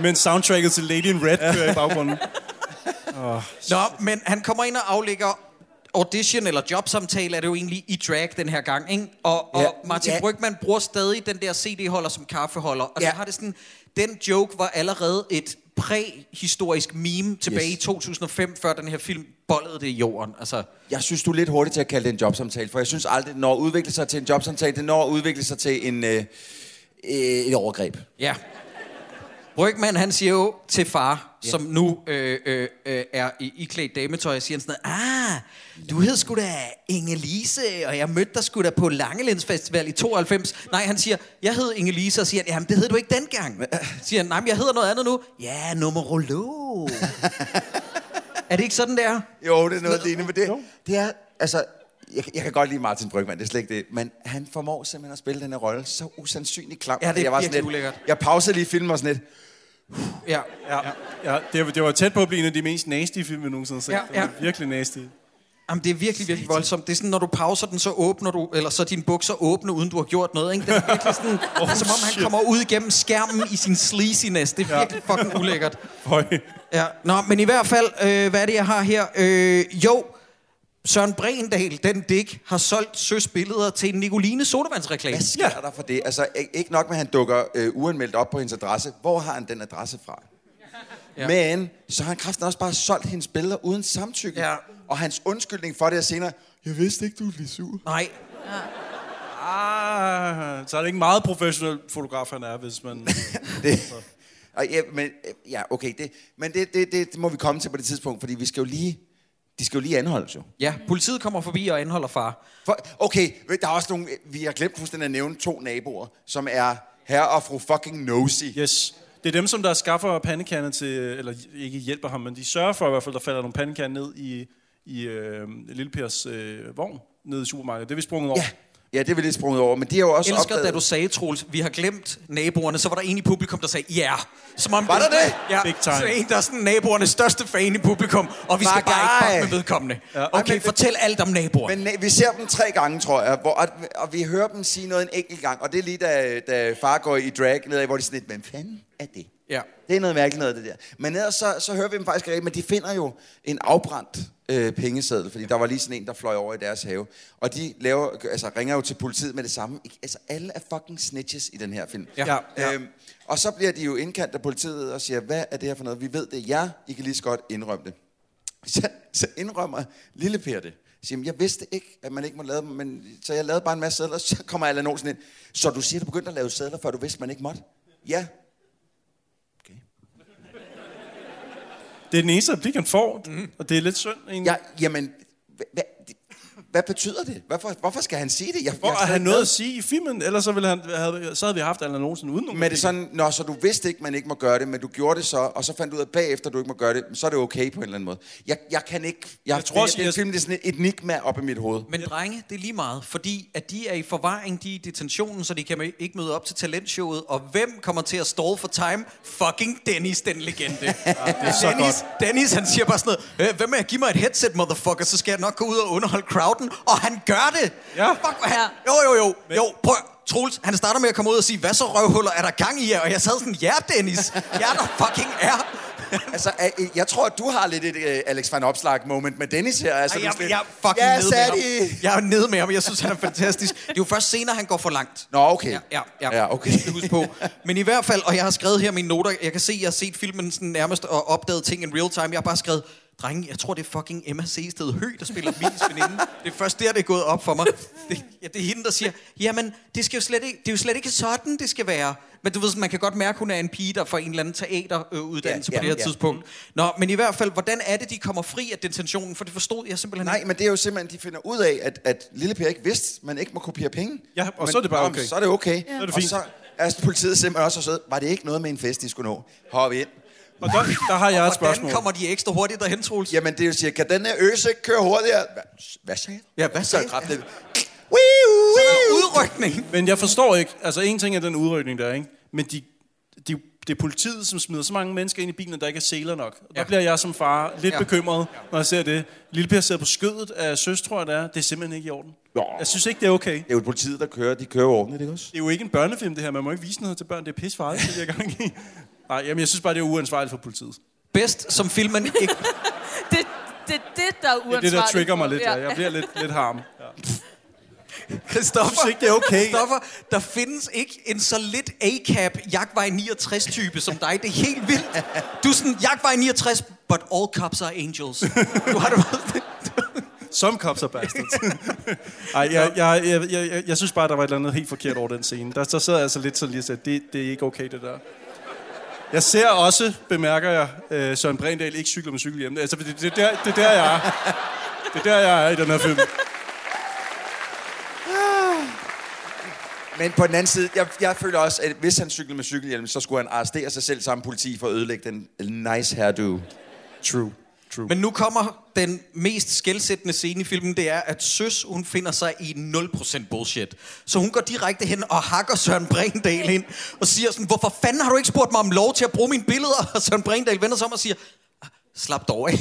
Speaker 7: Imens soundtracket til Lady in Red kører i baggrunden. Oh,
Speaker 6: Nå, men han kommer ind og aflægger audition eller jobsamtale, er det jo egentlig i drag den her gang, ikke? Og, og
Speaker 5: Ja.
Speaker 6: Martin
Speaker 5: Ja.
Speaker 6: Brygman bruger stadig den der CD-holder som kaffeholder, og ja. så har det sådan, den joke var allerede et præhistorisk meme tilbage yes. i 2005, før den her film bollede det i jorden. Altså,
Speaker 5: Jeg synes, du er lidt hurtig til at kalde det en jobsamtale, for jeg synes aldrig, det når at udvikle sig til en jobsamtale, det når at udvikle sig til en, øh, øh, et overgreb.
Speaker 6: ja. Brygman, han siger jo til far, ja. som nu øh, øh, øh, er i iklædt dametøj, siger han sådan noget, ah, du hed sgu da Inge-Lise, og jeg mødte dig sgu da på Langelands Festival i 92. Nej, han siger, jeg hed Inge-Lise, og siger han, jamen det hed du ikke dengang. Siger han, nej, men jeg hedder noget andet nu. Ja, numerolog. er det ikke sådan, der?
Speaker 5: Jo, det er noget lignende, men det, det er, altså, jeg, jeg kan godt lide Martin Brygman, det er slet ikke det, men han formår simpelthen at spille den her rolle så usandsynligt klam.
Speaker 6: Ja, det er
Speaker 5: jeg var sådan
Speaker 6: virkelig
Speaker 5: lidt,
Speaker 6: ulækkert.
Speaker 5: Jeg pausede lige filmen og sådan lidt.
Speaker 6: Ja.
Speaker 7: Ja, ja det, var- det var tæt på at blive en af de mest nasty film, jeg nogensinde har set.
Speaker 6: Ja,
Speaker 7: Det var
Speaker 6: ja.
Speaker 7: Virkelig nasty.
Speaker 6: Jamen, det er virkelig, virkelig voldsomt. Det er sådan, når du pauser den, så åbner du, eller så er dine bukser åbne, uden du har gjort noget, ikke? Det er virkelig sådan, oh, som om han
Speaker 7: shit.
Speaker 6: kommer ud igennem skærmen i sin sleaziness. Det er virkelig fucking ulækkert.
Speaker 7: Høj.
Speaker 6: Ja, nå, men i hvert fald, øh, hvad er det, jeg har her? Øh, jo, Søren Brendal, den dæk, har solgt søs billeder til en Nicoline sodavandsreklame.
Speaker 5: Hvad sker der for det? Altså, ik- ikke nok med, at han dukker øh, uanmeldt op på hendes adresse. Hvor har han den adresse fra? Ja. Men så har han kraften også bare solgt hendes billeder uden samtykke. Ja. Og hans undskyldning for det er senere, jeg vidste ikke, du ville blive sur.
Speaker 6: Nej.
Speaker 7: Ah, så er det ikke meget professionel fotograf, han er, hvis man...
Speaker 5: det, og ja, men, øh, ja, okay, det, men det, det, det, det, må vi komme til på det tidspunkt, fordi vi skal jo lige, de skal jo lige anholdes jo.
Speaker 6: Ja, politiet kommer forbi og anholder far.
Speaker 5: For, okay, ved- der er også nogle, vi har glemt fuldstændig at nævne to naboer, som er herre og fru fucking nosy.
Speaker 7: Yes. Det er dem, som der skaffer pandekander til, eller ikke hjælper ham, men de sørger for i hvert fald, der falder nogle pandekander ned i, i øh, Lille Pers øh, vogn nede i supermarkedet. Det er vi sprunget over.
Speaker 5: Ja, det er vi lidt sprunget over, men de har jo
Speaker 6: Også Elsker, da du sagde, Troels, vi har glemt naboerne, så var der en i publikum, der sagde, ja. Yeah. Som om
Speaker 5: Var der det?
Speaker 6: Ja,
Speaker 5: Big time.
Speaker 6: så en, der er sådan naboernes største fan i publikum, og vi skal
Speaker 5: Fuck
Speaker 6: bare ikke
Speaker 5: ej.
Speaker 6: fuck med vedkommende.
Speaker 5: Ja.
Speaker 6: Okay, fortæl alt om naboer.
Speaker 5: Men na- vi ser dem tre gange, tror jeg, hvor, og, og vi hører dem sige noget en enkelt gang. Og det er lige, da, da far går i drag nedad, hvor de er sådan lidt, hvem fanden er det?
Speaker 6: Ja.
Speaker 5: Det er noget mærkeligt noget, det der. Men ellers så, så hører vi dem faktisk rigtigt, men de finder jo en afbrændt øh, pengeseddel, fordi der var lige sådan en, der fløj over i deres have. Og de laver, altså, ringer jo til politiet med det samme. Ikke- Altså, alle er fucking snitches i den her film.
Speaker 6: Ja.
Speaker 5: Ja. Øhm, og så bliver de jo indkaldt af politiet og siger, hvad er det her for noget? Vi ved det er jer, I kan lige så godt indrømme det. Så, så indrømmer lille Per det. Siger, "Jamen, jeg vidste ikke, at man ikke må lave dem, men, så jeg lavede bare en masse sædler, så kommer Allan Olsen ind. Så du siger, du begyndte at lave sædler, før du vidste, man ikke måtte? Ja.
Speaker 7: Det er den eneste replik, han får, mm. og det er lidt synd. Egentlig.
Speaker 5: Ja, jamen, hvad, hvad, hvad betyder det? Hvorfor, hvorfor skal han sige det? Jeg, altså
Speaker 7: Hvor
Speaker 5: jeg
Speaker 7: har han noget at sige i filmen? Ellers så, ville han, havde, så havde vi haft Allan Olsen uden nogen.
Speaker 5: Men er det sådan, nå, så du vidste ikke, man ikke må gøre det, men du gjorde det så, og så fandt du ud af bagefter, du ikke må gøre det, så er det okay på en eller anden måde. Jeg, jeg kan ikke... Jeg, jeg tror,
Speaker 6: tror
Speaker 5: det,
Speaker 6: også,
Speaker 5: den
Speaker 6: jeg-
Speaker 5: film, det er sådan et enigma op i mit hoved.
Speaker 6: Men drenge, det er lige meget, fordi at de er i forvaring, de er i detentionen, så de kan ikke møde op til talentshowet. Og hvem kommer til at stå for time? Fucking Dennis, den legende. ja,
Speaker 7: det er så
Speaker 6: Dennis,
Speaker 7: godt.
Speaker 6: Dennis, han siger bare sådan noget, "Øh, hvad med at give mig et headset, motherfucker, så skal jeg nok gå ud og underholde crowden. Og han gør det! Ja. Fuck, hvor han, jo, jo, jo, jo, prøv. Troels, han starter med at komme ud og sige, hvad så røvhuller er der gang i jer? Og jeg sad sådan, ja, Dennis, ja, der fucking er.
Speaker 5: altså, øh, jeg tror, at du har lidt et øh, Alex van Opslag moment med Dennis her. Altså,
Speaker 6: Ej,
Speaker 5: du er
Speaker 6: jeg,
Speaker 5: sådan
Speaker 6: jeg,
Speaker 5: lidt,
Speaker 6: jeg
Speaker 5: "Ja,
Speaker 6: er fucking nede med
Speaker 5: sat i."
Speaker 6: ham. Jeg er nede med ham. Jeg synes, han er fantastisk. Det er jo først senere, han går for langt.
Speaker 5: Nå, okay.
Speaker 6: Ja, ja, ja. ja okay. Det skal du huske på. Men i hvert fald, og jeg har skrevet her mine noter. Jeg kan se, jeg har set filmen sådan nærmest og opdaget ting in real time. Jeg har bare skrevet, drenge, jeg tror, det er fucking Emma Sehsted Hø, der spiller min veninde. Det er først der, det er gået op for mig. Det, ja, det er hende, der siger, jamen, det, skal jo slet ikke, det er jo slet ikke sådan, det skal være. Men du ved, sådan, man kan godt mærke, hun er en pige, der får en eller anden teateruddannelse
Speaker 5: Ja,
Speaker 6: på det
Speaker 5: ja,
Speaker 6: her
Speaker 5: ja.
Speaker 6: tidspunkt. Nå, men i hvert fald, hvordan er det, de kommer fri af detentionen? For det forstod jeg simpelthen
Speaker 5: Nej, men det er jo simpelthen, de finder ud af, at, at lille Per ikke vidste, man ikke må kopiere penge.
Speaker 7: Ja, og
Speaker 5: men,
Speaker 7: så er det bare
Speaker 5: nå, men
Speaker 7: okay.
Speaker 5: Så er det okay.
Speaker 7: Ja. Så er det
Speaker 5: Og
Speaker 7: fint.
Speaker 5: så er politiet simpelthen også sød. Var det ikke noget med en fest, de skulle nå? Hop ind.
Speaker 7: Og der, der har jeg et
Speaker 6: spørgsmål. kommer de ekstra hurtigt derhen, Troels?
Speaker 5: Jamen, det er jo siger, kan den her øse ikke køre hurtigere? Hvad, hvad sagde du?
Speaker 6: Ja, hvad sagde
Speaker 5: du? Så
Speaker 6: udrykning.
Speaker 7: Men jeg forstår ikke. Altså, en ting er den udrykning der, ikke? Men de, de, det er politiet, som smider så mange mennesker ind i bilen, at der ikke er seler nok. Og der
Speaker 6: Ja.
Speaker 7: bliver jeg som far lidt
Speaker 6: Ja.
Speaker 7: ja. bekymret, når jeg ser det. Lille Per sidder på skødet af søs, tror jeg, det er. Det er simpelthen ikke i orden. Jeg synes ikke, det er okay. Det
Speaker 5: er jo politiet, der kører. De kører ordentligt, ikke også?
Speaker 7: Det er jo ikke en børnefilm, det her. Man må ikke vise noget til børn. Det er pissefarligt, det er gang i. Nej, jamen, jeg synes bare, det er uansvarligt for politiet.
Speaker 6: Bedst, som filmen ikke...
Speaker 8: Det, det er det, der
Speaker 7: Det er
Speaker 8: er
Speaker 7: det,
Speaker 8: uansvarligt.
Speaker 7: der trigger mig lidt. Ja. Jeg bliver lidt, lidt harm. Ja.
Speaker 6: Christoffer,
Speaker 7: synes ikke, det er okay.
Speaker 6: Christoffer, der findes ikke en så lidt A-cap Jagtvej 69-type som dig. Det er helt vildt. Du er sådan, Jagtvej 69, but all cops are angels. Du har det meget...
Speaker 7: Some cops are bastards. Ej, jeg, jeg, jeg, jeg, jeg, jeg synes bare, der var et eller andet helt forkert over den scene. Der, der sad jeg altså lidt sådan lige og sagde, det, det er ikke okay, det der. Jeg ser også, bemærker jeg, øh, Søren Brindahl ikke cykler med cykel hjemme. Altså, det, det, er der, det er der, jeg er. Det er der, jeg er i den her film.
Speaker 5: Men på den anden side, jeg, jeg føler også, at hvis han cyklede med cykelhjelm, så skulle han arrestere sig selv sammen med politi for at ødelægge den nice hairdo.
Speaker 7: True. True.
Speaker 6: Men nu kommer den mest skældsættende scene i filmen, det er, at Søs, hun finder sig i 0% bullshit. Så hun går direkte hen og hakker Søren Brindal ind og siger sådan, hvorfor fanden har du ikke spurgt mig om lov til at bruge mine billeder? Og Søren Brindal vender sig om og siger, "Ah, slap dog af.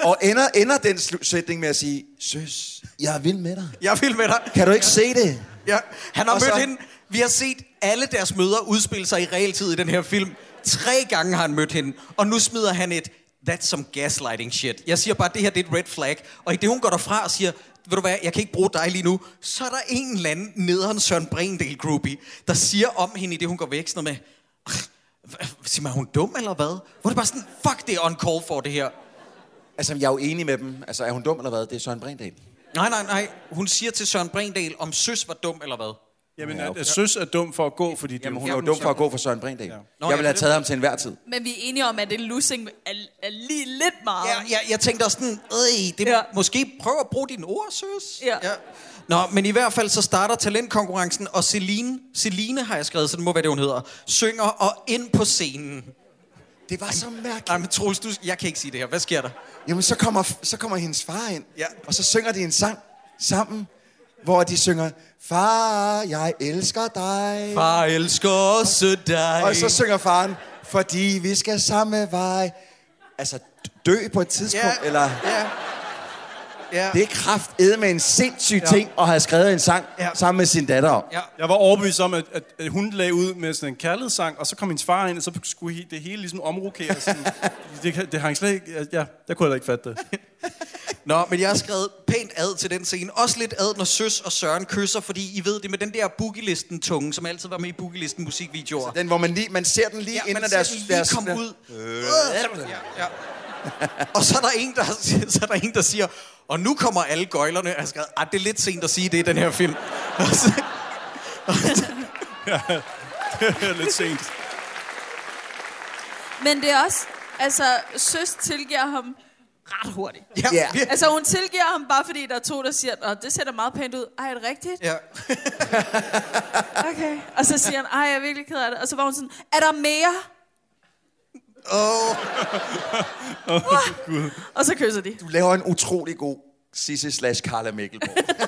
Speaker 5: Og ender, ender den slu- sætning med at sige, søs, jeg er vild med dig.
Speaker 6: Jeg vil med dig.
Speaker 5: Kan du ikke se det?
Speaker 6: Ja, han har
Speaker 5: Og
Speaker 6: mødt
Speaker 5: så-
Speaker 6: hende. Vi har set alle deres møder udspille sig i realtid i den her film. Tre gange har han mødt hende, og nu smider han et That's some gaslighting shit. Jeg siger bare, at det her det er et red flag. Og i det, hun går derfra og siger, ved du hvad, jeg kan ikke bruge dig lige nu, så er der en eller anden nederen Søren Brindel groupie, der siger om hende i det, hun går væk, sådan noget med, "Ah, hva- sig mig, er hun dum eller hvad? Hvor er det bare sådan, fuck, det er on call for det her.
Speaker 5: Altså, jeg er jo enig med dem. Altså, er hun dum eller hvad? Det er Søren Brindal.
Speaker 6: Nej, nej, nej. Hun siger til Søren Brindal, om søs var dum eller hvad?
Speaker 7: Jamen, at, at søs er dum for at gå, fordi det
Speaker 5: Jamen, hun er jo dum for at gå for Søren Brindal. Ja. jeg ville
Speaker 6: ja,
Speaker 5: have
Speaker 6: det-
Speaker 5: taget ham til enhver tid.
Speaker 8: Men vi er enige om, at det losing er, er lige lidt meget.
Speaker 6: Ja, ja, jeg tænkte også sådan, øh, det ja. måske prøv at bruge dine ord, søs. Ja. ja. Nå, men i hvert fald så starter talentkonkurrencen, og Celine, Celine har jeg skrevet, så det må være det, hun hedder, synger og ind på scenen.
Speaker 5: Det var så mærkeligt.
Speaker 6: Nej, men Troels, du, jeg kan ikke sige det her. Hvad sker der?
Speaker 5: Jamen, så kommer, så kommer hendes far ind,
Speaker 6: ja.
Speaker 5: og så synger de en sang sammen, hvor de synger, Far, jeg elsker dig.
Speaker 6: Far elsker også dig.
Speaker 5: Og så synger faren, fordi vi skal samme vej. Altså, dø på et tidspunkt,
Speaker 6: Ja,
Speaker 5: eller...
Speaker 6: Ja. Ja.
Speaker 5: Det er kraft med en sindssyg
Speaker 7: Ja.
Speaker 5: ja. ting at have skrevet en sang ja. sammen med sin datter om.
Speaker 6: Ja.
Speaker 7: Jeg var overbevist om, at, at, at hun lagde ud med sådan en kærlighedssang, og så kom hendes far ind, og så skulle he- det hele ligesom omrokeres. Sådan. det, kan- det hang slet ikke... Jeg, jeg, jeg kunne heller ikke fatte det.
Speaker 6: Nå, men jeg har skrevet pænt ad til den scene. Også lidt ad, når Søs og Søren kysser, fordi I ved det med den der boogielisten-tunge, som altid var med i boogielisten musikvideoer.
Speaker 5: Den, hvor man, lige, man ser den lige
Speaker 6: Ja, altså,
Speaker 5: ja, inden
Speaker 6: man
Speaker 5: at
Speaker 6: ser
Speaker 5: deres...
Speaker 6: den lige
Speaker 5: deres
Speaker 6: komme ud.
Speaker 5: Øh,
Speaker 6: Ja, ja. Og så er der en, der, så er der en, der siger, og nu kommer alle gøjlerne. Jeg har skrevet, "Ah, det er lidt sent at sige det i den her film. Og så- og så-
Speaker 7: Lidt sent.
Speaker 8: Men det er også, altså, søs tilgiver ham ret hurtigt.
Speaker 6: Ja. Ja.
Speaker 8: Altså, hun tilgiver ham bare fordi, der er to, der siger, at det ser da meget pænt ud. Ej, er det rigtigt?
Speaker 6: Ja.
Speaker 8: Okay. Og så siger han, ej, jeg er virkelig ked af det. Og så var hun sådan, er der mere?
Speaker 6: Åh.
Speaker 5: Åh,
Speaker 8: Gud. Og så kysser de.
Speaker 5: Du laver en utrolig god Sisse slash Carla Mikkelborg.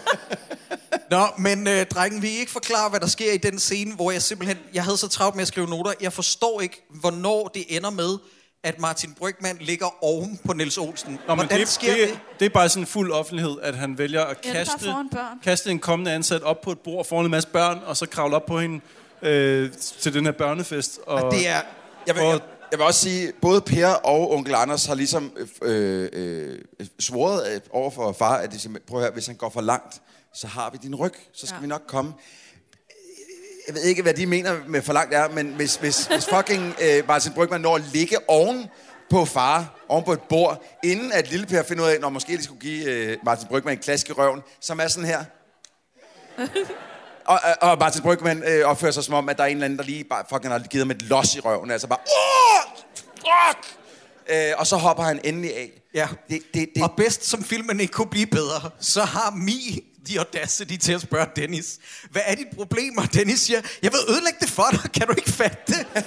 Speaker 6: Nå, men øh, drengen, vi ikke forklare, hvad der sker i den scene, hvor jeg simpelthen, jeg havde så travlt med at skrive noter. Jeg forstår ikke, hvornår det ender med, at Martin Brygman ligger oven på Niels Olsen.
Speaker 7: Nå, men
Speaker 6: Hvordan
Speaker 7: det,
Speaker 6: sker
Speaker 7: det, det? det er bare sådan fuld offentlighed, at han vælger at
Speaker 8: Ja, det er bare
Speaker 7: kaste,
Speaker 8: foran børn.
Speaker 7: kaste en kommende ansat op på et bord foran en masse børn, og så kravle op på hende øh, til den her børnefest. Og,
Speaker 5: det er- Jeg vil, jeg, jeg vil også sige, både Per og onkel Anders har ligesom øh, øh, øh, svoret øh, over for far, at de siger, prøv at høre, hvis han går for langt, så har vi din ryg, så skal ja. vi nok komme. Jeg ved ikke, hvad de mener med for langt er, men hvis, hvis, hvis fucking øh, Martin Brygman når at ligge oven på far, oven på et bord, inden at lille Per finder ud af, når måske de skulle give øh, Martin Brygman en klask i røven, som er sådan her. Og, og, og Martin Brygman øh, opfører sig som om, at der er en eller anden, der lige bare fucking har givet ham et los i røven. Altså bare, Åh! Fuck! Øh, og så hopper han endelig af.
Speaker 6: Ja.
Speaker 5: Det, det, det.
Speaker 6: Og bedst som filmen ikke kunne blive bedre, så har Mi de audacity til at spørge Dennis, hvad er dit problem? Og Dennis siger, jeg vil ødelægge det for dig, kan du ikke fatte det?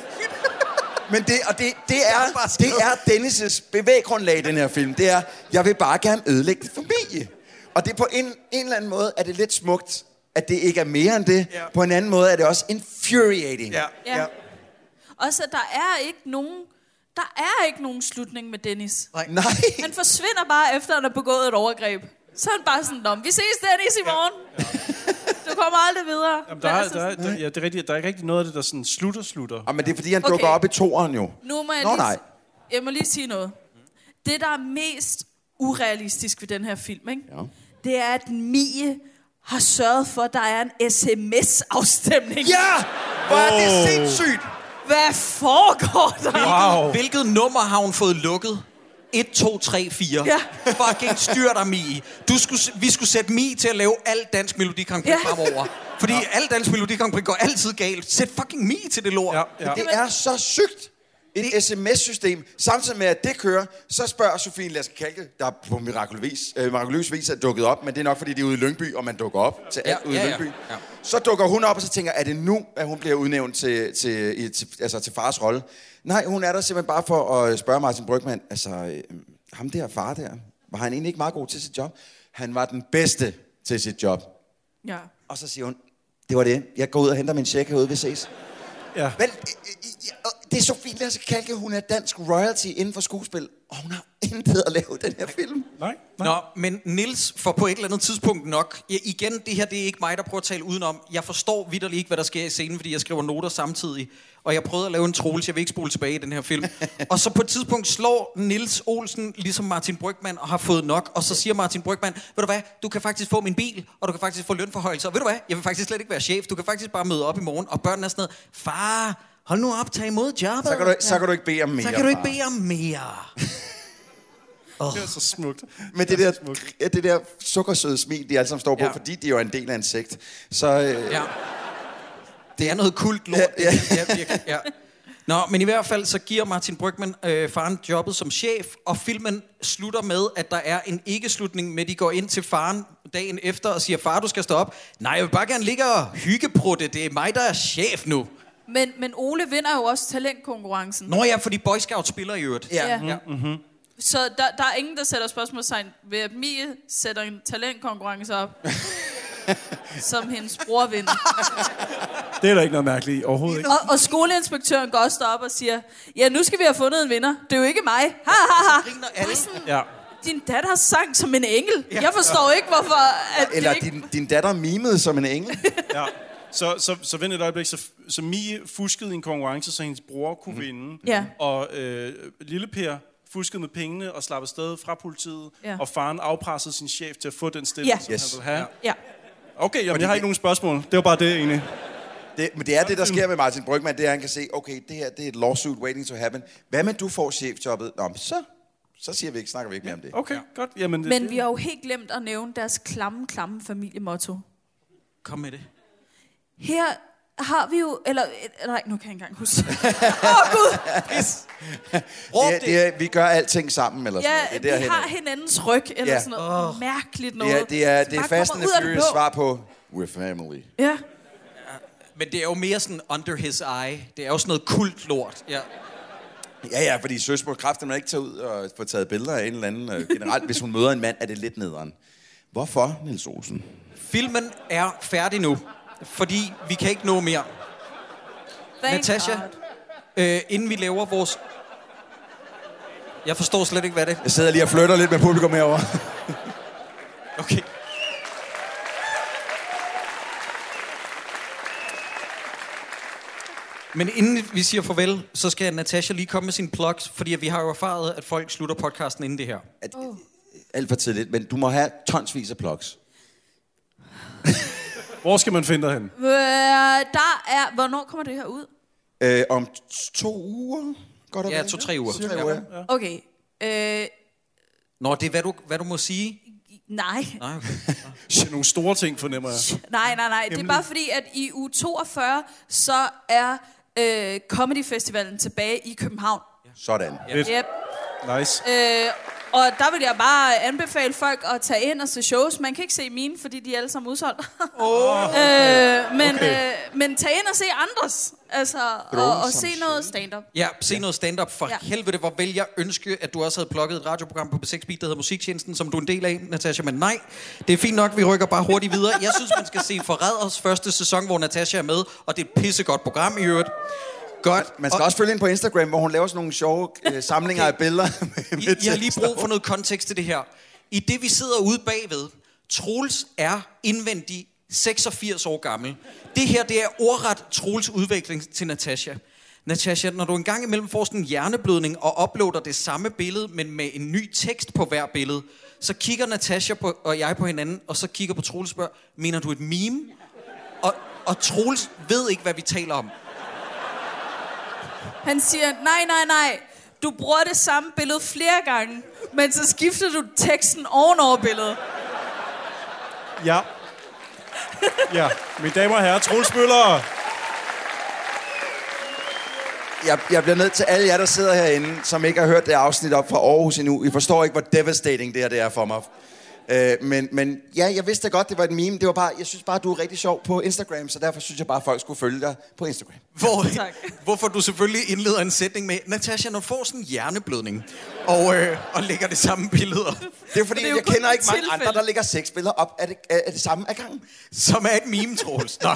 Speaker 5: Men det, og det, det er, det er Dennis' bevæggrundlag i den her film. Det er, jeg vil bare gerne ødelægge din familie. Og det er på en, en eller anden måde, er det lidt smukt, at det ikke er mere end det. Ja. På en anden måde er det også infuriating. Ja.
Speaker 8: Ja. Også, at der er ikke nogen... Der er ikke nogen slutning med Dennis.
Speaker 6: Nej.
Speaker 5: Nej.
Speaker 8: Han forsvinder bare efter, at han har begået et overgreb. Så er han bare sådan, Nå, men vi ses Dennis i morgen. Ja. Ja. Du kommer aldrig videre. Altså,
Speaker 7: Jamen, der, er, der, er, der, ja, det er rigtigt, der er ikke rigtig noget af det, der sådan slutter, slutter.
Speaker 5: Jamen, det er fordi, han
Speaker 8: Okay. dukker op
Speaker 5: i toeren jo.
Speaker 8: Nu må jeg
Speaker 7: Nå,
Speaker 8: lige,
Speaker 7: nej.
Speaker 8: Jeg må lige sige noget. Det, der er mest urealistisk ved den her film, ikke? Ja. det er, at Mie har sørget for, at der er en sms-afstemning.
Speaker 5: Ja! Hvor er det Wow.
Speaker 6: sindssygt!
Speaker 8: Hvad foregår der?
Speaker 6: Hvilket, hvilket nummer har hun fået lukket? 1, 2, 3, 4.
Speaker 8: Ja.
Speaker 6: Fucking styr dig, Mi. Du skulle, s- vi skulle sætte Mi til at lave al dansk Melodi Grand Prix
Speaker 8: Ja.
Speaker 6: fremover. Fordi ja. al dansk Melodi Grand Prix går altid galt. Sæt fucking Mi til det lort. Ja,
Speaker 5: Ja. Det er så sygt. Et sms-system, samtidig med at det kører, så spørger Sofie Lasse Kalke, der på mirakuløs vis, øh, mirakuløs vis er dukket op, men det er nok fordi, det er ude i Lyngby, og man dukker op til alt ude i Lyngby.
Speaker 6: ja.
Speaker 5: Så dukker hun op, og så tænker, er det nu, at hun bliver udnævnt til, til, i, til, altså, til fars rolle? Nej, hun er der simpelthen bare for at øh, spørge Martin Brygman, altså øh, ham der far der, var han egentlig ikke meget god til sit job? Han var den bedste til sit job.
Speaker 8: Ja.
Speaker 5: Og så siger hun, det var det, jeg går ud og henter min check herude, vi ses.
Speaker 7: Ja.
Speaker 5: Vel, øh, øh, øh, Det er Sofie Lasse Kalke, hun er dansk royalty inden for skuespil, og hun har intet at lave den her film.
Speaker 7: Nej.
Speaker 6: Nå, men Nils får på et eller andet tidspunkt nok. Ja, igen, det her det er ikke mig, der prøver at tale udenom. Jeg forstår vidderligt ikke, hvad der sker i scenen, fordi jeg skriver noter samtidig. Og jeg prøvede at lave en troels, jeg vil ikke spole tilbage i den her film. og så på et tidspunkt slår Nils Olsen ligesom Martin Brygman og har fået nok. Og så siger Martin Brygman, ved du hvad, du kan faktisk få min bil, og du kan faktisk få lønforhøjelser. Og ved du hvad, jeg vil faktisk slet ikke være chef. Du kan faktisk bare møde op i morgen. Og børnene er sådan noget, far, hold nu op, tag imod jobbet.
Speaker 5: Så kan du, så kan du ikke bede om mere.
Speaker 6: Så kan du ikke
Speaker 5: far.
Speaker 6: bede om mere.
Speaker 5: Oh.
Speaker 7: Det er så smukt.
Speaker 5: Men det der, ja, det der sukkersøde smil, de alle sammen står på,
Speaker 6: Ja.
Speaker 5: ja. fordi de jo er en del af en sekt. Så, øh,
Speaker 6: Ja. Det er noget kult lort. Ja, ja. ja, virkelig, ja. Nå, men i hvert fald så giver Martin Brygman øh, faren jobbet som chef, og filmen slutter med, at der er en ikke-slutning med, at de går ind til faren dagen efter og siger, far, du skal stå op. Nej, jeg vil bare gerne ligge og hyggeprutte. Det er mig, der er chef nu.
Speaker 8: Men, men Ole vinder jo også talentkonkurrencen.
Speaker 6: Nå ja, fordi Boy Scout spiller i øvrigt.
Speaker 8: Ja. Ja.
Speaker 6: Mm-hmm.
Speaker 8: Så der, der er ingen, der sætter spørgsmålstegn ved, at Mie sætter en talentkonkurrence op, som hendes bror vinder.
Speaker 7: Det er der ikke noget mærkeligt i overhovedet. Ikke?
Speaker 8: Og, og skoleinspektøren går også op og siger, ja, nu skal vi have fundet en vinder. Det er jo ikke mig. Ha, ha, ha. Bare sådan,
Speaker 7: Ja.
Speaker 8: Din datter sang som en engel. Jeg forstår ikke, hvorfor... At det
Speaker 5: Eller
Speaker 8: ikke...
Speaker 5: din, din datter mimede som en engel.
Speaker 7: ja. Så, så, så vent et øjeblik, så, så Mie fuskede i en konkurrence, så hendes bror kunne mm. vinde.
Speaker 8: Ja.
Speaker 7: Og øh, lille Per fuskede med pengene og slap afsted fra politiet,
Speaker 8: Ja.
Speaker 7: ja. og faren afpressede sin chef til at få den stilling,
Speaker 8: Ja.
Speaker 7: som
Speaker 8: Yes.
Speaker 7: yes. han ville have.
Speaker 8: Ja.
Speaker 7: Okay, jamen,
Speaker 5: Fordi
Speaker 7: jeg har
Speaker 5: det-
Speaker 7: ikke nogen spørgsmål. Det var bare det egentlig.
Speaker 5: Det, men det er det, der sker med Martin Brygman, det er, at han kan se, okay, det her det er et lawsuit waiting to happen. Hvad med, du får chefjobbet? Nå, men så, så siger vi ikke, snakker vi ikke mere om det.
Speaker 7: Okay, ja. godt. Jamen, det,
Speaker 8: Men vi har jo helt glemt at nævne deres klamme, klamme familiemotto.
Speaker 6: Kom med det.
Speaker 8: Her har vi jo... Eller, eh, nej, nu kan jeg ikke engang huske. Åh, oh, Gud!
Speaker 5: det, er- det er, vi gør alting sammen, eller sådan
Speaker 8: Ja,
Speaker 5: noget.
Speaker 8: vi har hinandens ryg, eller
Speaker 5: Ja.
Speaker 8: sådan noget oh. mærkeligt noget.
Speaker 5: Ja, det er,
Speaker 8: som
Speaker 5: det er
Speaker 8: bare
Speaker 5: Fast and
Speaker 8: kommer
Speaker 5: the
Speaker 8: ud af det
Speaker 5: Furious
Speaker 8: blå.
Speaker 5: svar på, we're family.
Speaker 8: Ja.
Speaker 6: Men det er jo mere sådan under his eye. Det er jo sådan noget kult lort. Ja.
Speaker 5: Ja, ja, fordi søsmål kræfter man ikke tage ud og få taget billeder af en eller anden. øh, Generelt, hvis hun møder en mand, er det lidt nederen. Hvorfor, Niels Olsen?
Speaker 6: Filmen er færdig nu, fordi vi kan ikke nå mere.
Speaker 8: Thank
Speaker 6: Natasha,
Speaker 8: God.
Speaker 6: øh, inden vi laver vores... Jeg forstår slet ikke, hvad det er.
Speaker 5: Jeg sidder lige og flytter lidt med publikum herovre.
Speaker 6: Okay. Men inden vi siger farvel, så skal Natasha lige komme med sine plugs, fordi vi har jo erfaret, at folk slutter podcasten inden det her.
Speaker 8: Oh.
Speaker 5: Alt for tidligt, men du må have tonsvis af plugs.
Speaker 7: Hvor skal man finde dig hen?
Speaker 8: Øh, der er... Hvornår kommer det her ud?
Speaker 5: Øh, om t- to uger? Godt og
Speaker 6: Ja,
Speaker 5: vel,
Speaker 6: to-tre uger.
Speaker 5: Cirka,
Speaker 6: Ja.
Speaker 5: ja.
Speaker 8: Okay. Øh,
Speaker 6: Nå, det er, hvad du, hvad du må sige.
Speaker 8: nej.
Speaker 6: Nej, okay.
Speaker 7: Shit, nogle store ting, fornemmer jeg.
Speaker 8: Nej, nej, nej. Det er
Speaker 7: Hemmeligt.
Speaker 8: bare fordi, at i uge 42, så er øh, Comedy Festivalen tilbage i København.
Speaker 5: Sådan.
Speaker 8: Yep.
Speaker 7: Nice.
Speaker 8: Øh, og der vil jeg bare anbefale folk at tage ind og se shows. Man kan ikke se mine, fordi de er alle sammen udsolgt.
Speaker 6: Oh,
Speaker 8: øh, men,
Speaker 6: Okay.
Speaker 8: øh, men tag ind og se andres. Altså, og,
Speaker 6: Drone
Speaker 8: og
Speaker 6: som
Speaker 8: se noget stand-up.
Speaker 6: Ja, se ja. noget stand-up for
Speaker 8: Ja.
Speaker 6: ja. helvede, hvor vil jeg ønske, at du også havde plukket et radioprogram på B6 Beat, der hedder Musiktjenesten, som du er en del af, Natasha, men nej, det er fint nok, vi rykker bare hurtigt videre. Jeg synes, man skal se Forræders første sæson, hvor Natasha er med, og det er et pissegodt program i øvrigt. Godt.
Speaker 5: Man skal
Speaker 6: og-
Speaker 5: også følge ind på Instagram, hvor hun laver sådan nogle sjove øh, samlinger af billeder.
Speaker 6: I, I har lige brug for noget kontekst til det her. I det, vi sidder ude bagved, Troels er indvendig 86 år gammel. Det her, det er ordret Troels udvikling til Natasha. Natasha, når du engang imellem får sådan en hjerneblødning og uploader det samme billede, men med en ny tekst på hver billede, så kigger Natasha på, og jeg på hinanden, og så kigger på Troels og spørger, mener du et meme? Og, og Troels ved ikke, hvad vi taler om.
Speaker 8: Han siger, nej, nej, nej. Du bruger det samme billede flere gange, men så skifter du teksten ovenover billedet.
Speaker 7: Ja. Ja, mine damer og herrer, Troels Møller.
Speaker 5: Jeg, jeg bliver nødt til alle jer, der sidder herinde, som ikke har hørt det afsnit op fra Aarhus endnu. I forstår ikke, hvor devastating det her det er for mig. Øh, men, men ja, jeg vidste da godt, det var et meme. Det var bare, jeg synes bare, du er rigtig sjov på Instagram, så derfor synes jeg bare, at folk skulle følge dig på Instagram.
Speaker 6: Hvor, hvorfor du selvfølgelig indleder en sætning med, Natasha, når du får sådan en hjerneblødning, og, øh, og lægger det samme billeder.
Speaker 5: Det er fordi, jeg kender ikke mange andre, der lægger seks billeder op af det, af af det samme af gangen.
Speaker 6: Som er et meme, Troels. Nå,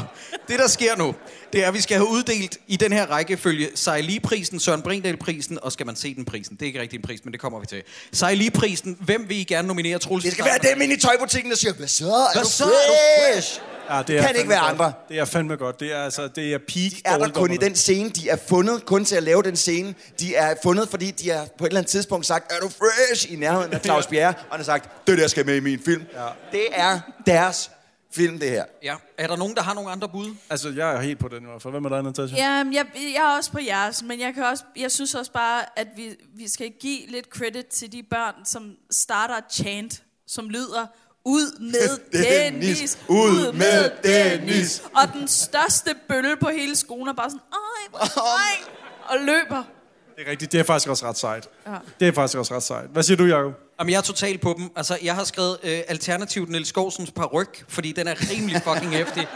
Speaker 6: det der sker nu, det er, at vi skal have uddelt i den her rækkefølge Sejli-prisen, Søren Brindahl-prisen, og skal man se den prisen? Det er ikke rigtig en pris, men det kommer vi til. Sejli-prisen, hvem vil I gerne nominere, Troels?
Speaker 5: Det skal være dem inde i tøjbutikken, der siger, hvad så? Er
Speaker 6: Hvad
Speaker 5: du
Speaker 6: så? Er du
Speaker 5: fresh?
Speaker 7: Ja, det er
Speaker 5: kan
Speaker 7: fandme
Speaker 5: ikke være
Speaker 7: godt.
Speaker 5: andre.
Speaker 7: Det er fandme godt. Det er, altså, det er peak de
Speaker 5: er der kun i den scene. De er fundet kun til at lave den scene. De er fundet, fordi de har på et eller andet tidspunkt sagt, er du fresh? I nærheden af Claus Bjerre. Og han har sagt, det der skal med i min film. Ja. Det er deres film, det her.
Speaker 6: Ja. Er der nogen, der har nogle andre bud?
Speaker 7: Altså, jeg er helt på den i hvert fald. Hvem er der, Natasha?
Speaker 8: Ja, jeg, jeg er også på jeres, men jeg, kan også, jeg synes også bare, at vi, vi skal give lidt credit til de børn, som starter et chant, som lyder, ud med Dennis,
Speaker 5: Ud med Dennis!
Speaker 8: Og den største bølle på hele skolen er bare sådan, ej, hvor sejt," og løber.
Speaker 7: Det er rigtigt. Det er faktisk også ret sejt.
Speaker 8: Ja.
Speaker 7: Det er faktisk også ret sejt. Hvad siger du, Jacob?
Speaker 6: Jamen, jeg er totalt på dem. Altså, jeg har skrevet øh, alternativt Niels Skovsens paryk, fordi den er rimelig fucking hæftig.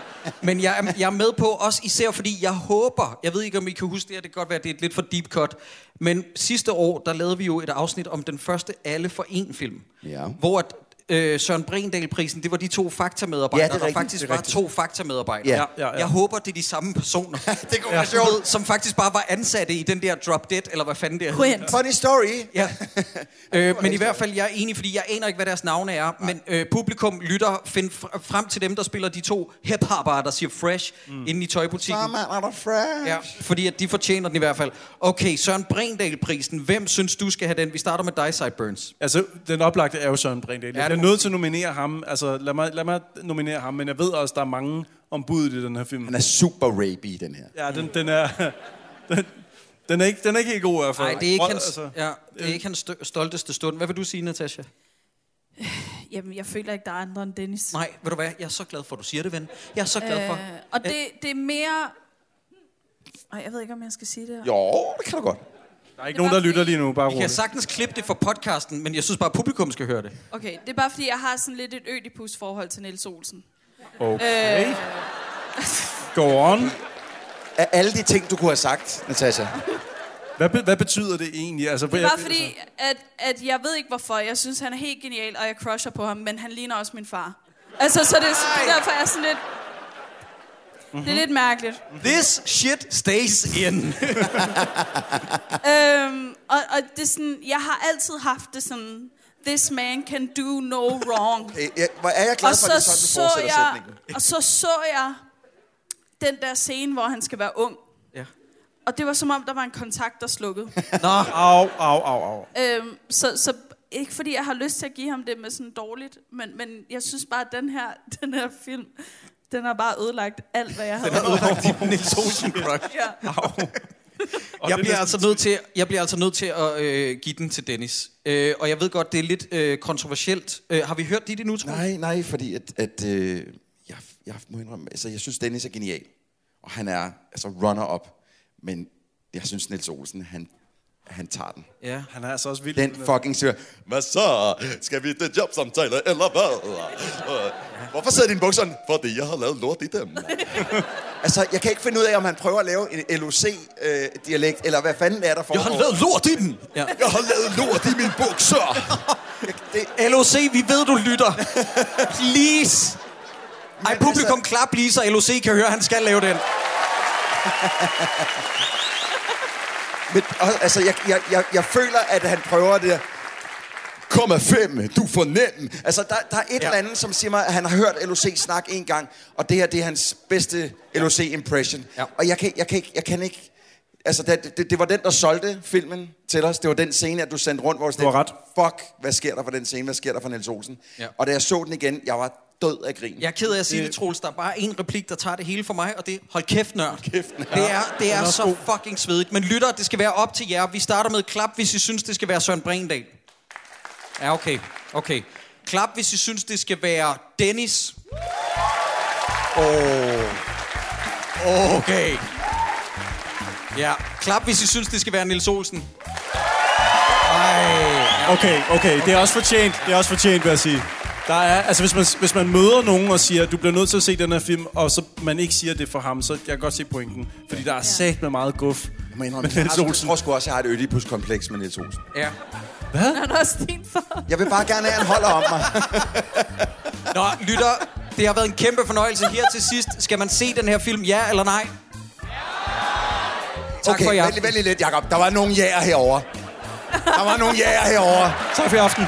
Speaker 6: Men jeg, er- jeg er med på også især, fordi jeg håber, jeg ved ikke, om I kan huske det her, det kan godt være, at det er et lidt for deep cut, men sidste år, der lavede vi jo et afsnit om den første Alle for en film,
Speaker 5: Ja.
Speaker 6: hvor at, øh, Søren Brindahl-prisen, det var de to faktamedarbejdere,
Speaker 5: Ja, det er
Speaker 6: der
Speaker 5: rigtigt,
Speaker 6: faktisk
Speaker 5: det er
Speaker 6: var
Speaker 5: rigtigt.
Speaker 6: to faktamedarbejdere.
Speaker 5: Ja. Ja, ja.
Speaker 6: Jeg håber, det er de samme personer. det kunne
Speaker 5: være sjovt.
Speaker 6: Som faktisk bare var ansatte i den der Drop Dead, eller hvad fanden det hedder.
Speaker 5: Funny story.
Speaker 6: Ja. Øh, men i hvert fald, jeg er enig, fordi jeg aner ikke, hvad deres navne er. Men øh, publikum lytter, find fr- frem til dem, der spiller de to hiphopere, der siger fresh mm. inde i tøjbutikken.
Speaker 5: Mama, er du fresh?
Speaker 6: Ja, fordi at de fortjener den i hvert fald. Okay, Søren Brindahl-prisen. Hvem synes du skal have den? Vi starter med dig, Sideburns.
Speaker 7: Altså, den oplagte er jo Søren Brindahl.
Speaker 6: Ja,
Speaker 7: Jeg er
Speaker 6: det må
Speaker 7: nødt til at nominere ham. Altså, lad mig, lad mig nominere ham, men jeg ved også, der er mange ombud i den her film.
Speaker 5: Han er super rapey, den her.
Speaker 7: Ja, den, den er... Den, den, er ikke, den er ikke helt god i hvert fald.
Speaker 6: Nej, altså, det er ikke
Speaker 7: Prøv- altså,
Speaker 6: hans, ja, det er ikke hans stø- stolteste stund. Hvad vil du sige, Natasha?
Speaker 8: Jamen, jeg føler ikke, der er andre end Dennis.
Speaker 6: Nej, ved du hvad? Jeg er så glad for, at du siger det, ven. Jeg er så glad for.
Speaker 8: Øh, og det, det er mere... Ej, jeg ved ikke, om jeg skal sige det her.
Speaker 5: Jo, det kan du godt.
Speaker 7: Der er ikke nogen, der lytter lige nu, bare
Speaker 6: Vi kan
Speaker 7: roligt.
Speaker 6: sagtens klippe det for podcasten, men jeg synes bare, at publikum skal høre det.
Speaker 8: Okay, det er bare fordi, jeg har sådan lidt et ødipus forhold til Niels Olsen.
Speaker 7: Okay.
Speaker 8: Øh,
Speaker 7: Go on.
Speaker 5: Af alle de ting, du kunne have sagt, Natasha.
Speaker 7: Hvad, be, hvad betyder det egentlig? Altså,
Speaker 8: det er bare fordi, at, at jeg ved ikke hvorfor. Jeg synes, han er helt genial, og jeg crusher på ham, men han ligner også min far. Altså, så det er derfor, jeg er sådan lidt...
Speaker 5: Mhm.
Speaker 8: Det er lidt mærkeligt.
Speaker 6: This shit stays in.
Speaker 8: øhm, og, og det er sådan, jeg har altid haft det sådan, this man can do no wrong.
Speaker 5: Øh, jeg- Hvor er jeg glad for, at det er sådan, du fortsætter
Speaker 8: jeg,
Speaker 5: sætningen.
Speaker 8: og så så jeg den der scene, hvor han skal være ung.
Speaker 6: Ja.
Speaker 8: Og det var som om, der var en kontakt, der slukkede.
Speaker 6: Nå,
Speaker 7: au, au, au, au.
Speaker 8: øhm, så, så ikke fordi jeg har lyst til at give ham det med sådan dårligt, men, men jeg synes bare, at den her, den her film, den har bare ødelagt alt, hvad jeg havde. Den
Speaker 6: Niels Olsen crush.
Speaker 8: Ja.
Speaker 6: Jeg bliver, altså nødt til, jeg bliver altså nødt til at øh, give den til Dennis. Øh, og jeg ved godt, det er lidt øh, kontroversielt. Øh, har vi hørt dit endnu, tror
Speaker 5: Nej, nej, fordi at, at øh, jeg, jeg må indrømme, altså jeg synes Dennis er genial, og han er altså runner-up, men jeg synes Niels Olsen, han, han tager den.
Speaker 6: Ja.
Speaker 7: Han er altså også vild.
Speaker 5: Den fucking siger, hvad så? Skal vi til jobsamtale, eller hvad? Øh, Hvorfor sidder dine bukser? Fordi jeg har lavet lort i dem. altså, jeg kan ikke finde ud af, om han prøver at lave en LOC-dialekt, øh, eller hvad fanden det er, der foregår.
Speaker 6: lort i dem! Ja.
Speaker 5: Jeg har lavet lort i mine bukser!
Speaker 6: LOC, vi ved, du lytter. Please. Ej, publikum, klap lige, så LOC kan høre, han skal lave den.
Speaker 5: Men, og, altså, jeg, jeg, jeg, jeg føler, at han prøver det der. Kom af fem, du får nem. Altså, der, der er et ja. eller andet, som siger mig, at han har hørt LOC snak en gang, og det her, det er hans bedste LOC-impression. Ja. Og jeg kan, jeg, kan ikke, jeg kan ikke... Altså, det, det, det var den, der solgte filmen til os. Det var den scene, at du sendte rundt, hvor du var ret. Fuck, hvad sker der for den scene? Hvad sker der for Niels Olsen?
Speaker 6: Ja.
Speaker 5: Og da jeg så den igen, jeg var død af grin.
Speaker 6: Jeg er ked af at sige det, Troels. Der er bare en replik, der tager det hele for mig, og det er, hold kæft, nørd.
Speaker 5: Kæft,
Speaker 6: Det er, det er så fucking svedigt. Men lytter, det skal være op til jer. Vi starter med et klap, hvis I synes, det skal være Søren Brindahl. Ja, okay. Okay. Klap, hvis I synes, det skal være Dennis. Oh. Okay. Ja. Klap, hvis I synes, det skal være Nils Olsen.
Speaker 7: Okay, okay. Det er også fortjent. Det er også fortjent, vil jeg sige. Der er, altså hvis man, hvis man møder nogen og siger, du bliver nødt til at se den her film, og så man ikke siger det er for ham, så jeg kan godt se pointen. Fordi der er sat med meget guf.
Speaker 5: Men Niels Olsen. Jeg tror sgu også, jeg har et Ødipus-kompleks med Niels Olsen.
Speaker 6: Ja.
Speaker 7: Hvad?
Speaker 8: Han er også din far.
Speaker 5: Jeg vil bare gerne have, at han holder om mig.
Speaker 6: Nå, lytter, det har været en kæmpe fornøjelse her til sidst. Skal man se den her film, ja eller nej? Tak
Speaker 5: okay,
Speaker 6: for i
Speaker 5: vent,
Speaker 6: aften.
Speaker 5: lige- vent lige lidt, Jacob. Der var nogle jæger herovre. Der var nogle jæger herovre.
Speaker 6: Tak for i aften.